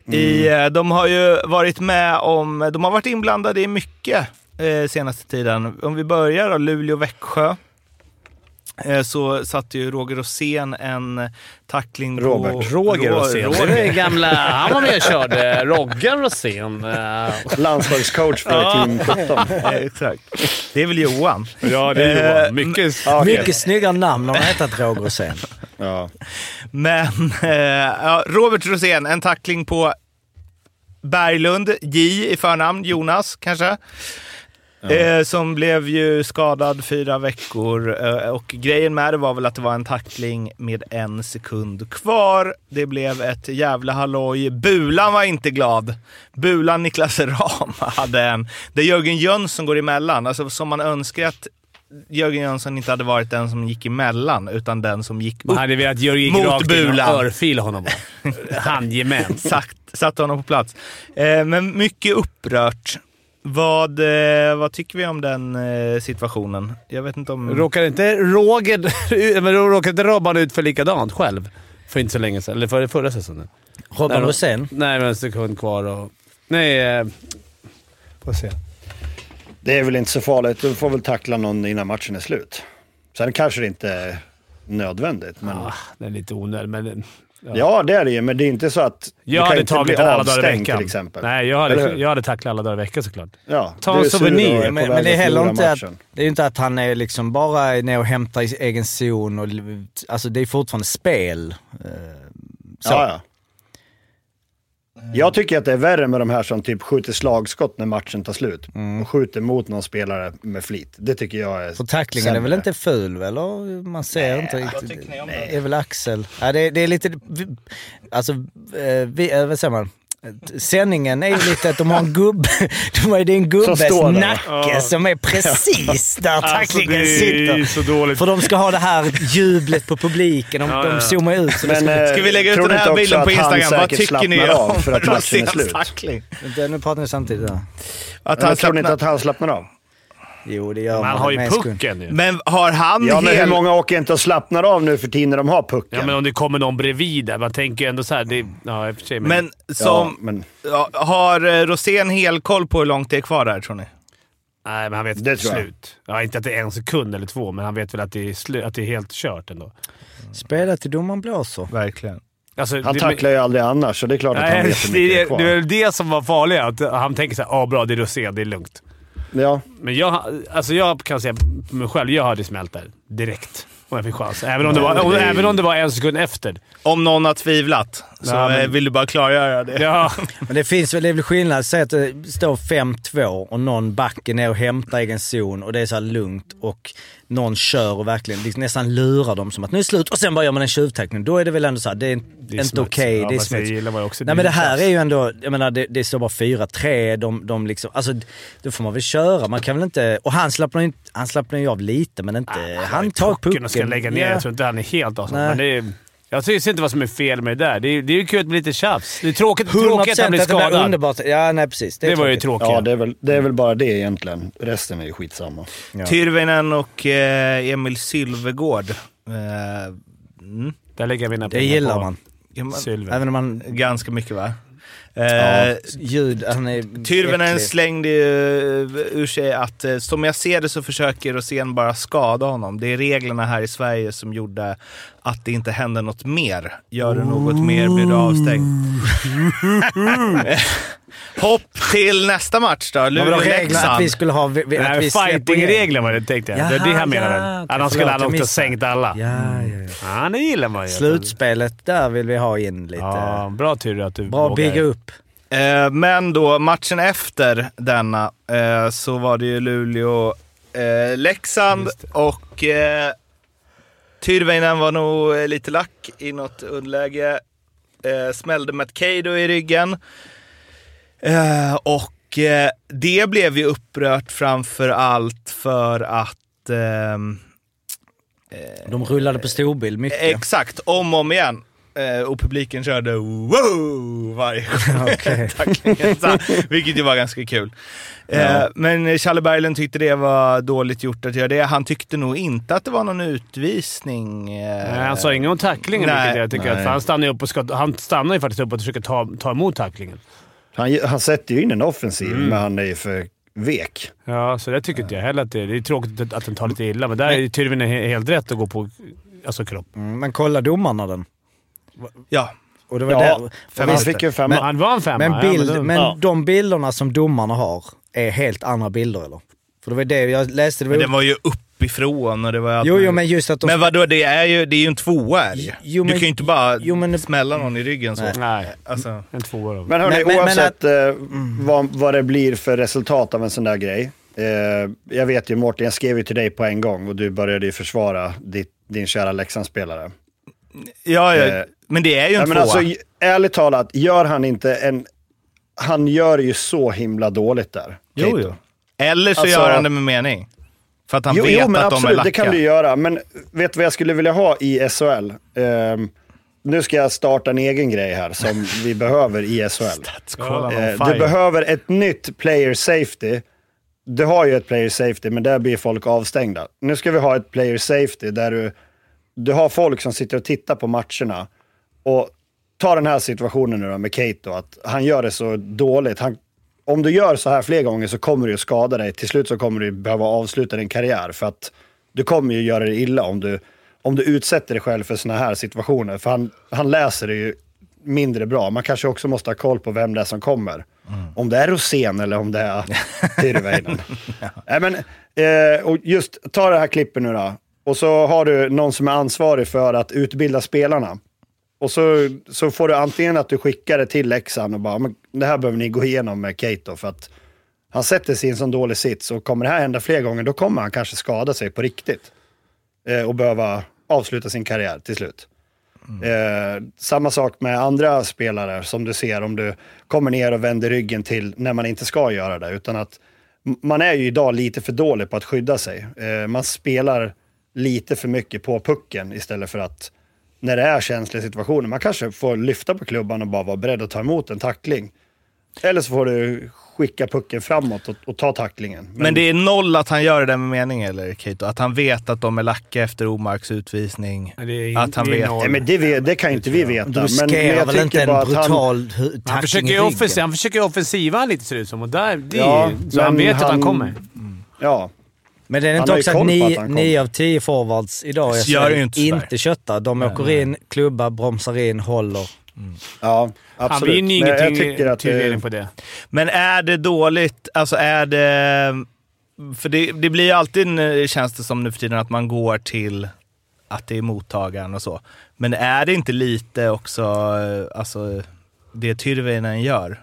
[SPEAKER 3] I, eh, de har ju varit med om... De har varit inblandade i mycket eh, senaste tiden. Om vi börjar då, Luleå-Växjö. Eh, så satte ju Roger Rosén en tackling på...
[SPEAKER 4] Robert.
[SPEAKER 2] Roger
[SPEAKER 3] Ro-
[SPEAKER 2] Rosén.
[SPEAKER 3] Roger.
[SPEAKER 2] Det är gamla... Han var med och körde. Roggan Rosén.
[SPEAKER 4] Landslagscoach för team 17.
[SPEAKER 3] Eh, Exakt. Det är väl Johan. Eh,
[SPEAKER 2] Ja, det
[SPEAKER 3] är
[SPEAKER 2] är
[SPEAKER 3] Johan.
[SPEAKER 2] Johan. Mycket...
[SPEAKER 4] Ja, okej.
[SPEAKER 1] Mycket snyggare namn har han hetat Roger Rosén.
[SPEAKER 4] Ja.
[SPEAKER 3] Men eh, ja, Robert Rosén, en tackling på Berglund, J i förnamn, Jonas kanske. Eh, som blev ju skadad fyra veckor eh, och grejen med det var väl att det var en tackling med en sekund kvar. Det blev ett jävla halloj. Bulan var inte glad. Bulan Niklas Ram hade en. Det är Jörgen Jönsson går emellan, alltså som man önskar att Jörgen Jönsson inte hade varit den som gick emellan, utan den som gick upp
[SPEAKER 2] Man hade velat Jörgen
[SPEAKER 3] Mot
[SPEAKER 2] rakt in och
[SPEAKER 3] bulan.
[SPEAKER 2] örfila honom. bara. Handgemän.
[SPEAKER 3] Sagt, satte honom på plats. Eh, men mycket upprört. Vad, eh, vad tycker vi om den eh, situationen? Jag vet inte om...
[SPEAKER 2] Råkade inte Roger... men Råkade inte Robban ut för likadant själv? För inte så länge sedan. Eller för, förra säsongen.
[SPEAKER 1] Robban
[SPEAKER 2] Nej,
[SPEAKER 1] Rosén.
[SPEAKER 2] Nej, men en sekund kvar och... Nej, eh, får se.
[SPEAKER 4] Det är väl inte så farligt. Du får väl tackla någon innan matchen är slut. Sen kanske det inte är nödvändigt. Men...
[SPEAKER 2] Ah, den är lite onödig, men...
[SPEAKER 4] Ja, det är det ju, men det är inte så att
[SPEAKER 2] Jag
[SPEAKER 4] du kan
[SPEAKER 2] hade
[SPEAKER 4] inte bli
[SPEAKER 2] tagit den alla dagar i
[SPEAKER 4] avstängd
[SPEAKER 2] veckan.
[SPEAKER 4] till exempel.
[SPEAKER 2] Nej, jag hade,
[SPEAKER 4] Eller hur?
[SPEAKER 2] jag hade tacklat alla dagar i veckan såklart.
[SPEAKER 4] Ja,
[SPEAKER 2] Ta
[SPEAKER 4] du
[SPEAKER 2] en
[SPEAKER 4] är sur
[SPEAKER 2] souvenir,
[SPEAKER 4] och är på
[SPEAKER 1] Men,
[SPEAKER 4] väg
[SPEAKER 1] men det är
[SPEAKER 4] att
[SPEAKER 1] heller
[SPEAKER 4] förlora
[SPEAKER 1] inte att,
[SPEAKER 4] matchen.
[SPEAKER 1] det är ju inte att han är liksom bara nere och hämtar i egen zon. Och, alltså det är fortfarande spel. Eh, Så.
[SPEAKER 4] Ja, ja. Jag tycker att det är värre med de här som typ skjuter slagskott när matchen tar slut och skjuter mot någon spelare med flit. Det tycker jag är
[SPEAKER 1] För tacklingen är väl
[SPEAKER 4] sämre.
[SPEAKER 1] inte ful väl? Och Man ser inte
[SPEAKER 3] vad
[SPEAKER 1] riktigt.
[SPEAKER 3] tycker ni om
[SPEAKER 1] Det
[SPEAKER 3] det?
[SPEAKER 1] är väl axel. Ja, det, det är lite... Alltså, eh, vi, eh, vad säger man? Sändningen är ju lite att de har en gubbe, de har ju din gubbes
[SPEAKER 4] Som står där, va?
[SPEAKER 1] nacke som är precis där tacklingen
[SPEAKER 2] Alltså, det är
[SPEAKER 1] sitter.
[SPEAKER 2] så dåligt.
[SPEAKER 1] För de ska ha det här jublet på publiken. De, de zoomar ut. Så
[SPEAKER 4] Men, eh,
[SPEAKER 3] Ska vi lägga ut
[SPEAKER 4] tror du
[SPEAKER 3] den här
[SPEAKER 4] inte också
[SPEAKER 3] bilden på
[SPEAKER 4] att han
[SPEAKER 3] Instagram? Vad
[SPEAKER 4] säkert
[SPEAKER 3] tycker ni
[SPEAKER 4] slappnar av
[SPEAKER 3] om
[SPEAKER 4] för att matchen är
[SPEAKER 3] Roséns
[SPEAKER 4] slut?
[SPEAKER 3] tackling?
[SPEAKER 1] det, nu pratar ni samtidigt. Ja.
[SPEAKER 3] Att
[SPEAKER 4] Men
[SPEAKER 3] han
[SPEAKER 4] tror ni inte
[SPEAKER 3] slappnar-
[SPEAKER 4] att han slappnar av?
[SPEAKER 1] Jo, det gör
[SPEAKER 2] Man har ju
[SPEAKER 1] med skuld.
[SPEAKER 2] pucken ju.
[SPEAKER 3] Men har han
[SPEAKER 4] Ja, men hur
[SPEAKER 3] hel...
[SPEAKER 4] många åker inte och slappnar av nu för tiden när de har pucken?
[SPEAKER 2] Ja, men om det kommer någon bredvid där. Man tänker ju ändå så här... Det, ja, i och för sig. Men,
[SPEAKER 3] Men
[SPEAKER 4] Ja,
[SPEAKER 3] som...
[SPEAKER 4] men
[SPEAKER 3] Ja, Har eh, Rosén hel koll på hur långt det är kvar där, tror ni?
[SPEAKER 2] nej, men han vet
[SPEAKER 4] Det
[SPEAKER 2] det
[SPEAKER 4] tror jag.
[SPEAKER 2] slut. Ja, inte att det är en sekund eller två, men han vet väl att det är, slu, att det är helt kört ändå.
[SPEAKER 1] Spela till domaren blåser.
[SPEAKER 3] Verkligen.
[SPEAKER 2] Alltså,
[SPEAKER 4] han
[SPEAKER 2] det,
[SPEAKER 4] tacklar ju aldrig annars, så det är klart att
[SPEAKER 2] Nej,
[SPEAKER 4] han vet hur mycket
[SPEAKER 2] det,
[SPEAKER 4] det är
[SPEAKER 2] är-
[SPEAKER 4] kvar.
[SPEAKER 2] det är väl det som var farliga. Att han tänker så här, ah, bra, det är rosé, det är lugnt.
[SPEAKER 4] Ja.
[SPEAKER 2] Men jag, alltså jag kan säga på mig själv, jag hade smält där direkt om jag fick chans. Även om, det var, om, även om det var en sekund efter.
[SPEAKER 3] Om någon har tvivlat så
[SPEAKER 2] Nej, men-
[SPEAKER 3] eh, vill du bara klargöra det.
[SPEAKER 2] Ja,
[SPEAKER 1] Men det finns väl, det är väl skillnad. Säg att det står 5-2 och någon backar ner och hämtar egen zon och det är så här lugnt och någon kör och verkligen liksom nästan lurar dem som att nu är det slut och sen bara gör man en tjuvtackling. Då är det väl ändå så här, det är,
[SPEAKER 2] är
[SPEAKER 1] inte
[SPEAKER 2] smuts.
[SPEAKER 1] okej.
[SPEAKER 2] Ja,
[SPEAKER 1] det är
[SPEAKER 2] fast det
[SPEAKER 1] smuts.
[SPEAKER 2] gillar man ju också.
[SPEAKER 1] Nej
[SPEAKER 2] Det
[SPEAKER 1] men det
[SPEAKER 2] är
[SPEAKER 1] här
[SPEAKER 2] klass.
[SPEAKER 1] är ju ändå, jag menar det, det står bara 4-3. De, de liksom, alltså då får man väl köra. Man kan väl inte, och han slappnar ju, inte- han slappnar ju av lite men inte,
[SPEAKER 2] Ah,
[SPEAKER 1] han tar pucken.
[SPEAKER 2] och ska lägga ner.
[SPEAKER 1] Ja.
[SPEAKER 2] Jag tror inte han är helt avslappnad.
[SPEAKER 1] Nej.
[SPEAKER 2] Men det är, jag ser inte vad som är fel med det där. Det är, det är ju kul att bli lite tjafs. Det är tråkigt,
[SPEAKER 1] 100%
[SPEAKER 2] tråkigt att han blir
[SPEAKER 1] det blir
[SPEAKER 2] skadad. Det,
[SPEAKER 1] underbart. Ja, nej precis. Det, är
[SPEAKER 2] var ju
[SPEAKER 1] tråkigt.
[SPEAKER 2] tråkigt.
[SPEAKER 4] Ja, det är, väl, det är väl bara det egentligen. Resten är ju skitsamma.
[SPEAKER 3] Tyrvinen och eh, Emil Sylvegård. Eh, mm.
[SPEAKER 2] Där lägger jag mina
[SPEAKER 1] Det
[SPEAKER 2] pengar
[SPEAKER 1] gillar
[SPEAKER 2] på
[SPEAKER 1] man.
[SPEAKER 3] Ja, man-
[SPEAKER 2] Sylver.
[SPEAKER 1] Även om man
[SPEAKER 3] Ganska mycket va? Eh,
[SPEAKER 1] Ja, ljud. Han är
[SPEAKER 3] Tyrvinen
[SPEAKER 1] äcklig.
[SPEAKER 3] slängde ju ur sig att eh, som jag ser det så försöker Rosén bara skada honom. Det är reglerna här i Sverige som gjorde att det inte hände något mer. Gör du något mer blir du avstängd. Hopp till nästa match då.
[SPEAKER 1] Ja, men de reglerna att
[SPEAKER 3] Luleå-Leksand.
[SPEAKER 1] vi skulle ha... Vi, vi, att vi
[SPEAKER 2] Nej,
[SPEAKER 1] släpper in.
[SPEAKER 2] Fightingregler var det tänkte jag. det är det
[SPEAKER 1] Jaha,
[SPEAKER 2] han menar
[SPEAKER 1] ja,
[SPEAKER 2] väl?
[SPEAKER 1] okej,
[SPEAKER 2] Annars skulle
[SPEAKER 1] förlåt,
[SPEAKER 2] han
[SPEAKER 1] jag
[SPEAKER 2] också
[SPEAKER 1] missade.
[SPEAKER 2] sänkt alla. Mm. Ja,
[SPEAKER 1] Ja, ja, ja.
[SPEAKER 2] det gillar man ju.
[SPEAKER 1] Slutspelet, där vill vi ha in lite.
[SPEAKER 2] Ja, bra tur att du
[SPEAKER 1] Bra
[SPEAKER 2] vågar.
[SPEAKER 1] bygga upp.
[SPEAKER 3] Eh, men då matchen efter denna eh, så var det ju Luleå-Leksand
[SPEAKER 2] Just
[SPEAKER 3] och eh, Tyrväinen var nog eh, lite lack i något underläge. Eh, smällde Matcado i ryggen. Eh, och eh, det blev ju upprört framför allt för att ehm,
[SPEAKER 1] De rullade på storbild mycket.
[SPEAKER 3] Exakt, om och om igen. Eh, och publiken körde wow varje gång.
[SPEAKER 1] Okej.
[SPEAKER 3] Tacklingen, så här, Vilket ju var ganska kul. Eh, Men Challe Berglund tyckte det var dåligt gjort att göra det. Han tyckte nog inte att det var någon utvisning. eh.
[SPEAKER 2] Nej, han sa inget om tacklingen,
[SPEAKER 3] Nej,
[SPEAKER 2] vilket jag tycker.
[SPEAKER 4] nej.
[SPEAKER 2] Att, för han stannar ju upp och ska, han stannar ju faktiskt upp och försöker ta, ta emot tacklingen.
[SPEAKER 4] Han, han sätter ju in en offensiv,
[SPEAKER 2] Mm.
[SPEAKER 4] men han är ju för vek.
[SPEAKER 2] Ja, så det tycker inte jag heller. Att det, det är tråkigt att- att den tar lite illa, men där är ju Tyrvinen he- helt rätt att gå på alltså, kropp.
[SPEAKER 1] Mm, men kolla domarna den.
[SPEAKER 3] Ja.
[SPEAKER 1] Och det var
[SPEAKER 4] Ja,
[SPEAKER 1] där. och
[SPEAKER 4] För han
[SPEAKER 1] visst,
[SPEAKER 4] fick ju femma.
[SPEAKER 2] Men, han var en femma.
[SPEAKER 1] men bild,
[SPEAKER 2] ja, men, då-
[SPEAKER 1] men
[SPEAKER 4] ja.
[SPEAKER 1] de bilderna som domarna har är helt andra bilder eller? För det var det jag läste. Det var,
[SPEAKER 3] Men den var ju uppifrån och det var allt
[SPEAKER 1] jo, jo,
[SPEAKER 3] möjligt.
[SPEAKER 1] men just att de...
[SPEAKER 3] Men vadå, det är ju, det är ju en tvåa. Är det ju.
[SPEAKER 1] Jo,
[SPEAKER 3] du
[SPEAKER 1] men-
[SPEAKER 3] kan ju inte bara
[SPEAKER 1] jo, men-
[SPEAKER 3] smälla någon i ryggen så.
[SPEAKER 2] Nej,
[SPEAKER 3] Alltså,
[SPEAKER 2] en tvåa då.
[SPEAKER 4] Men hörni,
[SPEAKER 1] Men- men- men
[SPEAKER 4] oavsett eh,
[SPEAKER 2] Mm.
[SPEAKER 4] vad, vad det blir för resultat av en sån där grej. Eh, jag vet ju Mårten, jag skrev ju till dig på en gång och du började ju försvara ditt, din kära Leksandsspelare.
[SPEAKER 3] ja, ja,
[SPEAKER 4] Eh,
[SPEAKER 3] men det är ju en
[SPEAKER 4] Nej, men
[SPEAKER 3] tvåa.
[SPEAKER 4] alltså, j- ärligt talat, gör han inte en... Han gör ju så himla dåligt där.
[SPEAKER 3] jo,
[SPEAKER 4] Keito.
[SPEAKER 3] jo. Eller så
[SPEAKER 4] Alltså-
[SPEAKER 3] gör han det med mening. För att han
[SPEAKER 4] jo,
[SPEAKER 3] vet
[SPEAKER 4] jo, men
[SPEAKER 3] att de är
[SPEAKER 4] absolut,
[SPEAKER 3] lacka.
[SPEAKER 4] det kan du göra. Men vet du vad jag skulle vilja ha i SHL? Ehm, nu ska jag starta en egen grej här som vi behöver i SHL.
[SPEAKER 3] Kolla någon
[SPEAKER 4] Eh,
[SPEAKER 3] fire.
[SPEAKER 4] du behöver ett nytt player safety. Du har ju ett player safety, men där blir folk avstängda. Nu ska vi ha ett player safety där du, du har folk som sitter och tittar på matcherna Och ta den här situationen nu då med Kate då, att han gör det så dåligt. Han, om du gör så här fler gånger så kommer det ju skada dig. Till slut så kommer du behöva avsluta din karriär för att du kommer ju göra dig illa om du, om du utsätter dig själv för såna här situationer. För han, han läser det ju mindre bra. Man kanske också måste ha koll på vem det är som kommer. Om det är Rosén eller om det är Tyrväinen. Nej, men, eh, och just ta det här klippet nu då. Och så har du någon som är ansvarig för att utbilda spelarna. Och så, så får du antingen att du skickar det till Leksand och bara, men det här behöver ni gå igenom med Kate då, för att han sätter sig i en sån dålig sits och kommer det här hända fler gånger, då kommer han kanske skada sig på riktigt. Eh, och behöva avsluta sin karriär till slut. Eh, samma sak med andra spelare som du ser om du kommer ner och vänder ryggen till när man inte ska göra det. Utan att m- man är ju idag lite för dålig på att skydda sig. Eh, man spelar lite för mycket på pucken istället för att när det är känsliga situationer, man kanske får lyfta på klubban och bara vara beredd att ta emot en tackling. Eller så får du skicka pucken framåt och, och ta tacklingen. Men,
[SPEAKER 3] Men det är noll att han gör det där med mening, eller Kato? Att han vet att de är lacka efter Omarks utvisning.
[SPEAKER 2] Det är in-
[SPEAKER 3] Att han
[SPEAKER 2] det är
[SPEAKER 3] vet.
[SPEAKER 2] noll.
[SPEAKER 4] Nej, men det, vet- det kan ju inte vi veta.
[SPEAKER 1] Du
[SPEAKER 4] Men-
[SPEAKER 1] riskerar
[SPEAKER 4] men jag
[SPEAKER 1] väl inte
[SPEAKER 4] tycker
[SPEAKER 1] en
[SPEAKER 4] bara att han-
[SPEAKER 1] brutal hu- tackling
[SPEAKER 2] Han försöker,
[SPEAKER 1] i
[SPEAKER 2] ju
[SPEAKER 1] ryggen?
[SPEAKER 2] offensiv, han försöker ju offensiva lite ser det ut som. Och där, det,
[SPEAKER 4] Ja,
[SPEAKER 2] så han
[SPEAKER 4] men
[SPEAKER 2] vet att han
[SPEAKER 4] han-
[SPEAKER 2] kommer.
[SPEAKER 4] Ja,
[SPEAKER 1] Men det är
[SPEAKER 4] Han
[SPEAKER 1] inte
[SPEAKER 4] har ju
[SPEAKER 1] också
[SPEAKER 4] koll
[SPEAKER 1] att
[SPEAKER 4] på
[SPEAKER 1] ni,
[SPEAKER 4] att han kom.
[SPEAKER 1] nio av tio forwards idag jag
[SPEAKER 3] Alltså, Gör
[SPEAKER 1] säger,
[SPEAKER 3] ju inte sådär.
[SPEAKER 1] inte köttar. De åker in, klubbar, bromsar in, håller.
[SPEAKER 4] ja absolut.
[SPEAKER 2] Han vinner ju
[SPEAKER 4] Men jag tycker
[SPEAKER 2] ingen
[SPEAKER 4] att eh, det,
[SPEAKER 2] tilldelning på det.
[SPEAKER 3] Men är det dåligt? Alltså är det... För det, det blir ju alltid, en- eh, känns det som nu för tiden, att man går till att det är mottagaren och så. Men är det inte lite också, eh, alltså det Tyrväinen gör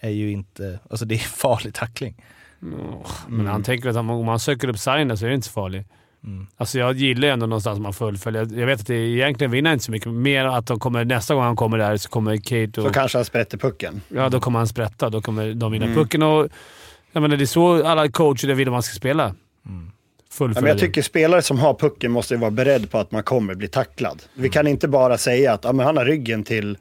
[SPEAKER 3] är ju inte, alltså det är farlig tackling.
[SPEAKER 2] Men
[SPEAKER 4] Mm.
[SPEAKER 2] han tänker att om man söker upp signen så är det inte så farligt. Alltså jag gillar ju ändå någonstans att man fullföljer. Jag vet att det egentligen vinner inte så mycket. Mer att de kommer, nästa gång han kommer där så kommer Kate och...
[SPEAKER 4] så kanske han sprätter pucken.
[SPEAKER 2] Ja, då kommer han sprätta. Då kommer de
[SPEAKER 4] Mm.
[SPEAKER 2] vinna pucken. Och, jag menar, det är så alla coacher där vill att man ska spela.
[SPEAKER 4] Mm. Ja,
[SPEAKER 2] Fullfölja.
[SPEAKER 4] men jag tycker spelare som har pucken måste ju vara beredd på att man kommer bli tacklad. Vi
[SPEAKER 2] Mm.
[SPEAKER 4] kan inte bara säga att ja, men han har ryggen till,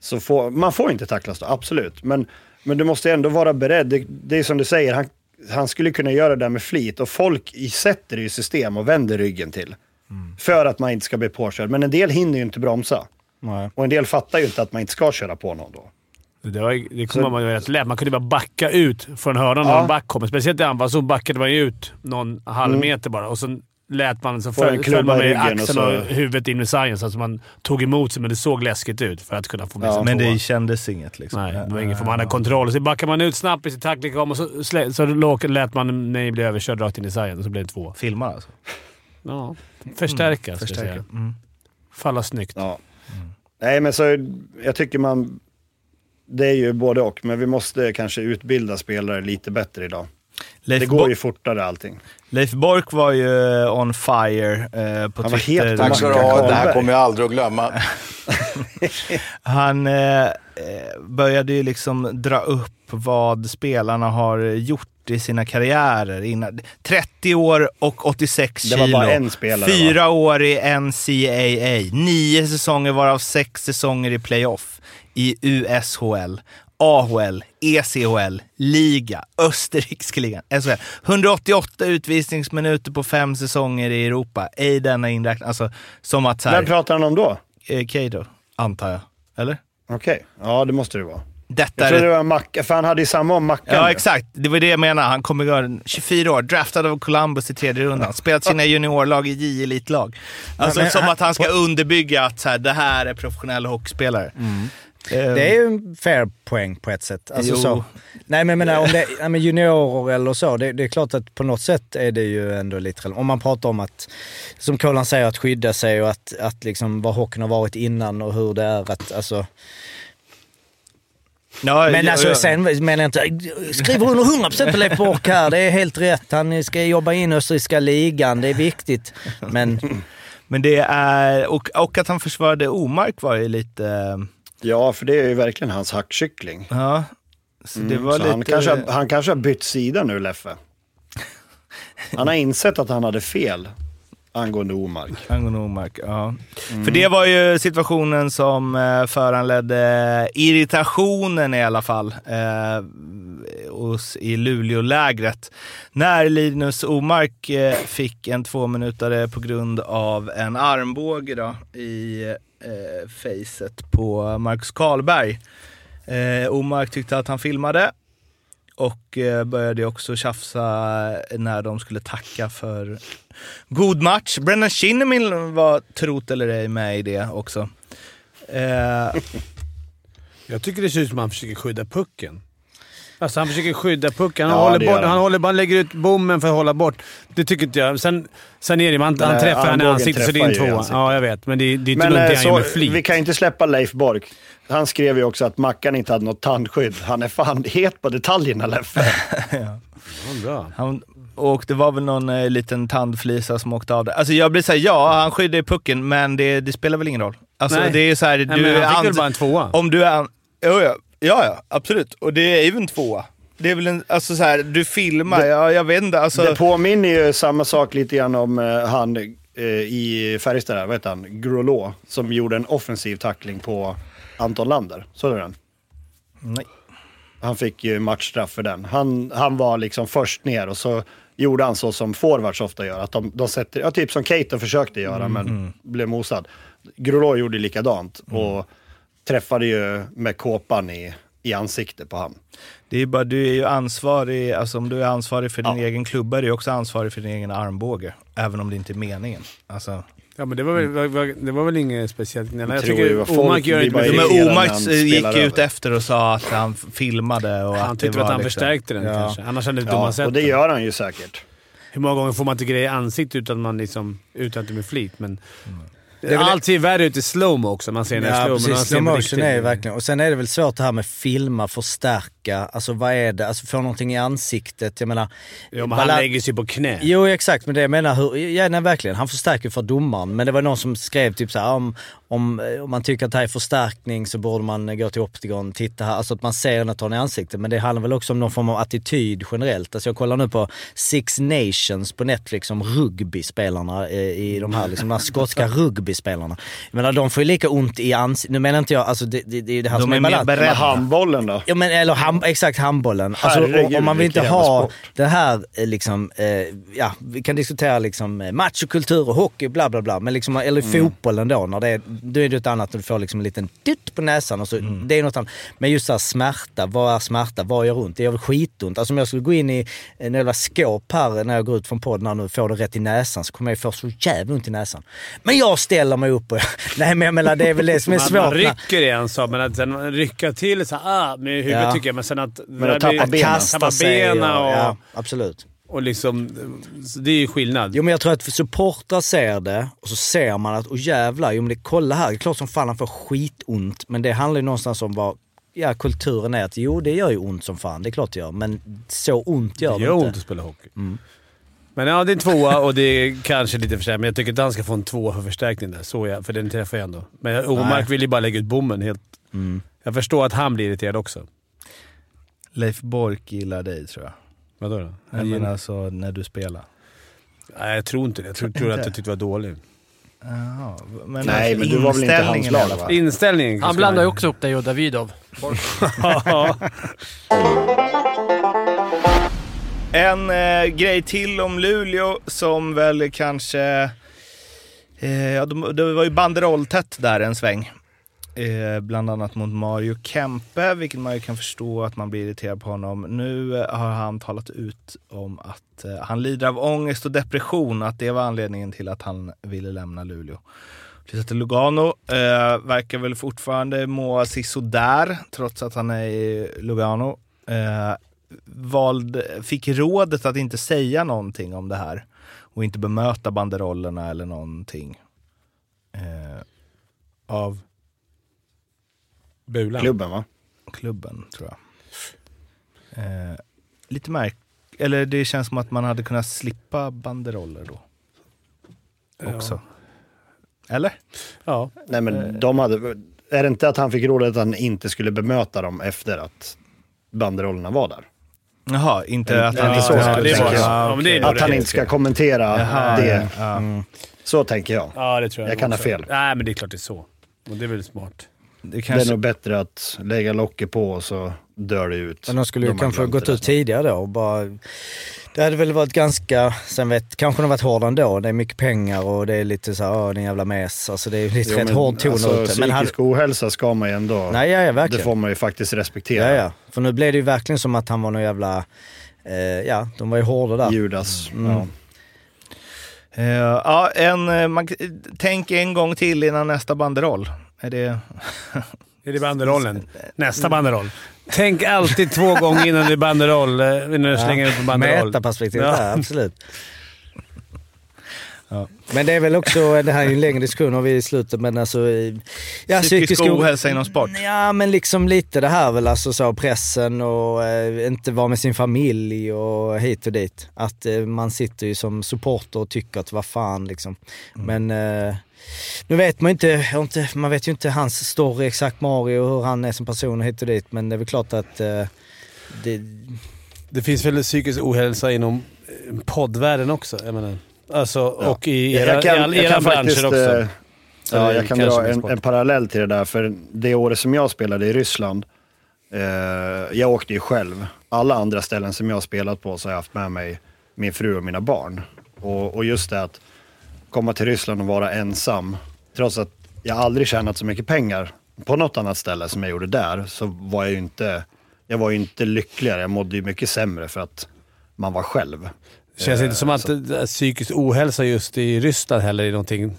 [SPEAKER 4] så får, man får inte tacklas då, absolut. Men, men du måste ändå vara beredd. Det, det är som du säger, han, han skulle kunna göra det där med flit och folk i- sätter det i system och vänder ryggen till.
[SPEAKER 2] Mm.
[SPEAKER 4] För att man inte ska bli påkörd. Men en del hinner ju inte bromsa.
[SPEAKER 1] Nej.
[SPEAKER 4] Och en del fattar ju inte att man inte ska köra på någon då.
[SPEAKER 2] Det, var, det kommer man ju rätt lätt. Man kunde bara backa ut från hörnan när
[SPEAKER 4] Ja.
[SPEAKER 2] en back kommer. Speciellt i anfallszon backade man ju ut någon halv meter bara och så lät man så
[SPEAKER 4] Mm. Får en
[SPEAKER 2] föll,
[SPEAKER 4] klubba
[SPEAKER 2] föll man
[SPEAKER 4] i
[SPEAKER 2] med
[SPEAKER 4] ryggen och
[SPEAKER 2] axeln och,
[SPEAKER 4] så-
[SPEAKER 2] huvudet in i sargen så att man tog emot sig, men det såg läskigt ut för att kunna få med
[SPEAKER 4] Ja. Ah.
[SPEAKER 2] sig
[SPEAKER 3] Men
[SPEAKER 2] tvåa.
[SPEAKER 3] det kändes inget liksom.
[SPEAKER 2] Nej, det var ingen för man hade kontroll. Så backar man ut snabbt i sin tackling kom och så, slä- så låg- lät man mig bli överkörd rakt in i sargen och så blev det två.
[SPEAKER 3] Filma alltså.
[SPEAKER 2] Ja. Förstärka, ska jag säga.
[SPEAKER 3] Mm.
[SPEAKER 2] Falla snyggt.
[SPEAKER 4] Ja. Nej, men så, jag tycker man... Det är ju både och, men vi måste kanske utbilda spelare lite bättre idag.
[SPEAKER 3] Leif,
[SPEAKER 4] Det går ju fortare allting.
[SPEAKER 3] Leif Bork var ju on fire eh, på
[SPEAKER 4] Han var
[SPEAKER 3] Twitter.
[SPEAKER 4] het på
[SPEAKER 10] Tack ska du ha. Det här kommer jag aldrig att glömma.
[SPEAKER 3] Han eh, eh, började ju liksom dra upp vad spelarna har gjort i sina karriärer. Innan. 30 år och 86
[SPEAKER 4] Det var
[SPEAKER 3] kilo.
[SPEAKER 4] bara en spelare,
[SPEAKER 3] Fyra år i NCAA. Nio säsonger varav sex säsonger i playoff. I USHL, AHL, ECHL, liga, Österrikska ligan, SHL. 188 utvisningsminuter på fem säsonger i Europa. Ej denna inräknad. Alltså, som att så här,
[SPEAKER 4] Vem pratar han om då?
[SPEAKER 3] eh, Kado, antar jag. Eller?
[SPEAKER 4] Okej, ja det måste det vara.
[SPEAKER 3] Detta
[SPEAKER 4] Jag
[SPEAKER 3] är
[SPEAKER 4] trodde det var Mackan, för han hade ju samma om Mackan.
[SPEAKER 3] Ja,
[SPEAKER 4] ju.
[SPEAKER 3] exakt. Det var det jag menade. Han kommer göra 24 år, draftad av Columbus i tredje rundan, spelat sina juniorlag i J-elitlag. Alltså
[SPEAKER 1] Ja, men
[SPEAKER 3] som
[SPEAKER 1] han-
[SPEAKER 3] att han ska underbygga att så här, det här är professionella hockeyspelare. Eh,
[SPEAKER 1] Mm. Det är ju en fair poäng på ett sätt. Alltså
[SPEAKER 3] Jo.
[SPEAKER 1] så. Nej, men jag menar, om det ja, men juniorer eller så, det, det är klart att på något sätt är det ju ändå lite relevant. Om man pratar om att, som Kolan säger, att skydda sig och att, att liksom vad hockeyn har varit innan och hur det är att, alltså.
[SPEAKER 3] ja,
[SPEAKER 1] Men
[SPEAKER 3] ja,
[SPEAKER 1] alltså
[SPEAKER 3] ja.
[SPEAKER 1] sen menar jag inte, skriver under 100% på Leif Boork här, det är helt rätt. Han ska jobba in österrikiska ligan, det är viktigt. Men
[SPEAKER 3] Men det är... Och, och att han försvarade Omark var ju lite... ehm,
[SPEAKER 4] ja, för det är ju verkligen hans hackkyckling.
[SPEAKER 3] Ja. Så det
[SPEAKER 1] Mm,
[SPEAKER 3] var
[SPEAKER 4] Så
[SPEAKER 3] lite...
[SPEAKER 4] han, kanske, har- han kanske har bytt sida nu, Leffe. Han har insett att han hade fel.
[SPEAKER 3] Angående Omark. Angående Omark, ja. För det var ju situationen som eh, föranledde irritationen i alla fall eh, hos, i Luleålägret. När Linus Omark eh, fick en tvåminutare på grund av en armbåge då, i eh, facet på Marcus Karlberg. Eh, Omark tyckte att han filmade och eh, började också tjafsa när de skulle tacka för god match. Brennan Shinnimin var, trot eller ej, med i det också. Eh,
[SPEAKER 2] Jag tycker det ser ut som att han försöker skydda pucken. Alltså han försöker skydda pucken. Han,
[SPEAKER 3] Ja,
[SPEAKER 2] håller
[SPEAKER 3] det gör
[SPEAKER 2] bort,
[SPEAKER 3] han.
[SPEAKER 2] han, håller, han lägger ut bommen för att hålla bort. Det tycker inte jag. Sen, sen är det man,
[SPEAKER 4] Den
[SPEAKER 2] han
[SPEAKER 4] här
[SPEAKER 2] träffar han i
[SPEAKER 4] armbågen
[SPEAKER 2] ansiktet, så det är en
[SPEAKER 4] träffar ju i
[SPEAKER 2] tvåa.
[SPEAKER 4] ansiktet.
[SPEAKER 2] Ja, jag vet. Men det, det är inte
[SPEAKER 4] Men
[SPEAKER 2] någonting han
[SPEAKER 4] eh,
[SPEAKER 2] gör
[SPEAKER 4] så,
[SPEAKER 2] med flit.
[SPEAKER 4] vi kan ju inte släppa Leif Bork. Han skrev ju också att Mackan inte hade något tandskydd. Han är fan het på detaljerna, Leffe.
[SPEAKER 3] Han, och det var väl någon eh, liten tandflisa som åkte av det. Alltså jag blir såhär, ja han skyddar ju pucken, men det, det spelar väl ingen roll. Alltså
[SPEAKER 2] Nej.
[SPEAKER 3] det är så här,
[SPEAKER 2] Nej,
[SPEAKER 3] du
[SPEAKER 2] men han fick
[SPEAKER 3] ans-
[SPEAKER 2] väl bara en tvåa?
[SPEAKER 3] Om du är... an- Jo, ja, ja, ja, absolut. Och det är ju en tvåa. Det är väl en, alltså så här, du filmar, ja, jag vet inte. Alltså,
[SPEAKER 4] Det påminner ju samma sak lite grann om eh, han eh, i Färjestad, där, vad heter han? Grolå, som gjorde en offensiv tackling på Anton Lander. Såg du den?
[SPEAKER 3] Nej.
[SPEAKER 4] Han fick ju matchstraff för den. Han, han var liksom först ner och så gjorde han så som forwards ofta gör. Att de, de sätter, ja, typ som Keita försökte göra, men
[SPEAKER 3] Mhm.
[SPEAKER 4] blev mosad. Grolå gjorde likadant
[SPEAKER 3] Mm.
[SPEAKER 4] och träffade ju med kåpan i, i ansiktet på han.
[SPEAKER 3] Det är bara, du är ju ansvarig, alltså om du är ansvarig för din e- egen klubba är du också ansvarig för din egen armbåge. Även om det inte är meningen. Alltså,
[SPEAKER 2] Ja, men det var väl, var- var, det var väl inget speciellt gnäll. Jag,
[SPEAKER 3] Jag Mm. tror ju vad
[SPEAKER 2] tycker
[SPEAKER 3] folk
[SPEAKER 2] Omark gör
[SPEAKER 3] blir
[SPEAKER 2] inte
[SPEAKER 3] bara
[SPEAKER 2] mycket.
[SPEAKER 3] irriterade Men Omark när han gick spelar ut över. efter och sa att han filmade och
[SPEAKER 2] Han
[SPEAKER 3] att det
[SPEAKER 2] tyckte väl att
[SPEAKER 3] var
[SPEAKER 2] han
[SPEAKER 3] liksom-
[SPEAKER 2] förstärkte den
[SPEAKER 3] Ja.
[SPEAKER 2] kanske. Annars hade inte
[SPEAKER 3] Ja,
[SPEAKER 2] domaren sett
[SPEAKER 3] och det
[SPEAKER 2] den.
[SPEAKER 4] gör han ju säkert.
[SPEAKER 2] Hur många gånger får man inte grejer i ansiktet utan, man liksom, utan att det blir flit? Men
[SPEAKER 1] Det är väl-
[SPEAKER 2] Allt ser värre ut i slowmo också. Man ser den i
[SPEAKER 1] Ja,
[SPEAKER 2] slowmo.
[SPEAKER 1] precis.
[SPEAKER 2] man ser
[SPEAKER 1] Slow
[SPEAKER 2] den på
[SPEAKER 1] motion
[SPEAKER 2] riktigt.
[SPEAKER 1] är ju verkligen... Och sen är det väl svårt det här med filma, förstärka. Alltså vad är det? Alltså få någonting i ansiktet. Jag menar...
[SPEAKER 2] Jo, men han
[SPEAKER 1] balan-
[SPEAKER 2] lägger sig på knä.
[SPEAKER 1] Jo, exakt. Men det jag menar, hur, ja, nej, verkligen. Han förstärker för domaren. Men det var någon som skrev typ så här, om, om, eh, om man tycker att det här är förstärkning så borde man eh, gå till optikon, titta här. Alltså att man ser när han i ansiktet. Men det handlar väl också om någon form av attityd generellt. Alltså jag kollar nu på Six Nations på Netflix om rugbyspelarna eh, i de här, liksom, de här skotska rugbyspelarna. Jag menar, de får ju lika ont i ansiktet. Nu menar inte jag, alltså det, det, det är ju det här
[SPEAKER 4] De
[SPEAKER 1] som
[SPEAKER 4] är
[SPEAKER 1] är
[SPEAKER 4] mer
[SPEAKER 1] balans.
[SPEAKER 4] beredda. Men handbollen då?
[SPEAKER 1] Ja, men, eller hand, exakt handbollen. Alltså,
[SPEAKER 4] Herregud,
[SPEAKER 1] och, och man vill inte
[SPEAKER 4] vilken
[SPEAKER 1] ha
[SPEAKER 4] jävla sport.
[SPEAKER 1] den här eh, liksom, eh, ja, vi kan diskutera liksom eh, machokultur och hockey bla bla bla, men liksom, eller
[SPEAKER 11] Mm.
[SPEAKER 1] fotbollen då, när det är, då är det ett annat, du får liksom en liten dutt på näsan och så, det är något annat. Men just så här smärta, vad är smärta, vad gör ont? Det gör väl skitont? Alltså om jag skulle gå in i en jävla skåp här eh, när jag går ut från podden här nu, får det rätt i näsan så kommer jag ju få så jävla ont i näsan. Men jag ställer mig upp och, nej men jag menar det är väl det som är
[SPEAKER 2] Man-
[SPEAKER 1] svårt. när-
[SPEAKER 2] Man rycker i en sak, men att sen rycka till så här, ah, med huvudet
[SPEAKER 1] Ja.
[SPEAKER 2] tycker jag, men sen att...
[SPEAKER 1] Men att tappa benen.
[SPEAKER 2] Tappa benen och...
[SPEAKER 1] Ja, absolut.
[SPEAKER 2] Och liksom, så det är ju skillnad.
[SPEAKER 1] Jo men jag tror att supportrar ser det och så ser man att, åh jävlar, jo men det, kolla här, det är klart som fan han får skitont. Men det handlar ju någonstans om vad ja, kulturen är. Att, jo det gör ju ont som fan, det är klart det gör. Men så ont gör
[SPEAKER 2] Det
[SPEAKER 1] det,
[SPEAKER 2] gör
[SPEAKER 1] inte.
[SPEAKER 2] ont att spela hockey. Men ja, det är en tvåa och det är kanske lite för sent, men jag tycker inte han ska få en tvåa för förstärkning där. Så jag, för den träffar jag ändå. Men
[SPEAKER 3] Nej.
[SPEAKER 2] Omark vill ju bara lägga ut bommen helt.
[SPEAKER 1] Mm.
[SPEAKER 2] Jag förstår att han blir irriterad också.
[SPEAKER 3] Leif Bork gillar dig tror jag.
[SPEAKER 2] Vadå då?
[SPEAKER 3] Jag menar alltså när du spelar.
[SPEAKER 2] Nej, jag tror inte det. Jag tror, tror att
[SPEAKER 3] Inte?
[SPEAKER 2] jag tyckte det var dålig.
[SPEAKER 3] Jaha, men
[SPEAKER 2] Nej, men
[SPEAKER 3] alltså,
[SPEAKER 2] du var väl inte hans
[SPEAKER 3] inställningen
[SPEAKER 2] lag,
[SPEAKER 3] i alla
[SPEAKER 2] va?
[SPEAKER 3] fall.
[SPEAKER 2] Inställningen.
[SPEAKER 9] Han blandar ju också upp dig och Davidov.
[SPEAKER 3] En eh, grej till om Luleå som väl kanske... Eh, ja, de, det var ju banderolltätt där en sväng. Eh, bland annat mot Mario Kempe, vilket man ju kan förstå att man blir irriterad på honom. Nu eh, har han talat ut om att eh, han lider av ångest och depression, att det var anledningen till att han ville lämna Luleå. Precis till Lugano eh, verkar väl fortfarande må sisådär, trots att han är i Lugano. Eh, valde, fick rådet att inte säga någonting om det här och inte bemöta banderollerna eller någonting. Eh, av
[SPEAKER 2] Bulan.
[SPEAKER 4] Klubben, va?
[SPEAKER 3] Klubben, tror jag. Eh, lite märk... Eller det känns som att man hade kunnat slippa banderoller då. Också. Eller?
[SPEAKER 2] Ja.
[SPEAKER 4] Nej,
[SPEAKER 3] Eh.
[SPEAKER 4] men de hade... Är det inte att han fick rådet att han inte skulle bemöta dem efter att banderollerna var där?
[SPEAKER 3] Jaha, inte att
[SPEAKER 4] Det är
[SPEAKER 3] han
[SPEAKER 4] inte så
[SPEAKER 3] Ja,
[SPEAKER 4] jag skulle
[SPEAKER 3] det var
[SPEAKER 4] tänka.
[SPEAKER 3] det. Ja, men det är nog
[SPEAKER 4] Att han
[SPEAKER 3] det.
[SPEAKER 4] inte ska kommentera
[SPEAKER 2] Jaha,
[SPEAKER 4] det.
[SPEAKER 2] ja.
[SPEAKER 4] Mm. Så tänker jag.
[SPEAKER 2] Ja, det tror jag.
[SPEAKER 4] Jag kan ha
[SPEAKER 2] också.
[SPEAKER 4] fel.
[SPEAKER 2] Nej, men det är klart det är så. Och det är väl smart.
[SPEAKER 4] Det är nog bättre att lägga locket på och så dör det ut.
[SPEAKER 1] Men de skulle ju
[SPEAKER 4] har
[SPEAKER 1] kanske ha
[SPEAKER 4] glömt
[SPEAKER 1] gått
[SPEAKER 4] det
[SPEAKER 1] ut tidigare då och bara... Det hade väl varit ganska, sen vet, kanske de varit hårda ändå. Det är mycket pengar och det är lite så här, åh din jävla mes. Alltså det är ju lite
[SPEAKER 4] Jo,
[SPEAKER 1] rätt
[SPEAKER 4] men,
[SPEAKER 1] hård ton
[SPEAKER 4] alltså,
[SPEAKER 1] ute. Men
[SPEAKER 4] Psykisk
[SPEAKER 1] han,
[SPEAKER 4] ohälsa ska man ju ändå...
[SPEAKER 1] Nej, ja, ja, verkligen.
[SPEAKER 4] Det får man ju faktiskt respektera.
[SPEAKER 1] ja, ja. För nu blev det ju verkligen som att han var någon jävla, eh, ja, de var ju hårda där.
[SPEAKER 4] Judas.
[SPEAKER 1] Mm.
[SPEAKER 4] Ja.
[SPEAKER 3] Eh, ja, en, eh, man, tänk en gång till innan nästa banderoll. Är det...
[SPEAKER 2] Är det banderollen? Nästa banderoll. Tänk alltid två gånger innan du banderoll, eh, innan du slänger ut på banderoll.
[SPEAKER 1] Mätarperspektivet
[SPEAKER 2] Ja.
[SPEAKER 1] där, absolut. Men det är väl också, det här är ju en längre diskussion och vi är i slutet, men alltså... i- Ja,
[SPEAKER 3] Psykisk ohälsa inom sport.
[SPEAKER 1] Ja, men liksom lite det här väl, alltså så pressen och eh, inte vara med sin familj och hit och dit. Att eh, man sitter ju som supporter och tycker att vad fan liksom.
[SPEAKER 2] Mm.
[SPEAKER 1] Men eh, nu vet man ju inte, jag har inte, man vet ju inte hans story exakt Mario och hur han är som person och hit och dit. Men det är väl klart att eh, det,
[SPEAKER 2] Det finns väl psykisk ohälsa inom eh, poddvärlden också? Jag menar. Alltså, och i era,
[SPEAKER 4] Jag kan-
[SPEAKER 2] i all-
[SPEAKER 4] jag
[SPEAKER 2] era
[SPEAKER 4] kan
[SPEAKER 2] branscher
[SPEAKER 4] faktiskt,
[SPEAKER 2] också.
[SPEAKER 4] eh, Ja,
[SPEAKER 2] Eller
[SPEAKER 4] jag kan
[SPEAKER 2] kanske
[SPEAKER 4] dra
[SPEAKER 2] med
[SPEAKER 4] en,
[SPEAKER 2] sport.
[SPEAKER 4] en parallell till det där, för det året som jag spelade i Ryssland, eh, jag åkte ju själv. Alla andra ställen som jag har spelat på så har jag haft med mig min fru och mina barn. Och, och just det att komma till Ryssland och vara ensam, trots att jag aldrig tjänat så mycket pengar på något annat ställe som jag gjorde där, så var jag ju inte, jag var ju inte lyckligare. Jag mådde ju mycket sämre för att man var själv.
[SPEAKER 2] Det känns
[SPEAKER 4] Eh,
[SPEAKER 2] inte som att eh, psykisk ohälsa just i Ryssland heller är någonting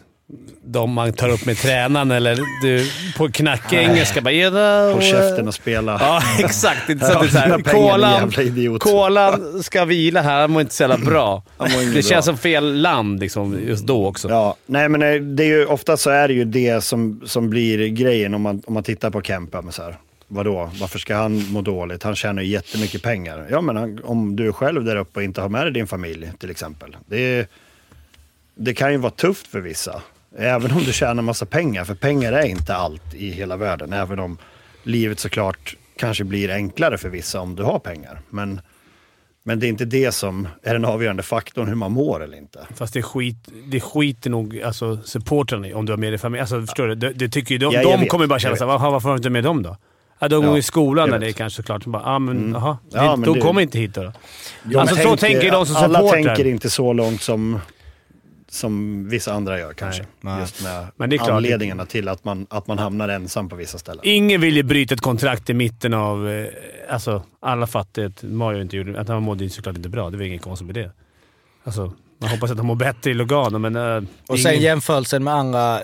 [SPEAKER 2] de man tar upp med tränaren eller du på knackig engelska. Bara, "Yeah, no,
[SPEAKER 4] Håll
[SPEAKER 2] eh."
[SPEAKER 4] käften och spela.
[SPEAKER 2] Ja, exakt. Inte så
[SPEAKER 4] Här
[SPEAKER 2] att det är så
[SPEAKER 4] har
[SPEAKER 2] här,
[SPEAKER 4] du dina pengar,
[SPEAKER 2] kolan,
[SPEAKER 4] din jävla idiot.
[SPEAKER 2] kolan ska vila här. Han mår inte så jävla bra.
[SPEAKER 4] Han mår inte
[SPEAKER 2] Det
[SPEAKER 4] bra.
[SPEAKER 2] känns som fel land liksom, just då också.
[SPEAKER 4] Ja, nej men eh, det är ju, ofta så är det ju det som, som blir grejen om man, om man tittar på Kempa. Men så här, vadå, varför ska han må dåligt? Han tjänar ju jättemycket pengar. Ja, men han, om du är själv där uppe och inte har med dig din familj till exempel. Det, är- det kan ju vara tufft för vissa. Även om du tjänar massa pengar, för pengar är inte allt i hela världen. Även om livet såklart kanske blir enklare för vissa om du har pengar. Men, men det är inte det som är den avgörande faktorn, hur man mår eller inte.
[SPEAKER 2] Fast det, skit, det skiter nog alltså, supportrarna i om du har med dig familj. Alltså, förstår du? Det, det tycker ju de
[SPEAKER 4] Ja, jag
[SPEAKER 2] de
[SPEAKER 4] vet.
[SPEAKER 2] kommer bara
[SPEAKER 4] Jag
[SPEAKER 2] känna
[SPEAKER 4] vet.
[SPEAKER 2] såhär, "Jaha, varför har du inte med dem då? Ja, de
[SPEAKER 4] Ja,
[SPEAKER 2] går i skolan
[SPEAKER 4] jag
[SPEAKER 2] där
[SPEAKER 4] vet.
[SPEAKER 2] det är kanske såklart. Så bara, ah, men,
[SPEAKER 4] Mm.
[SPEAKER 2] aha,
[SPEAKER 4] Ja,
[SPEAKER 2] det,
[SPEAKER 4] men
[SPEAKER 2] de
[SPEAKER 4] det-
[SPEAKER 2] kommer inte hit då.
[SPEAKER 4] Jo,
[SPEAKER 2] alltså,
[SPEAKER 4] men
[SPEAKER 2] så
[SPEAKER 4] tänk-
[SPEAKER 2] tänker de som
[SPEAKER 4] Alla
[SPEAKER 2] supportrar.
[SPEAKER 4] tänker inte så långt som, som vissa andra gör kanske.
[SPEAKER 2] Nej.
[SPEAKER 4] Just med
[SPEAKER 2] Men det är klart-
[SPEAKER 4] anledningarna till att man, att man hamnar ensam på vissa ställen.
[SPEAKER 2] Ingen vill ju bryta ett kontrakt i mitten av... eh, Alltså, alla fattar att Mario inte gjorde... Att han mådde ju såklart inte bra. Det var inget konstigt med det. Alltså, man hoppas att han mår bättre i Lugano, men... eh,
[SPEAKER 1] Och sen
[SPEAKER 2] ingen-
[SPEAKER 1] jämförelsen med andra,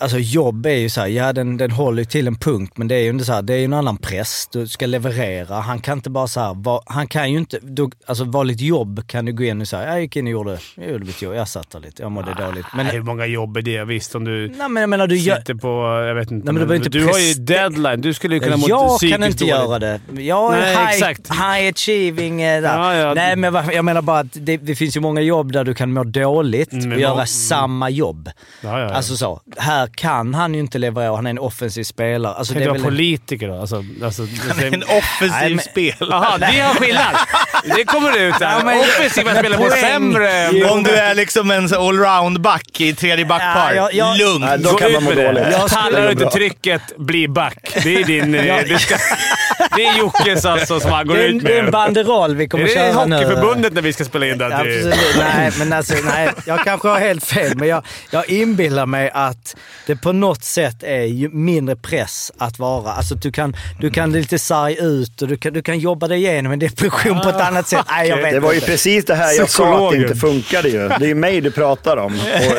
[SPEAKER 1] alltså jobb är ju så här, ja den, den håller ju till en punkt men det är ju inte så här, det är ju en annan press, du ska leverera, han kan inte bara så här, va, han kan ju inte, du, alltså vanligt jobb kan du gå in och säga, jag gick in och gjorde, jag gjorde mitt jobb, jag satt där lite, jag mådde dåligt. Men,
[SPEAKER 2] Ah. Nej, hur många jobb är det? Visst, om du...
[SPEAKER 1] nej men jag menar du gör,
[SPEAKER 2] sitter på... Jag vet inte.
[SPEAKER 1] Nej, men du
[SPEAKER 2] men
[SPEAKER 1] behöver inte
[SPEAKER 2] du har ju
[SPEAKER 1] prestera.
[SPEAKER 2] deadline. Du skulle ju kunna må
[SPEAKER 1] jag
[SPEAKER 2] psykiskt
[SPEAKER 1] kan inte
[SPEAKER 2] dåligt.
[SPEAKER 1] göra det. Jag är
[SPEAKER 2] Nej,
[SPEAKER 1] high,
[SPEAKER 2] exakt.
[SPEAKER 1] high achieving. eh, Där.
[SPEAKER 2] Ja, ja.
[SPEAKER 1] Nej, men vad- jag menar bara att det, det finns ju många jobb där du kan må dåligt
[SPEAKER 2] Mm, men
[SPEAKER 1] och göra
[SPEAKER 2] må-
[SPEAKER 1] samma jobb.
[SPEAKER 2] Ja, ja, ja.
[SPEAKER 1] Alltså så. Här kan han ju inte leverera. Han är en offensiv spelare. Alltså,
[SPEAKER 2] Tänk
[SPEAKER 1] det är
[SPEAKER 2] dig
[SPEAKER 1] väl
[SPEAKER 2] vara politiker då. Alltså, alltså,
[SPEAKER 3] En offensiv
[SPEAKER 1] Nej, men-
[SPEAKER 3] spelare.
[SPEAKER 2] Jaha, det är skillnad. Det kommer ut
[SPEAKER 1] Ja,
[SPEAKER 2] här.
[SPEAKER 1] men-
[SPEAKER 2] Offensiva
[SPEAKER 1] men
[SPEAKER 2] spelare mår
[SPEAKER 1] poäng-
[SPEAKER 2] sämre.
[SPEAKER 1] Jo,
[SPEAKER 3] Om du är liksom en så allround-back i tredje backpar.
[SPEAKER 1] Ja, jag- jag-
[SPEAKER 3] Lugn.
[SPEAKER 4] Nej, då
[SPEAKER 2] Gå
[SPEAKER 4] kan
[SPEAKER 2] ut
[SPEAKER 4] man må
[SPEAKER 2] med det.
[SPEAKER 4] dåligt.
[SPEAKER 1] Jag
[SPEAKER 2] Pallar
[SPEAKER 1] skulle
[SPEAKER 2] du
[SPEAKER 1] må
[SPEAKER 2] inte
[SPEAKER 1] bra.
[SPEAKER 2] trycket, bli back. Det är din... eh, det, ska, det är Jockes alltså som han går
[SPEAKER 1] det, är,
[SPEAKER 2] ut
[SPEAKER 1] en- det är en
[SPEAKER 2] med.
[SPEAKER 1] banderoll vi kommer
[SPEAKER 2] Är det
[SPEAKER 1] köra nu.
[SPEAKER 2] Hockeyförbundet när vi ska spela in det?
[SPEAKER 1] Ja,
[SPEAKER 2] Det-
[SPEAKER 1] Absolut. Nej, men alltså, nej, jag kanske har helt fel, men jag, jag inbillar mig att det på något sätt är ju mindre press att vara. Alltså att du kan, du kan lite sarg ut och du kan, du kan jobba dig igenom en depression på ett annat sätt. Nej, jag vet
[SPEAKER 4] Det var ju
[SPEAKER 1] inte.
[SPEAKER 4] precis det här jag sa att det
[SPEAKER 2] Psykologen.
[SPEAKER 4] inte funkade ju. Det är ju mig du pratar om.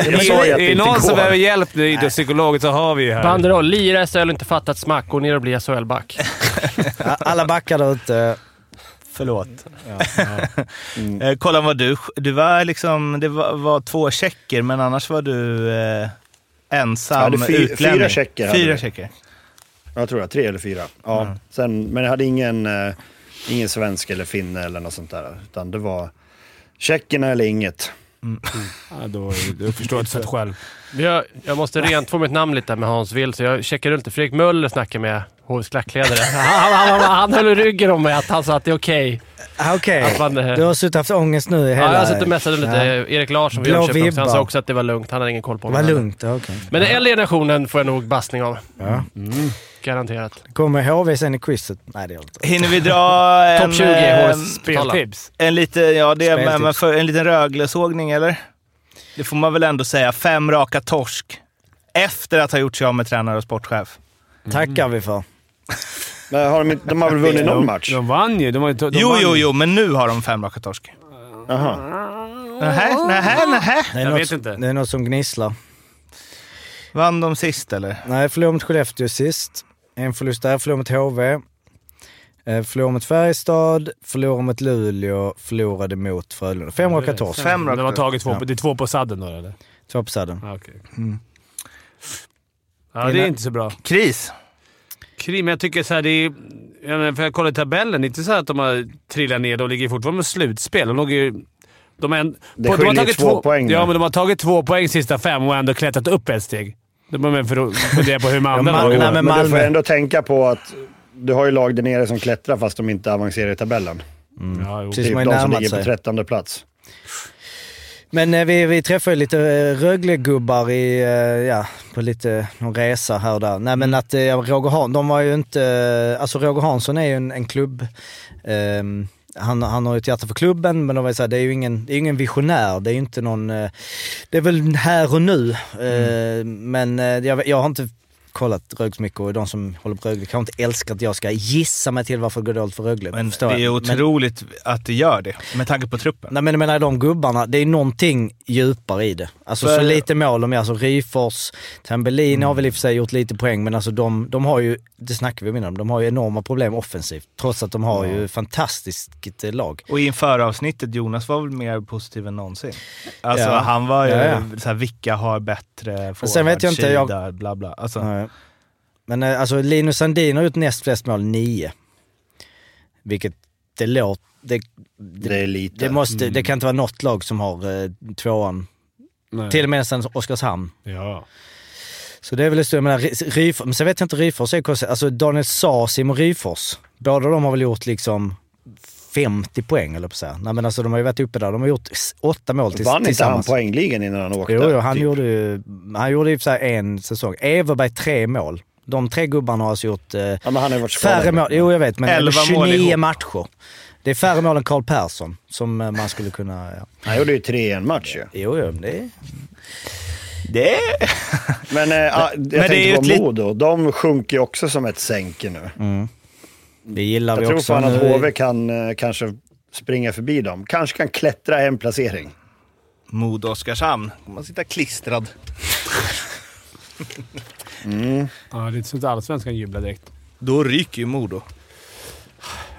[SPEAKER 4] Och jag sa ju
[SPEAKER 2] Är
[SPEAKER 4] att
[SPEAKER 2] det
[SPEAKER 4] det
[SPEAKER 2] någon
[SPEAKER 4] inte
[SPEAKER 2] som behöver
[SPEAKER 4] går.
[SPEAKER 2] hjälp i idrottspsykologen så har vi ju här.
[SPEAKER 9] Banderoll. Lira SHL, inte fattat smack. Gå ner och bli SHL-back.
[SPEAKER 1] Alla backar där ute. Förlåt.
[SPEAKER 3] Eh, kolla vad du... Du var liksom... Det var, var två tjecker, men annars var du eh,
[SPEAKER 4] Jag
[SPEAKER 3] ensam
[SPEAKER 4] hade fy-
[SPEAKER 3] utlänning.
[SPEAKER 4] fyra tjecker hade
[SPEAKER 3] Fyra
[SPEAKER 4] vi.
[SPEAKER 3] tjecker.
[SPEAKER 4] Jag tror det, tre eller fyra. Ja. Sen, men jag hade ingen, eh, ingen svensk eller finne eller något sånt där. Utan det var tjeckerna eller inget.
[SPEAKER 2] Ja, då, du förstår inte sätt själv.
[SPEAKER 9] Jag, jag måste rent få mitt namn lite med Hans Wild, så jag checkar runt. det. Fredrik Möller snackade med HVs klackkläder. Han, han, han, han höll i ryggen om mig att han sa att det är okej.
[SPEAKER 1] Ah, Okej,
[SPEAKER 9] Att man, eh,
[SPEAKER 1] du har suttit och haft ångest nu i hela...
[SPEAKER 9] Ja, jag har suttit och messat lite.
[SPEAKER 1] Ja.
[SPEAKER 9] Erik Larsson vid
[SPEAKER 1] Blå
[SPEAKER 9] Jönköping också, han sa
[SPEAKER 1] vibbar.
[SPEAKER 9] också att det var lugnt. Han hade ingen koll på
[SPEAKER 1] Det
[SPEAKER 9] mig.
[SPEAKER 1] var lugnt, ja, okej.
[SPEAKER 9] Men den äldre generationen får jag nog bassning av. Mm.
[SPEAKER 1] Ja.
[SPEAKER 9] Garanterat.
[SPEAKER 1] Kommer HV sen i quizet? Nej, det gör det inte.
[SPEAKER 3] Hinner vi dra en...
[SPEAKER 9] Topp 20
[SPEAKER 3] eh,
[SPEAKER 9] HVs spelare.
[SPEAKER 3] En liten, ja, det är,
[SPEAKER 1] Speltips.
[SPEAKER 3] men, men för, en liten Röglesågning, eller? Det får man väl ändå säga. Fem raka torsk. Efter att ha gjort sig av med tränare och sportchef.
[SPEAKER 1] Tackar vi för.
[SPEAKER 4] Men har de, inte- de har väl vunnit någon match?
[SPEAKER 2] De vann ju. De var ju de
[SPEAKER 3] Jo,
[SPEAKER 2] vann ju.
[SPEAKER 3] jo, jo, men nu har de fem raka torsk.
[SPEAKER 4] Jaha.
[SPEAKER 3] Nähä, nähä, nähä.
[SPEAKER 1] Det är,
[SPEAKER 2] Jag
[SPEAKER 1] något,
[SPEAKER 2] vet inte.
[SPEAKER 1] det är något som gnisslar.
[SPEAKER 3] Vann de sist, eller?
[SPEAKER 1] Nej, förlorade mot Skellefteå sist. En förlust där, förlorade mot HV. Eh, Förlorade mot Färjestad, förlorade mot Luleå, förlorade mot Frölunda. Fem raka torsk.
[SPEAKER 3] Fem
[SPEAKER 2] De har
[SPEAKER 3] raka
[SPEAKER 2] tagit två.
[SPEAKER 1] Ja.
[SPEAKER 2] på- Det är två på sadden då, eller?
[SPEAKER 1] Två på sadden.
[SPEAKER 2] Ah, okej. Ja, det är inte så bra.
[SPEAKER 3] Kris.
[SPEAKER 2] Krim, jag tycker så här, det är, jag menar, för jag kollar i tabellen, det är inte så här att de har trillat ner. De ligger fortfarande med slutspel. De låg ju... De, har en,
[SPEAKER 4] Det skiljer två poäng nu.
[SPEAKER 2] Ja, men de har tagit två poäng sista fem och ändå klättrat upp ett steg. Då börjar man för- fundera på hur de andra
[SPEAKER 1] Ja,
[SPEAKER 2] lagen
[SPEAKER 1] nej,
[SPEAKER 2] har
[SPEAKER 1] men
[SPEAKER 4] Men du får
[SPEAKER 1] Malmö.
[SPEAKER 4] ändå tänka på att du har ju lag där nere som klättrar fast de inte avancerar i tabellen.
[SPEAKER 2] Ja, jo.
[SPEAKER 1] Precis,
[SPEAKER 4] Typ
[SPEAKER 1] man
[SPEAKER 4] de
[SPEAKER 1] har
[SPEAKER 4] som
[SPEAKER 1] närmat
[SPEAKER 4] ligger
[SPEAKER 1] sig.
[SPEAKER 4] på trettonde plats.
[SPEAKER 1] Men eh, vi, vi träffade ju lite eh, Röglegubbar i, eh, ja, på lite någon resa här och där. Nej
[SPEAKER 3] Mm.
[SPEAKER 1] men att eh, Roger Hansson, de var ju inte, eh, alltså Roger Hansson är ju en, en klubb, ehm, han, han har ju ett hjärta för klubben men de var ju så här, det är ju ingen, det är ju ingen visionär, det är ju inte någon, eh, det är väl här och nu. Eh,
[SPEAKER 3] Mm.
[SPEAKER 1] Men eh, jag, jag har inte kollat Rögle så mycket och de som håller på Rögle kanske inte älskar att jag ska gissa mig till varför det går dåligt för Rögle.
[SPEAKER 3] Men det
[SPEAKER 1] Förstår
[SPEAKER 3] är
[SPEAKER 1] jag. Men-
[SPEAKER 3] otroligt att det gör det, med tanke på truppen.
[SPEAKER 1] Nej men jag menar de gubbarna, det är någonting djupare i det. Mm. Alltså
[SPEAKER 3] För-
[SPEAKER 1] så lite mål de gör. Alltså Ryfors, Tambellin har väl i och för sig gjort lite poäng men alltså de, de har ju, det snackar vi om innan, de har ju enorma problem offensivt. Trots att de har ju fantastiskt eh, lag.
[SPEAKER 3] Och inför avsnittet, Jonas var väl mer positiv än någonsin. Alltså
[SPEAKER 1] Ja.
[SPEAKER 3] han var ju
[SPEAKER 1] Ja, ja.
[SPEAKER 3] såhär, vilka har bättre
[SPEAKER 1] sen vet jag inte, jag-
[SPEAKER 3] forwardsida, bla bla. Alltså,
[SPEAKER 1] Nej. Eh, Men eh, alltså Linus Sandin har gjort näst flest mål, nio. Vilket det låter... Det, det,
[SPEAKER 4] Det är
[SPEAKER 1] det,
[SPEAKER 4] lite.
[SPEAKER 1] måste,
[SPEAKER 2] Mm.
[SPEAKER 1] det kan inte vara något lag som har eh, tvåan.
[SPEAKER 2] Nej.
[SPEAKER 1] Till och med nästan Oskarshamn.
[SPEAKER 2] Ja.
[SPEAKER 1] Så det är väl det stora. Jag menar, Ry- Ryfors, men sen vet jag inte, Ryfors är konstigt. Alltså Daniel Sasim och Ryfors, båda de har väl gjort liksom 50 poäng eller på att säga. Nej men alltså de har ju varit uppe där. De har gjort s- åtta mål tills,
[SPEAKER 4] Vann inte han
[SPEAKER 1] tillsammans.
[SPEAKER 4] poängligan innan han åkte?
[SPEAKER 1] Jo, jo, han
[SPEAKER 4] Typ.
[SPEAKER 1] gjorde ju, han gjorde ju så här en säsong. Everberg tre mål. De tre gubbarna har alltså gjort eh,
[SPEAKER 4] Ja, men han har ju varit skadad.
[SPEAKER 1] färre mål. Jo, jag vet, men
[SPEAKER 3] Elva mål
[SPEAKER 1] 29
[SPEAKER 3] ihop.
[SPEAKER 1] matcher. Det är färre mål än Karl Persson som eh, man skulle kunna... Ja.
[SPEAKER 4] Han gjorde ju tre i en match ju.
[SPEAKER 1] Jo, jo, det är...
[SPEAKER 3] det är
[SPEAKER 4] Men, eh, ah, jag
[SPEAKER 3] det är ju
[SPEAKER 4] tänkte
[SPEAKER 3] ett
[SPEAKER 4] på
[SPEAKER 3] lit-
[SPEAKER 4] Modo. De sjunker ju också som ett sänke nu.
[SPEAKER 1] Mm. Det gillar
[SPEAKER 4] Jag
[SPEAKER 1] vi
[SPEAKER 4] tror
[SPEAKER 1] också.
[SPEAKER 4] fan att
[SPEAKER 1] Nu-
[SPEAKER 4] HV kan eh, kanske springa förbi dem. Kanske kan klättra en placering.
[SPEAKER 3] Mod Oskarshamn. Man sitter klistrad.
[SPEAKER 2] ja, det är inte så att allsvenskan jublar direkt.
[SPEAKER 3] Då ryker ju Modo.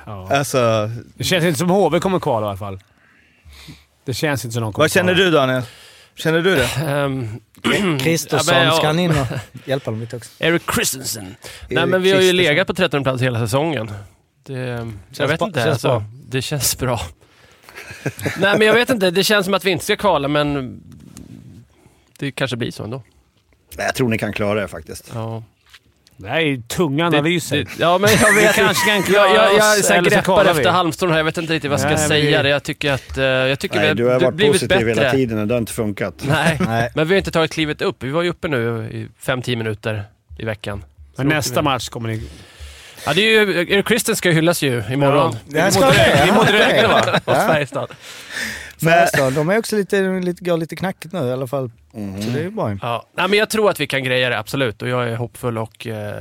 [SPEAKER 2] Ja.
[SPEAKER 3] Alltså,
[SPEAKER 2] Det känns inte som HV kommer kvala i alla fall. Det känns inte som de kommer
[SPEAKER 3] vad känner
[SPEAKER 2] kvala.
[SPEAKER 3] du Daniel? Känner du det?
[SPEAKER 9] Ehm,
[SPEAKER 1] Kristersson,
[SPEAKER 9] Ja, men jag-
[SPEAKER 1] ska han in och hjälpa dem lite också?
[SPEAKER 9] Eric Christensen. Nej, men vi har ju
[SPEAKER 1] Christensen.
[SPEAKER 9] legat på 13 plats hela säsongen. Det, jag vet
[SPEAKER 1] bra-
[SPEAKER 9] inte.
[SPEAKER 1] känns
[SPEAKER 9] alltså,
[SPEAKER 1] bra.
[SPEAKER 9] det känns bra. Nej, men jag vet inte. Det känns som att vi inte ska kvala, men det kanske blir så ändå.
[SPEAKER 4] Nej, Jag tror ni kan klara det faktiskt.
[SPEAKER 9] Ja,
[SPEAKER 2] Det här är ju tunga analyser.
[SPEAKER 9] det, ja men jag vet inte.
[SPEAKER 2] kanske kan
[SPEAKER 9] Jag, jag, jag
[SPEAKER 2] oss,
[SPEAKER 9] så här
[SPEAKER 2] eller så
[SPEAKER 9] greppar
[SPEAKER 2] kvalar
[SPEAKER 9] efter
[SPEAKER 2] vi.
[SPEAKER 9] Halmstad här. Jag vet inte riktigt vad jag ska
[SPEAKER 2] Nej, men vi-
[SPEAKER 9] säga. Det. Jag tycker att... eh, Jag tycker
[SPEAKER 4] Nej,
[SPEAKER 9] vi
[SPEAKER 4] du har varit
[SPEAKER 9] blivit
[SPEAKER 4] positiv
[SPEAKER 9] bättre.
[SPEAKER 4] hela tiden och det har inte funkat.
[SPEAKER 9] Nej,
[SPEAKER 1] Nej.
[SPEAKER 9] men vi har inte tagit klivet upp. Vi var ju uppe nu i 5-10 minuter i veckan.
[SPEAKER 2] Men nästa match kommer ni...
[SPEAKER 9] Ja, det är ju... Eric Christensen ska ju hyllas ju imorgon.
[SPEAKER 1] Det här ska vi!
[SPEAKER 9] Mot Rögle va? Och
[SPEAKER 1] Ja.
[SPEAKER 9] Färjestad.
[SPEAKER 1] Färjestad, de är också lite, lite, går lite knackigt nu i alla fall.
[SPEAKER 4] Mhm.
[SPEAKER 1] Så det är ju bra ju.
[SPEAKER 9] Ja. Nej, men jag tror att vi kan greja det, absolut. Och jag är hoppfull och eh,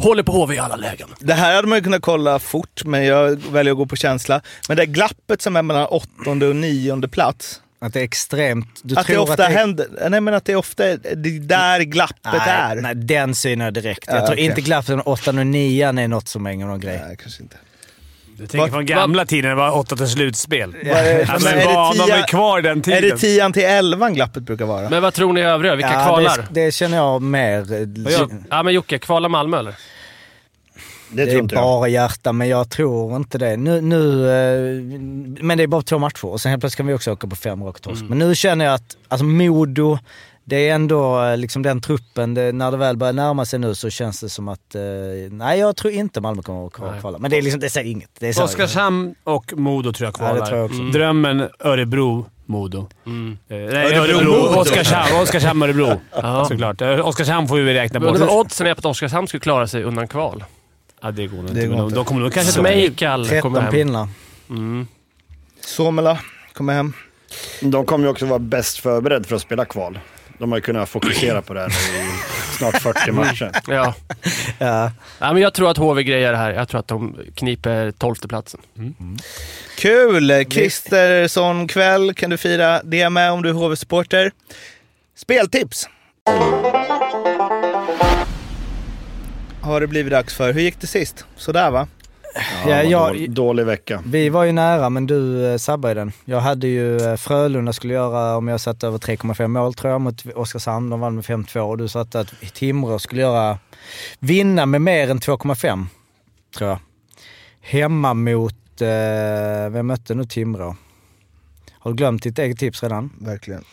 [SPEAKER 9] håller på HV i alla lägen.
[SPEAKER 3] Det här hade man ju kunnat kolla fort, men jag väljer att gå på känsla. Men det glappet som är mellan åttonde och nionde plats.
[SPEAKER 1] Att det är extremt. Du
[SPEAKER 3] att det ofta händer. Nej, men att det ofta är det är där glappet är.
[SPEAKER 1] Nej, nej, den synar jag direkt. Jag
[SPEAKER 3] Ja,
[SPEAKER 1] tror
[SPEAKER 3] okej.
[SPEAKER 1] inte glappet mellan 8 och 9 är något som är någon grej.
[SPEAKER 3] Nej, kanske inte.
[SPEAKER 2] Jag tänker
[SPEAKER 3] Vad-
[SPEAKER 2] från gamla tiden, det var åtta till slutspel. Ja,
[SPEAKER 3] Vad är-
[SPEAKER 2] men
[SPEAKER 3] men är det
[SPEAKER 2] vad, de
[SPEAKER 3] tia-
[SPEAKER 2] är kvar i den tiden.
[SPEAKER 3] Är det tian till elvan glappet brukar vara?
[SPEAKER 9] Men vad tror ni övriga? Vilka
[SPEAKER 1] Ja,
[SPEAKER 9] kvalar?
[SPEAKER 1] Det, det känner jag mer.
[SPEAKER 9] Ja, men Jocke, kvala Malmö eller?
[SPEAKER 1] Det, är
[SPEAKER 4] tror inte jag.
[SPEAKER 1] bara hjärta, men jag tror inte det. Nu, nu, eh, men det är bara två matcher och sen helt plötsligt kan vi också åka på fem raka torsk.
[SPEAKER 11] Mm.
[SPEAKER 1] Men nu känner jag att alltså Modo, det är ändå eh, liksom den truppen, det, när det väl börjar närma sig nu så känns det som att... Eh, nej, jag tror inte Malmö kommer att kvala.
[SPEAKER 2] Nej.
[SPEAKER 1] kvala. Men det, är liksom, det säger inget. Det är så-
[SPEAKER 2] Oskarshamn och Modo tror jag
[SPEAKER 1] Ja, det
[SPEAKER 2] kvalar.
[SPEAKER 1] tror jag också. Mm.
[SPEAKER 2] Drömmen Örebro-Modo. Eh, nej,
[SPEAKER 9] Örebro.
[SPEAKER 2] Örebro. Oskarshamn. Oskarshamn-Örebro. Såklart. Eh, Oskarshamn får vi räkna
[SPEAKER 9] Men
[SPEAKER 2] bort.
[SPEAKER 9] undrar vad oddsen är på att Oskarshamn skulle klara sig undan kval.
[SPEAKER 2] Ja, det går nog
[SPEAKER 9] inte.
[SPEAKER 2] Det går
[SPEAKER 9] Men de-
[SPEAKER 2] inte.
[SPEAKER 9] De kommer nog kanske...
[SPEAKER 2] Smejkal
[SPEAKER 9] kommer 13 hem. pinnar.
[SPEAKER 3] Somela kommer hem.
[SPEAKER 4] De kommer ju också vara bäst förberedd för att spela kval. De har ju kunnat fokusera på det här nu i snart 40 matcher.
[SPEAKER 9] Ja.
[SPEAKER 1] ja.
[SPEAKER 9] men jag tror att HV grejer det här. Jag tror att de kniper tolfteplatsen.
[SPEAKER 3] Kul! Kristersson kväll kan du fira det med om du är HV-supporter. Speltips! Har det blivit dags för. Hur gick det sist? Sådär va?
[SPEAKER 1] Ja, Ja, vad jag- dålig-
[SPEAKER 4] dålig vecka.
[SPEAKER 1] Vi var ju nära, men du eh, sabbade den. Jag hade ju eh, Frölunda skulle göra, om jag satt över 3,5 mål tror jag, mot Oskarshamn. De vann med 5-2 och du satte att Timrå skulle göra, vinna med mer än 2,5. Tror jag. Hemma mot, eh, vem mötte nu Timrå? Har du glömt ditt eget tips redan?
[SPEAKER 3] Verkligen.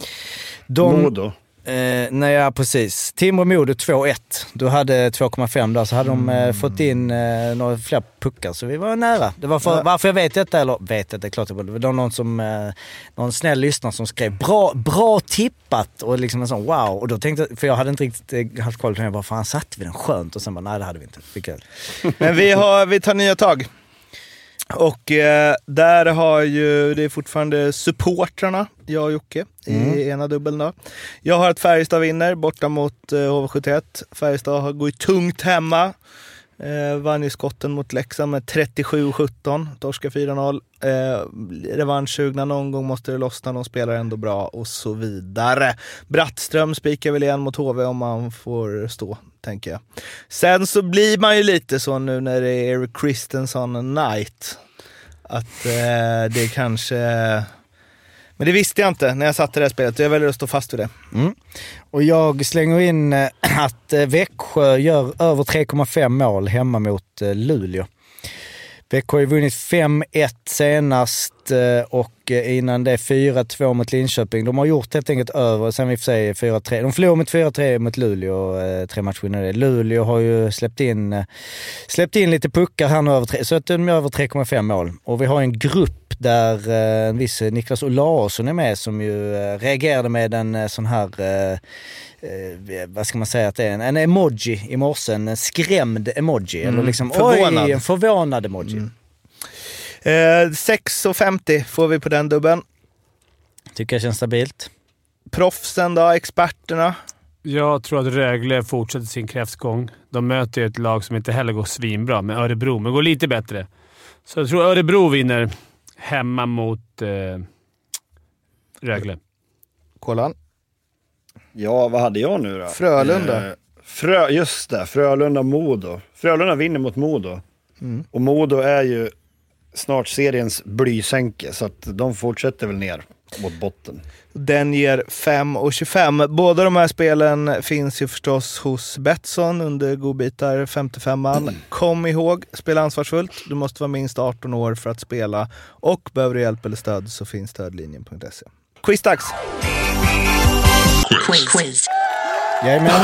[SPEAKER 4] Modo.
[SPEAKER 1] Eh, nej, ja, precis. Timrå-Modo 2-1. Du hade 2,5 där, så hade de eh, fått in eh, några fler puckar, så vi var nära. Det var för,
[SPEAKER 11] Ja.
[SPEAKER 1] Varför jag vet detta, eller vet detta, klart jag borde- det var någon, som, eh, någon snäll lyssnare som skrev “bra, bra tippat” och liksom en sån “wow”. Och då tänkte jag, för jag hade inte riktigt eh, haft koll på det, jag bara “fan, satte vi den skönt?” och sen bara “nej, det hade vi inte”. Vilket...
[SPEAKER 3] Men vi, har, vi tar nya tag. Och eh, där har ju, det är fortfarande supportrarna, jag och Jocke,
[SPEAKER 11] Mm.
[SPEAKER 3] i ena dubbeln då. Jag har att Färjestad vinner borta mot eh, HV71. Färjestad har- går ju tungt hemma. Eh, vann ju skotten mot Leksand med 37-17, torska 4-0. Eh, revanschsugna någon gång måste det lossna, de spelar ändå bra och så vidare. Brattström spikar väl igen mot HV om han får stå, tänker jag. Sen så blir man ju lite så nu när det är Eric Christensen night, att eh, det kanske... Men det visste jag inte när jag satte det här spelet, jag väljer att stå fast vid det.
[SPEAKER 1] Mm. Och jag slänger in eh, att eh, Växjö gör över 3,5 mål hemma mot eh, Luleå. Växjö har ju vunnit 5-1 senast eh, och eh, innan det 4-2 mot Linköping. De har gjort helt enkelt över, sen vi får se 4-3. De förlorade med 4-3 mot Luleå, eh, tre matcher innan det. Luleå har ju släppt in, eh, släppt in lite puckar här nu, över tre, så att de gör över 3,5 mål. Och vi har en grupp där eh, en viss Niklas Olausson är med som ju eh, reagerade med en eh, sån här eh, eh, vad ska man säga att det är, en, en emoji i morse, en skrämd emoji.
[SPEAKER 3] Mm.
[SPEAKER 1] Eller liksom,
[SPEAKER 3] Förvånad.
[SPEAKER 1] Oj, en förvånad emoji.
[SPEAKER 3] Eh, 6,50 får vi på den dubben.
[SPEAKER 1] Tycker jag känns stabilt.
[SPEAKER 3] Proffsen då, experterna?
[SPEAKER 2] Jag tror att Rögle fortsätter sin kräftgång. De möter ju ett lag som inte heller går svinbra, med Örebro, men går lite bättre. Så jag tror Örebro vinner hemma mot eh, Rögle.
[SPEAKER 3] Kolan.
[SPEAKER 4] Ja, vad hade jag nu då?
[SPEAKER 3] Frölunda.
[SPEAKER 4] Eh, Frö, just det, Frölunda-Modo. Frölunda vinner mot Modo.
[SPEAKER 3] Mm.
[SPEAKER 4] Och Modo är ju snart seriens blysänke, så att de fortsätter väl ner mot botten.
[SPEAKER 3] Den ger 5,25. Båda de här spelen finns ju förstås hos Betsson under godbitar 55an. Kom ihåg, spela ansvarsfullt. Du måste vara minst 18 år för att spela och behöver du hjälp eller stöd så finns stödlinjen.se. Quizdags!
[SPEAKER 7] Quiz. Quiz.
[SPEAKER 1] Jajamän.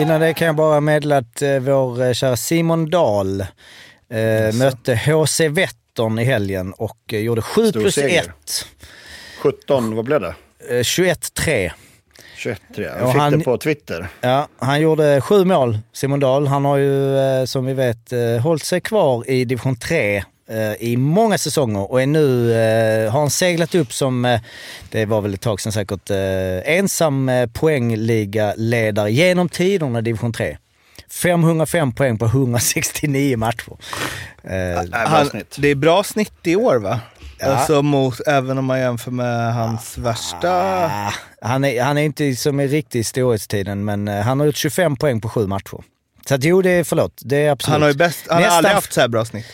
[SPEAKER 1] Innan det kan jag bara meddela att eh, vår eh, kära Simon Dahl eh, mötte HC Vättern i helgen och eh, gjorde 7
[SPEAKER 4] Stor
[SPEAKER 1] plus
[SPEAKER 4] seger.
[SPEAKER 1] 1.
[SPEAKER 4] 17, vad blev det?
[SPEAKER 1] Eh, 21-3.
[SPEAKER 4] 21 tror jag.
[SPEAKER 1] Och
[SPEAKER 4] Jag fick
[SPEAKER 1] han-
[SPEAKER 4] det på Twitter.
[SPEAKER 1] Ja, han gjorde sju mål, Simon Dahl. Han har ju eh, som vi vet eh, hållit sig kvar i division 3 eh, i många säsonger och är nu, eh, har han seglat upp som, eh, det var väl ett tag sedan säkert, eh, ensam eh, poängligaledare genom tiderna i division 3. 505 poäng på 169 matcher. Eh,
[SPEAKER 3] Han, det är Äh, bra snitt i år va?
[SPEAKER 1] Ja.
[SPEAKER 3] Alltså mot, även om man jämför med hans värsta...
[SPEAKER 1] ah, Han är, han är inte som i riktig storhetstiden, men eh, han har gjort 25 poäng på sju matcher. Så att, jo, det är, förlåt, det är absolut.
[SPEAKER 3] Han har ju bäst, han har
[SPEAKER 1] Nästan-
[SPEAKER 3] aldrig haft så här bra snitt.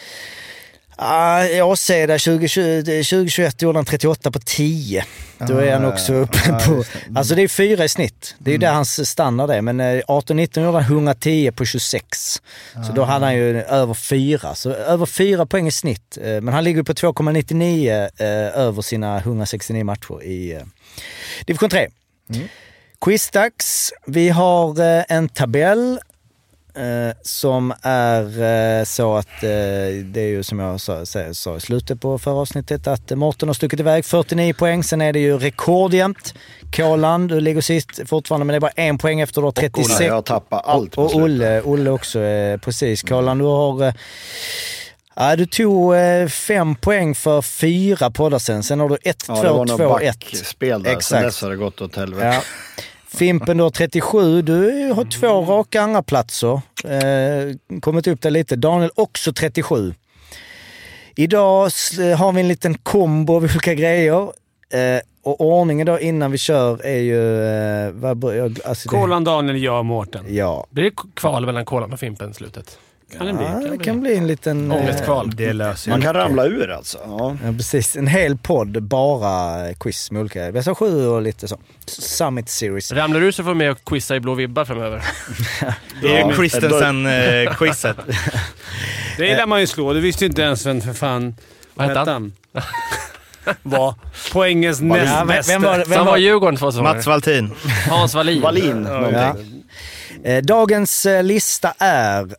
[SPEAKER 1] Ah, I Åseda 2020 2021 eh, gjorde han 38 på 10. Då är han också uppe på... Alltså det är fyra i snitt. Det är ju där hans standard är. Men 18-19 gjorde han 110 på 26. Så då hade han ju över fyra. Så över fyra poäng i snitt. Eh, Men han ligger på 2,99 eh, över sina 169 matcher i eh, division 3. Quizdags. Vi har eh, en tabell eh, som är eh, så att eh, det är ju som jag sa, sa, sa i slutet på förra avsnittet att eh, Mårten har stuckit iväg 49 poäng. Sen är det ju rekordjämnt. Kåland, du ligger sist fortfarande men det är bara en poäng efter. Du har 36.
[SPEAKER 4] Olle, jag tappar allt på
[SPEAKER 1] Och
[SPEAKER 4] slutet.
[SPEAKER 1] Olle, Olle också, eh, precis. Kåland, du har... eh, Ja, du tog eh, fem poäng för fyra poddar sen. Sen har du 1,
[SPEAKER 4] Ja, det var
[SPEAKER 1] 2,
[SPEAKER 4] något
[SPEAKER 1] 2, 1.
[SPEAKER 4] backspel där. Sen
[SPEAKER 1] Exakt.
[SPEAKER 4] dess har det gått åt helvete.
[SPEAKER 1] Ja. Fimpen då 37, du har två raka andra platser. Eh, kommit upp där lite. Daniel också 37. Idag s- eh, har vi en liten kombo av olika grejer. Eh, och ordningen då innan vi kör är ju... Eh, vad bör, jag, alltså det-
[SPEAKER 9] Kolan, Daniel, jag och Mårten.
[SPEAKER 1] Ja.
[SPEAKER 9] Blir det kval mellan Kolan och Fimpen i slutet? Kan det bli?
[SPEAKER 1] Ja, det kan bli en liten... eh,
[SPEAKER 9] Ångestkval.
[SPEAKER 3] Det löser
[SPEAKER 4] Man
[SPEAKER 3] jag.
[SPEAKER 4] kan ramla ur alltså. Ja.
[SPEAKER 1] Ja, precis. En hel podd, bara quiz med olika... Vi har så sju och lite så. Summit Series.
[SPEAKER 9] Ramlar du så får du med och quizza i blå vibbar framöver.
[SPEAKER 3] Det är ju
[SPEAKER 4] Ja.
[SPEAKER 3] Christensen-quizet.
[SPEAKER 2] Det lär man ju slå. Du visste ju inte ens vem för fan...
[SPEAKER 9] Vad hette han?
[SPEAKER 2] Var poängens näst
[SPEAKER 1] vem,
[SPEAKER 2] bästa.
[SPEAKER 1] vem var,
[SPEAKER 9] Så han
[SPEAKER 1] vem
[SPEAKER 9] var i
[SPEAKER 1] var,
[SPEAKER 9] Djurgården två säsonger.
[SPEAKER 3] Mats Valtin.
[SPEAKER 9] Hans Wallin.
[SPEAKER 4] Wallin.
[SPEAKER 1] ja. Eh, Dagens eh, lista är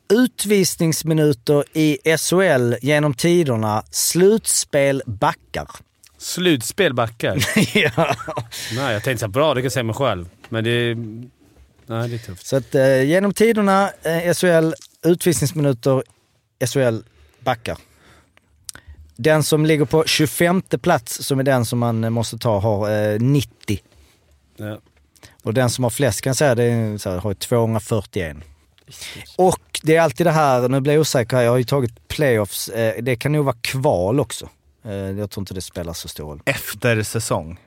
[SPEAKER 1] utvisningsminuter i SHL genom tiderna, slutspel backar.
[SPEAKER 2] Slutspel backar.
[SPEAKER 1] ja.
[SPEAKER 2] Nej, jag tänkte såhär, bra, det kan jag säga mig själv. Men det... Nej, det är tufft.
[SPEAKER 1] Så att eh, genom tiderna, eh, SHL, utvisningsminuter, SHL backar. Den som ligger på 25 plats, som är den som man eh, måste ta, har eh, 90.
[SPEAKER 2] Ja.
[SPEAKER 1] Och den som har flest kan jag säga, det är, så här, har ju 241. Och det är alltid det här, nu blir jag osäker här, jag har ju tagit playoffs, eh, det kan nog vara kval också. Eh, Jag tror inte det spelar så stor roll.
[SPEAKER 3] Efter säsong.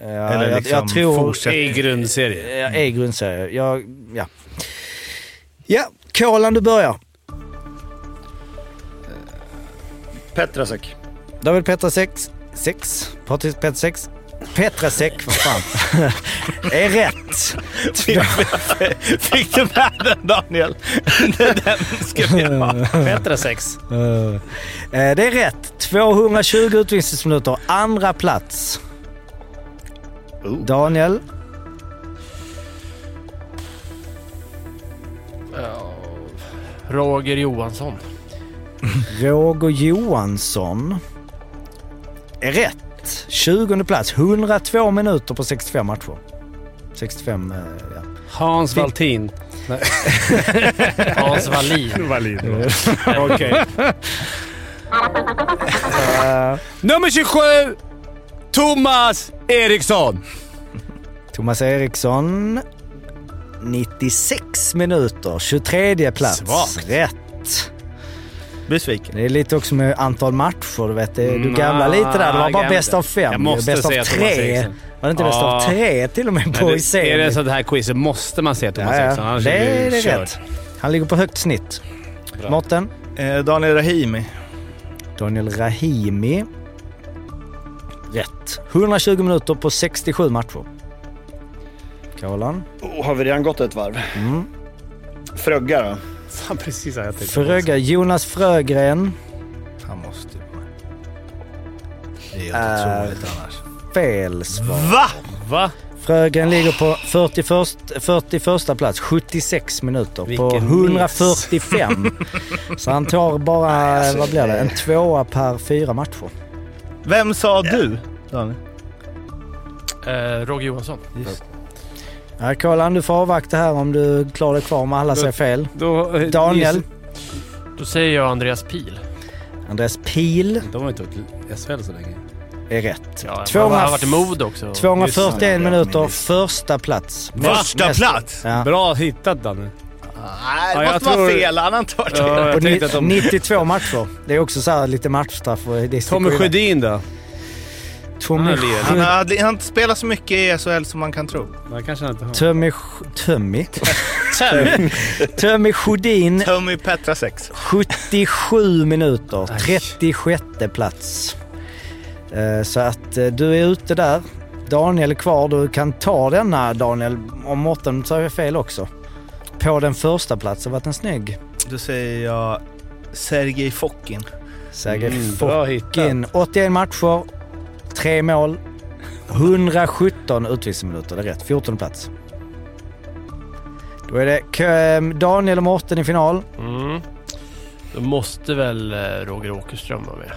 [SPEAKER 1] Eh,
[SPEAKER 3] Eller
[SPEAKER 1] jag,
[SPEAKER 3] liksom
[SPEAKER 1] jag tror...
[SPEAKER 3] fortsätt-
[SPEAKER 2] I grundserie.
[SPEAKER 1] Ja, är grundserie. Jag, ja. Ja, Kolan du börjar.
[SPEAKER 4] Petrasek.
[SPEAKER 1] David Petrasek, 6. Patrik Petrasek. Petrasek, vad fan. är rätt.
[SPEAKER 3] Typ. Fick du med den Daniel? den ska vi ha.
[SPEAKER 2] Petra sex.
[SPEAKER 1] Eh, Det är rätt. 220 utvisningsminuter. Andra plats. Daniel.
[SPEAKER 9] Roger Johansson.
[SPEAKER 1] Roger Johansson. Är rätt. 20 plats. 102 minuter på 65 matcher. 65, eh, ja.
[SPEAKER 2] Hans Valtin.
[SPEAKER 9] Hans Wallin.
[SPEAKER 2] Okej. Nummer 27! Thomas Eriksson.
[SPEAKER 1] Thomas Eriksson. 96 minuter. 23 plats.
[SPEAKER 2] Svagt.
[SPEAKER 1] Rätt.
[SPEAKER 3] Besviken.
[SPEAKER 1] Det är lite också med antal matcher, du vet. Det- Du gamla lite där. Det var bara
[SPEAKER 2] Mm, gamla.
[SPEAKER 1] bäst av fem.
[SPEAKER 2] Jag måste
[SPEAKER 1] bäst
[SPEAKER 2] säga
[SPEAKER 1] av
[SPEAKER 2] Thomas
[SPEAKER 1] tre.
[SPEAKER 2] Eriksson.
[SPEAKER 1] Var det inte bäst
[SPEAKER 2] Ja.
[SPEAKER 1] av tre till och med på
[SPEAKER 2] Är
[SPEAKER 1] i
[SPEAKER 2] det, är
[SPEAKER 1] serien?
[SPEAKER 2] det så att det här quizet måste man se Thomas
[SPEAKER 1] Ja, ja.
[SPEAKER 2] Eriksson? Annars
[SPEAKER 1] Det
[SPEAKER 2] vi
[SPEAKER 1] är det
[SPEAKER 2] körda.
[SPEAKER 1] rätt. Han ligger på högt snitt. Mårten?
[SPEAKER 3] Eh, Daniel Rahimi.
[SPEAKER 1] Daniel Rahimi. Rätt. 120 minuter på 67 matcher. Kolan.
[SPEAKER 4] Oh, har vi redan gått ett varv?
[SPEAKER 1] Mm.
[SPEAKER 4] Frögga då?
[SPEAKER 2] Fan, precis så här jag tänkte.
[SPEAKER 1] Fröga, Jonas Frögren.
[SPEAKER 3] Han måste ju vara med. Det är helt otroligt annars.
[SPEAKER 1] Fel svar.
[SPEAKER 3] Va?
[SPEAKER 2] Va?
[SPEAKER 1] Frögren ligger på 41, 41 plats, 76 minuter på
[SPEAKER 2] Vilken
[SPEAKER 1] 145. Så han tar bara,
[SPEAKER 3] Alltså,
[SPEAKER 1] vad blir det, en tvåa per fyra matcher.
[SPEAKER 3] Vem sa du? Daniel?
[SPEAKER 9] Eh, Roger Johansson.
[SPEAKER 1] Ja, Kolan, du får avvakta här om du klarar dig kvar om alla säger fel.
[SPEAKER 2] Då, eh,
[SPEAKER 1] Daniel.
[SPEAKER 9] Då säger jag Andreas Pil.
[SPEAKER 1] Andreas Pil
[SPEAKER 2] De har inte varit i SHL så länge.
[SPEAKER 1] är rätt.
[SPEAKER 9] Ja, han
[SPEAKER 1] 200
[SPEAKER 9] har varit i mod också.
[SPEAKER 1] 241 minuter, första plats.
[SPEAKER 3] Första
[SPEAKER 1] Nästa.
[SPEAKER 3] plats?
[SPEAKER 1] Ja.
[SPEAKER 2] Bra hittat, Danne.
[SPEAKER 3] Nej, det
[SPEAKER 2] Ja, jag
[SPEAKER 3] måste vara
[SPEAKER 2] tror-
[SPEAKER 3] fel. Han har inte varit med.
[SPEAKER 2] Ja,
[SPEAKER 1] På
[SPEAKER 2] jag
[SPEAKER 1] ni-
[SPEAKER 2] tänkte att de...
[SPEAKER 1] 92 matcher. Det är också så här lite matchstraff. och det sticker
[SPEAKER 2] Tommy
[SPEAKER 1] iväg.
[SPEAKER 2] Sjödin då?
[SPEAKER 1] Tommy
[SPEAKER 2] Han har lirat.
[SPEAKER 3] Han
[SPEAKER 1] Sjödin.
[SPEAKER 3] har han har inte spelat så mycket i SHL som man kan tro.
[SPEAKER 2] Nej, kanske han inte har. Eh,
[SPEAKER 1] Tömmi... Sch- Tömmi? Töm- Tommy Sjödin.
[SPEAKER 3] Tommy Petrasex.
[SPEAKER 1] 77 minuter, 36 plats. Eh, Så att eh, du är ute där. Daniel är kvar. Du kan ta denna Daniel, om Mårten sa jag fel också. På den första platsen, varit en snygg.
[SPEAKER 3] Då säger jag Sergej Fokin.
[SPEAKER 1] Sergej
[SPEAKER 3] Mm, bra
[SPEAKER 1] Fokin. 81 matcher, 3 mål, 117 utvisningsminuter. Det är rätt. 14 plats. Då är det Kö- Daniel och Mårten i final.
[SPEAKER 9] Mm. Då måste väl eh, Roger Åkerström vara med?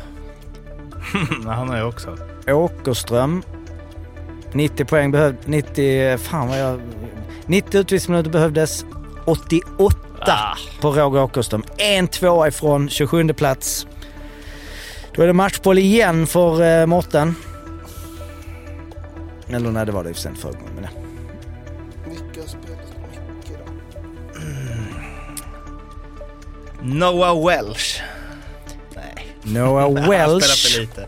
[SPEAKER 3] Han har jag också.
[SPEAKER 1] Åkerström. 90 poäng behövdes. 90... Fan vad jag... 90 utvisningsminuter behövdes. 88 på Roger Åkerström. En tvåa ifrån 27 plats. Då är det matchboll igen för eh, Mårten. Eller nej, det var det i och för sig inte förra gången. Men, ja.
[SPEAKER 3] Mm. Noah Welsh.
[SPEAKER 1] Noah
[SPEAKER 3] Han spelar för
[SPEAKER 1] Welsh.
[SPEAKER 3] lite.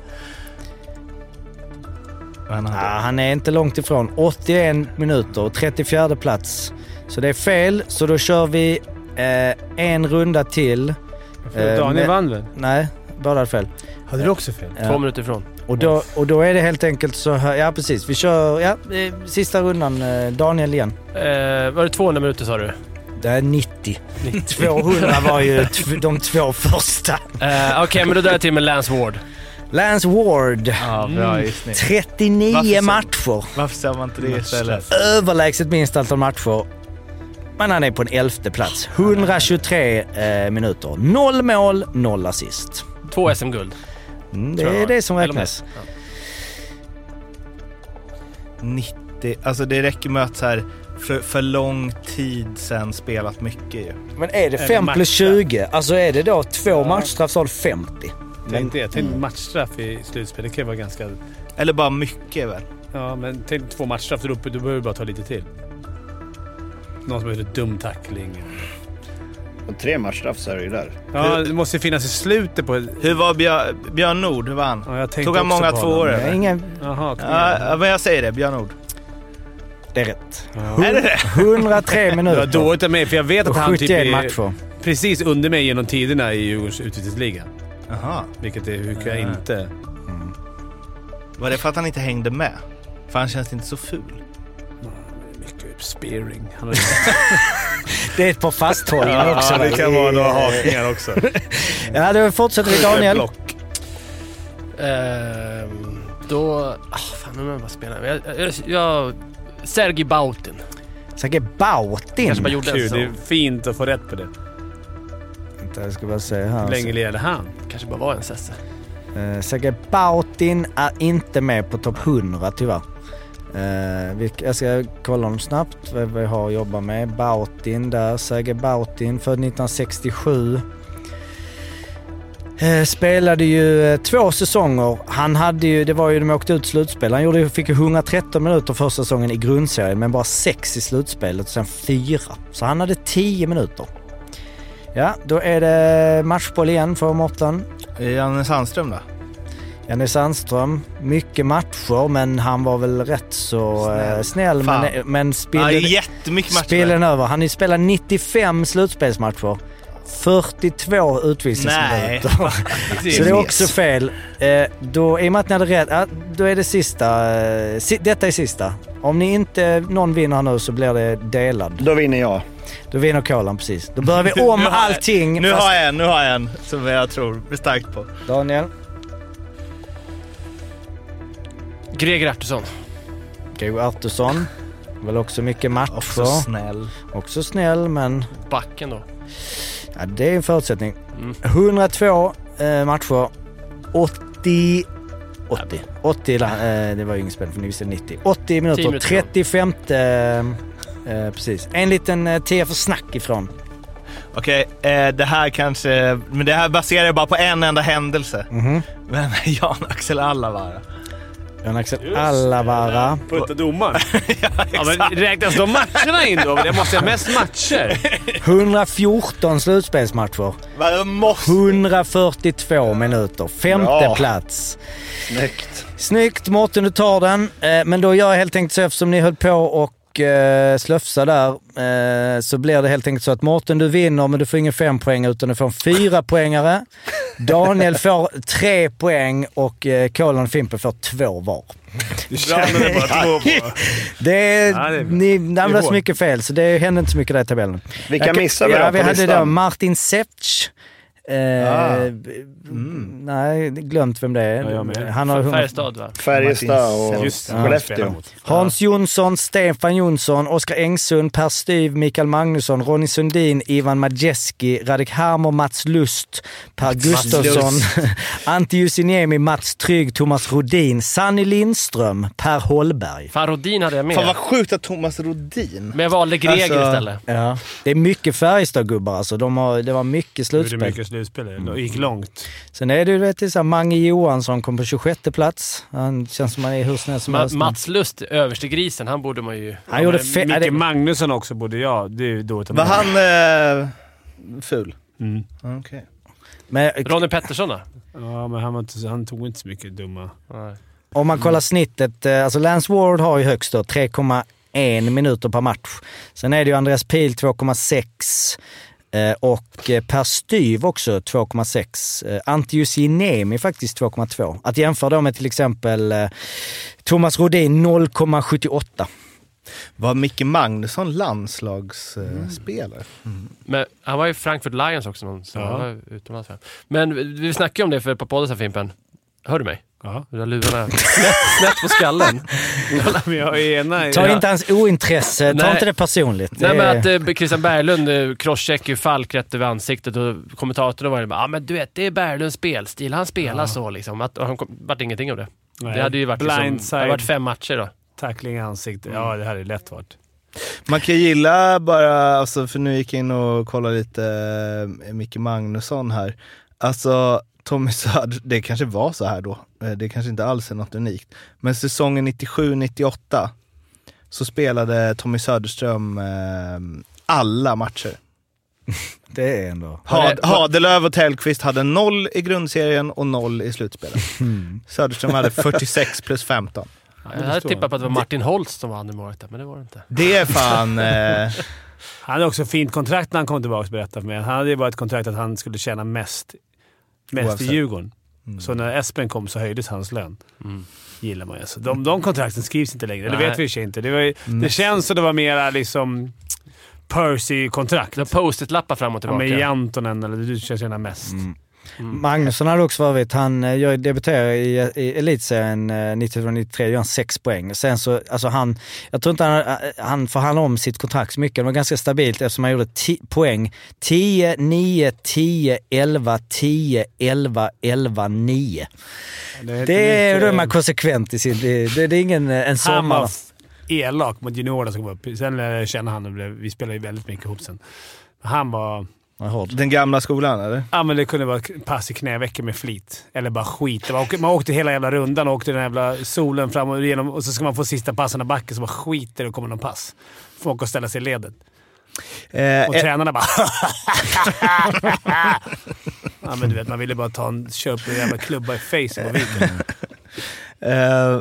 [SPEAKER 1] Ah, han är inte långt ifrån. 81 minuter och 34 plats. Så det är fel, så då kör vi eh, en runda till.
[SPEAKER 2] Daniel
[SPEAKER 1] men-
[SPEAKER 2] vann väl?
[SPEAKER 1] Nej, båda hade fel.
[SPEAKER 2] Hade du också fel?
[SPEAKER 1] Ja.
[SPEAKER 9] Två minuter ifrån.
[SPEAKER 1] Och då, och då är det helt enkelt så här, ja precis, vi kör ja, eh, sista rundan, eh, Daniel igen.
[SPEAKER 9] Eh, var det 200 minuter sa du?
[SPEAKER 1] Det är 90. 200 var ju t- de två första.
[SPEAKER 9] Eh, Okej, men då drar jag till med Lance Ward.
[SPEAKER 1] Lance Ward,
[SPEAKER 3] Ja, bra gissning.
[SPEAKER 1] 39
[SPEAKER 3] Varför så?
[SPEAKER 1] matcher.
[SPEAKER 3] Varför sa man inte det istället?
[SPEAKER 1] Överlägset minst antal matcher. Men han är på en elfte plats. 123 eh, minuter. Noll mål, noll assist.
[SPEAKER 9] Två SM-guld.
[SPEAKER 1] Mm, det
[SPEAKER 9] tror jag
[SPEAKER 1] är
[SPEAKER 9] det var.
[SPEAKER 1] det som
[SPEAKER 9] Eller
[SPEAKER 1] räknas.
[SPEAKER 3] 90. Alltså det räcker med att så här, för, för lång tid sen spelat mycket ju.
[SPEAKER 1] Men är det
[SPEAKER 2] Eller
[SPEAKER 1] 5 plus
[SPEAKER 2] matcher.
[SPEAKER 1] 20, alltså är det då två matchstraff så har du 50.
[SPEAKER 2] Tänk det. Tänk
[SPEAKER 3] Mm.
[SPEAKER 2] matchstraff i slutspel. Det kan ju vara ganska...
[SPEAKER 3] Eller bara mycket väl?
[SPEAKER 2] Ja, men tänk två matchstraff. Du, du behöver bara ta lite till. Någon som har gjort en dum tackling.
[SPEAKER 4] Och tre matchstraff så är det ju där.
[SPEAKER 2] Ja, det måste ju finnas i slutet på...
[SPEAKER 3] Hur var Björ, Björn Nord? Hur var han?
[SPEAKER 2] Ja, jag tänkte
[SPEAKER 3] Tog han
[SPEAKER 2] också
[SPEAKER 3] många
[SPEAKER 2] på
[SPEAKER 3] två
[SPEAKER 2] honom.
[SPEAKER 3] år
[SPEAKER 1] Det är,
[SPEAKER 3] eller?
[SPEAKER 1] ingen,
[SPEAKER 2] Jaha, kom igen.
[SPEAKER 3] Ja, ja, men jag säger det. Björn Nord.
[SPEAKER 1] det är rätt.
[SPEAKER 3] Är det det?
[SPEAKER 1] 103
[SPEAKER 2] Det var
[SPEAKER 1] minuter.
[SPEAKER 2] dåligt av mig, för jag vet att
[SPEAKER 1] Och
[SPEAKER 2] han typ
[SPEAKER 1] 71
[SPEAKER 2] är
[SPEAKER 1] matcher.
[SPEAKER 2] precis under mig genom tiderna i Djurgårdens utvisningsliga.
[SPEAKER 3] Jaha.
[SPEAKER 2] Vilket är, hur kan jag
[SPEAKER 3] Mm.
[SPEAKER 2] inte...
[SPEAKER 3] Var det för att han inte hängde med? För han känns inte så ful.
[SPEAKER 2] Mycket spearing.
[SPEAKER 1] Det är ett par fasthållningar också. va?
[SPEAKER 3] hakningar också.
[SPEAKER 1] Ja, då fortsätter vi Daniel.
[SPEAKER 9] Ehm, då... ah, fan, nu vad spelar jag? Jag... jag, jag Sergej Bautin.
[SPEAKER 1] Säkert
[SPEAKER 9] Kanske bara
[SPEAKER 1] Bautin.
[SPEAKER 9] gjorde
[SPEAKER 2] Mm,
[SPEAKER 9] en
[SPEAKER 2] Kul. Det är
[SPEAKER 9] säsong.
[SPEAKER 2] fint att få rätt på det.
[SPEAKER 1] Vänta, jag ska bara se här.
[SPEAKER 2] Hur länge lirade han?
[SPEAKER 9] Kanske bara var en säsong.
[SPEAKER 1] Eh, Säkert Bautin är inte med på topp 100 tyvärr. Eh, vi, jag ska kolla dem snabbt, vad vi har att jobba med. Bautin där, Sergej Bautin, född 1967. Eh, spelade ju eh, två säsonger. Han hade ju, det var ju de åkte ut slutspel. Han gjorde, ju- fick ju 113 minuter första säsongen i grundserien, men bara sex i slutspelet och sen fyra. Så han hade 10 minuter. Ja, då är det matchboll igen för Mårten.
[SPEAKER 3] Janne Sandström då?
[SPEAKER 1] Jenny Sandström, mycket matcher men han var väl rätt så
[SPEAKER 3] Snäll.
[SPEAKER 1] snäll. snäll
[SPEAKER 3] Fan.
[SPEAKER 1] men, men
[SPEAKER 3] Ja,
[SPEAKER 1] spillde,
[SPEAKER 3] jättemycket matcher.
[SPEAKER 1] spillde den över. Han spelar 95 slutspelsmatcher. 42 utvisningsminuter. Så det är också fel. Eh, då, I och med att ni hade rätt, ja, då är det sista. Eh, si, detta är sista. Om ni inte, någon vinner här nu så blir det delad.
[SPEAKER 4] Då vinner jag.
[SPEAKER 1] Då vinner Kolan precis. Då börjar vi om
[SPEAKER 3] Nu har jag-
[SPEAKER 1] allting.
[SPEAKER 3] Nu
[SPEAKER 1] fast-
[SPEAKER 3] har jag en, nu har jag en som jag tror starkt på.
[SPEAKER 1] Daniel.
[SPEAKER 9] Greger Artursson.
[SPEAKER 1] Gregor Artursson. Väl också mycket matcher.
[SPEAKER 3] Också snäll.
[SPEAKER 1] Också snäll men...
[SPEAKER 9] Backen då.
[SPEAKER 1] Ja, det är en förutsättning.
[SPEAKER 9] Mm.
[SPEAKER 1] 102 eh, matcher. 80... 80. 80 la- eh, det var ju inget spel för ni visste 90. 80 minuter.
[SPEAKER 9] 10 minuter.
[SPEAKER 1] 35... Eh, eh, precis. En liten eh, tia för snack ifrån.
[SPEAKER 3] Okej, eh, det här kanske... Men det här baserar jag bara på en enda händelse.
[SPEAKER 1] Mhm.
[SPEAKER 3] Men Jan-Axel Allavara.
[SPEAKER 1] Jan-Axel Alavara.
[SPEAKER 2] Putta domaren. ja, men räknas de matcherna in då? Det måste jag mest matcher.
[SPEAKER 1] 114 slutspelsmatcher.
[SPEAKER 3] Va, jag måste...
[SPEAKER 1] 142 minuter. Femte
[SPEAKER 4] Bra.
[SPEAKER 1] plats.
[SPEAKER 4] Snyggt.
[SPEAKER 1] Snyggt Mårten, du tar den. Eh, Men då gör jag helt enkelt så eftersom ni höll på och och eh, slöfsa där eh, så blir det helt enkelt så att Mårten du vinner men du får ingen fem poäng utan du får en fyra poängare. Daniel får tre poäng och eh, Kolan och Fimpen får två var.
[SPEAKER 2] Bra, men det är bara två på.
[SPEAKER 1] Det är,
[SPEAKER 2] Ja, det är-
[SPEAKER 1] ni namnade så
[SPEAKER 2] hårt.
[SPEAKER 1] mycket fel, så det hände inte så mycket där i tabellen.
[SPEAKER 4] Vilka
[SPEAKER 1] Jag kan-
[SPEAKER 4] missade vi
[SPEAKER 1] ja,
[SPEAKER 4] då
[SPEAKER 1] Vi
[SPEAKER 4] på
[SPEAKER 1] hade
[SPEAKER 4] listan?
[SPEAKER 1] då Martin Sefc. Eh, Nej, glömt vem det
[SPEAKER 2] Ja,
[SPEAKER 1] är.
[SPEAKER 2] jag med.
[SPEAKER 1] Han har
[SPEAKER 9] Färjestad va?
[SPEAKER 4] Färjestad och
[SPEAKER 2] Just det, han spelar
[SPEAKER 4] Skellefteå.
[SPEAKER 2] mot.
[SPEAKER 1] Hans Jonsson, Stefan Jonsson, Oskar Engsund, Per Styv, Mikael Magnusson, Ronny Sundin, Ivan Majeski, Radek Harmer, Mats Lust, Per Gustafsson, Antti Jusiniemi, Mats Trygg, Thomas Rodin, Sanny Lindström, Per Holberg.
[SPEAKER 9] Fan, Rodin hade jag med.
[SPEAKER 3] Fan vad sjukt att Thomas Rodin...
[SPEAKER 9] Men jag valde Greger
[SPEAKER 3] Alltså-
[SPEAKER 9] istället.
[SPEAKER 1] Ja. Det är mycket Färjestad-gubbar alltså. De har, det var mycket
[SPEAKER 2] Nu är det
[SPEAKER 1] slutspel.
[SPEAKER 2] mycket slutspel. Det gick långt.
[SPEAKER 1] Sen är det ju du vet, det är så här, Mange Johansson kom på 26 plats. Han känns som han är hur snäll som
[SPEAKER 9] Ma
[SPEAKER 1] helst.
[SPEAKER 9] Mats Lust, översteggrisen, han borde man ju...
[SPEAKER 1] han gjorde
[SPEAKER 2] Men
[SPEAKER 1] fe-
[SPEAKER 2] Micke
[SPEAKER 1] ja, det-
[SPEAKER 2] Magnusson också borde jag. Det är ju dåligt av
[SPEAKER 3] Var
[SPEAKER 2] mig.
[SPEAKER 3] han eh, ful?
[SPEAKER 2] Mm.
[SPEAKER 3] Okej.
[SPEAKER 1] men, eh,
[SPEAKER 9] Ronny Pettersson då?
[SPEAKER 2] Ja, men han, var inte, så- han tog inte så mycket dumma...
[SPEAKER 9] Nej.
[SPEAKER 1] Om man kollar snittet, eh, alltså Lance Ward har ju högst då 3,1 minuter per match. Sen är det ju Andreas Pil 2,6 eh, och eh, Per Styv också 2,6. Eh, Antti Jussinemi faktiskt 2,2. Att jämföra då med till exempel eh, Thomas Rodin 0,78.
[SPEAKER 3] Var Micke Magnusson landslagsspelare?
[SPEAKER 9] Men han var ju Frankfurt Lions också, någon, så
[SPEAKER 2] Ja.
[SPEAKER 9] han var utomlands. för. Men vi- vi snackade ju om det för ett par poddar sedan, Fimpen. Hör du mig?
[SPEAKER 2] Ja.
[SPEAKER 9] Du har lurarna snett, snett på skallen.
[SPEAKER 2] Men jag är ena...
[SPEAKER 1] Ta
[SPEAKER 2] jag-
[SPEAKER 1] inte hans ointresse, ta
[SPEAKER 9] Nej.
[SPEAKER 1] inte det personligt.
[SPEAKER 9] Nej
[SPEAKER 1] Det-
[SPEAKER 9] men att eh, Christian Berglund eh, crosscheckar ju Falk rätt över ansiktet och kommentatorn var ju bara ah, men du vet, det är Berglunds spelstil. Han spelar så liksom. Att, och han kom, vart ingenting av det.
[SPEAKER 2] Nej.
[SPEAKER 9] Det hade ju varit, liksom, det
[SPEAKER 2] Blindside,
[SPEAKER 9] hade varit fem matcher då.
[SPEAKER 2] tackling i ansiktet. Ja, det hade lätt varit.
[SPEAKER 3] Man kan gilla bara, alltså, för nu gick jag in och kollade lite eh, Micke Magnusson här. Alltså Tommy Söder, det kanske var så här då. Eh, Det kanske inte alls är något unikt. Men säsongen 97-98 så spelade Tommy Söderström eh, alla matcher.
[SPEAKER 1] Det är ändå...
[SPEAKER 9] Var
[SPEAKER 3] Had,
[SPEAKER 9] det- var-
[SPEAKER 3] Hadelöv och Tellqvist hade noll i grundserien och noll i slutspelet.
[SPEAKER 1] Hmm.
[SPEAKER 3] Söderström hade 46 plus 15.
[SPEAKER 9] Jag hade tippat på att det var Martin Holst som var andra målet där, men det var det inte.
[SPEAKER 3] Det är fan... Eh,
[SPEAKER 2] Han hade också ett fint kontrakt när han kom tillbaka och berättade för mig. Han hade ju bara ett kontrakt att han skulle tjäna mest, mest i
[SPEAKER 3] Oavsett.
[SPEAKER 2] Djurgården.
[SPEAKER 1] Mm.
[SPEAKER 2] Så när Espen kom så höjdes hans lön.
[SPEAKER 9] Mm.
[SPEAKER 2] Gillar man ju. Så de, de kontrakten skrivs inte längre. Det
[SPEAKER 9] Nej.
[SPEAKER 2] vet vi i och för sig inte. Det, var, ju- det känns som det var mera liksom Percy-kontrakt.
[SPEAKER 9] Det var post-it-lappar fram och
[SPEAKER 2] Ja,
[SPEAKER 9] tillbaka.
[SPEAKER 2] med Jantonen, eller du ska tjäna mest.
[SPEAKER 1] Mm. Magnusson hade också varit, han eh, gör- debuterar i, i elitserien eh, 1993, gör han sex poäng. Sen så, alltså han, jag tror inte han, eh, han förhandlade om sitt kontrakt så mycket. Det var ganska stabilt eftersom han gjorde ti- poäng 10, 9, 10, 11, 10, 11, 11, 9. Det är, då
[SPEAKER 2] eh,
[SPEAKER 1] är man konsekvent i sin... Det, det, det är ingen eh, en
[SPEAKER 2] Han var
[SPEAKER 1] sommar.
[SPEAKER 2] f- elak mot juniorerna som kom upp. Sen eh, kände han och blev, vi spelade ju väldigt mycket ihop sen. Han var...
[SPEAKER 1] Vad hårt.
[SPEAKER 3] den gamla skolan eller?
[SPEAKER 2] Ja, men det kunde vara pass i knävecken med flit. Eller bara skit. Det var, man åkte hela jävla rundan och åkte den jävla solen fram och igenom och så ska man få sista passen av backen så bara skiter det och kommer någon pass. Får åka och ställa sig i ledet.
[SPEAKER 3] Eh,
[SPEAKER 2] Och tränarna bara... ja, men du vet, man ville bara ta en köra upp en jävla klubba i face på viken.
[SPEAKER 3] Eh,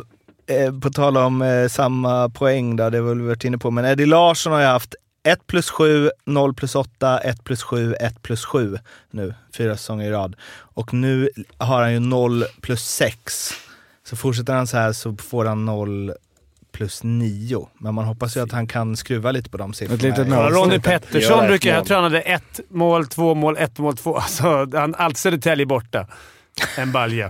[SPEAKER 3] eh, på tal om eh, samma poäng där, det har vi varit inne på, men Eddie Larsson har ju haft 1 plus 7, 0 plus 8, 1 plus 7, 1 plus 7 nu, fyra säsonger i rad. Och nu har han ju 0 plus 6. Så fortsätter han så här så får han 0 plus 9. Men man hoppas ju att han kan skruva lite på de siffrorna.
[SPEAKER 1] litet
[SPEAKER 3] i
[SPEAKER 1] mål.
[SPEAKER 2] Ja,
[SPEAKER 3] avsnittet.
[SPEAKER 2] Ronny Pettersson
[SPEAKER 10] Göra ett
[SPEAKER 2] brukar... Jag
[SPEAKER 10] mål.
[SPEAKER 2] tror han hade ett mål, två mål, ett mål, två. Alltså, han, allt Södertälje borta. En balja.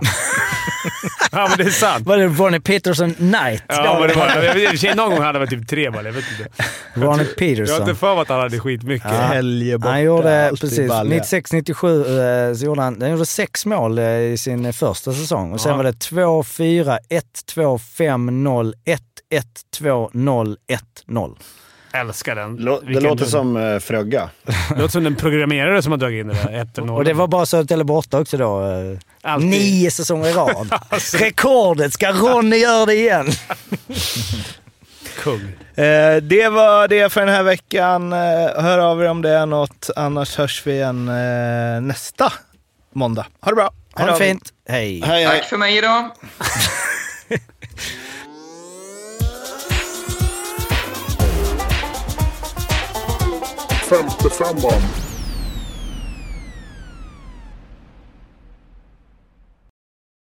[SPEAKER 2] ja, men det är sant.
[SPEAKER 1] Var det Ronnie Peterson Knight?
[SPEAKER 2] Ja, men det var, jag vet, i och för sig någon gång hade det varit typ tre baljor. Jag vet inte.
[SPEAKER 1] Ronnie
[SPEAKER 2] Jag har
[SPEAKER 1] Peterson.
[SPEAKER 2] inte för mig att han hade skitmycket.
[SPEAKER 1] Ja.
[SPEAKER 3] Helge borta,
[SPEAKER 1] Han gjorde,
[SPEAKER 3] alltid
[SPEAKER 1] precis,
[SPEAKER 3] balja.
[SPEAKER 1] 96-97 eh, så gjorde han, han gjorde sex mål eh, i sin eh, första säsong. Och sen var det 2, 4, 1, 2, 5, 0, 1, 1, 2, 0, 1, 0.
[SPEAKER 2] Älskar den.
[SPEAKER 4] Lå- Det
[SPEAKER 2] Vilken
[SPEAKER 4] låter
[SPEAKER 2] dum-
[SPEAKER 4] som eh, Frögga.
[SPEAKER 2] det låter som en programmerare som har dragit in det där. Ett
[SPEAKER 1] Och det var bara Södertälje borta också då. eh,
[SPEAKER 2] Alltid.
[SPEAKER 1] Nio säsonger i rad. Rekordet! Ska Ronny göra det igen?
[SPEAKER 2] kung.
[SPEAKER 3] Eh, det var det för den här veckan. Eh, hör av er om det är något, annars hörs vi igen eh, nästa måndag. Ha det bra!
[SPEAKER 1] Ha
[SPEAKER 3] Hej
[SPEAKER 1] det
[SPEAKER 3] då.
[SPEAKER 1] fint. Hej.
[SPEAKER 10] Hej, hej.
[SPEAKER 6] Tack för mig idag.
[SPEAKER 11] femte femman.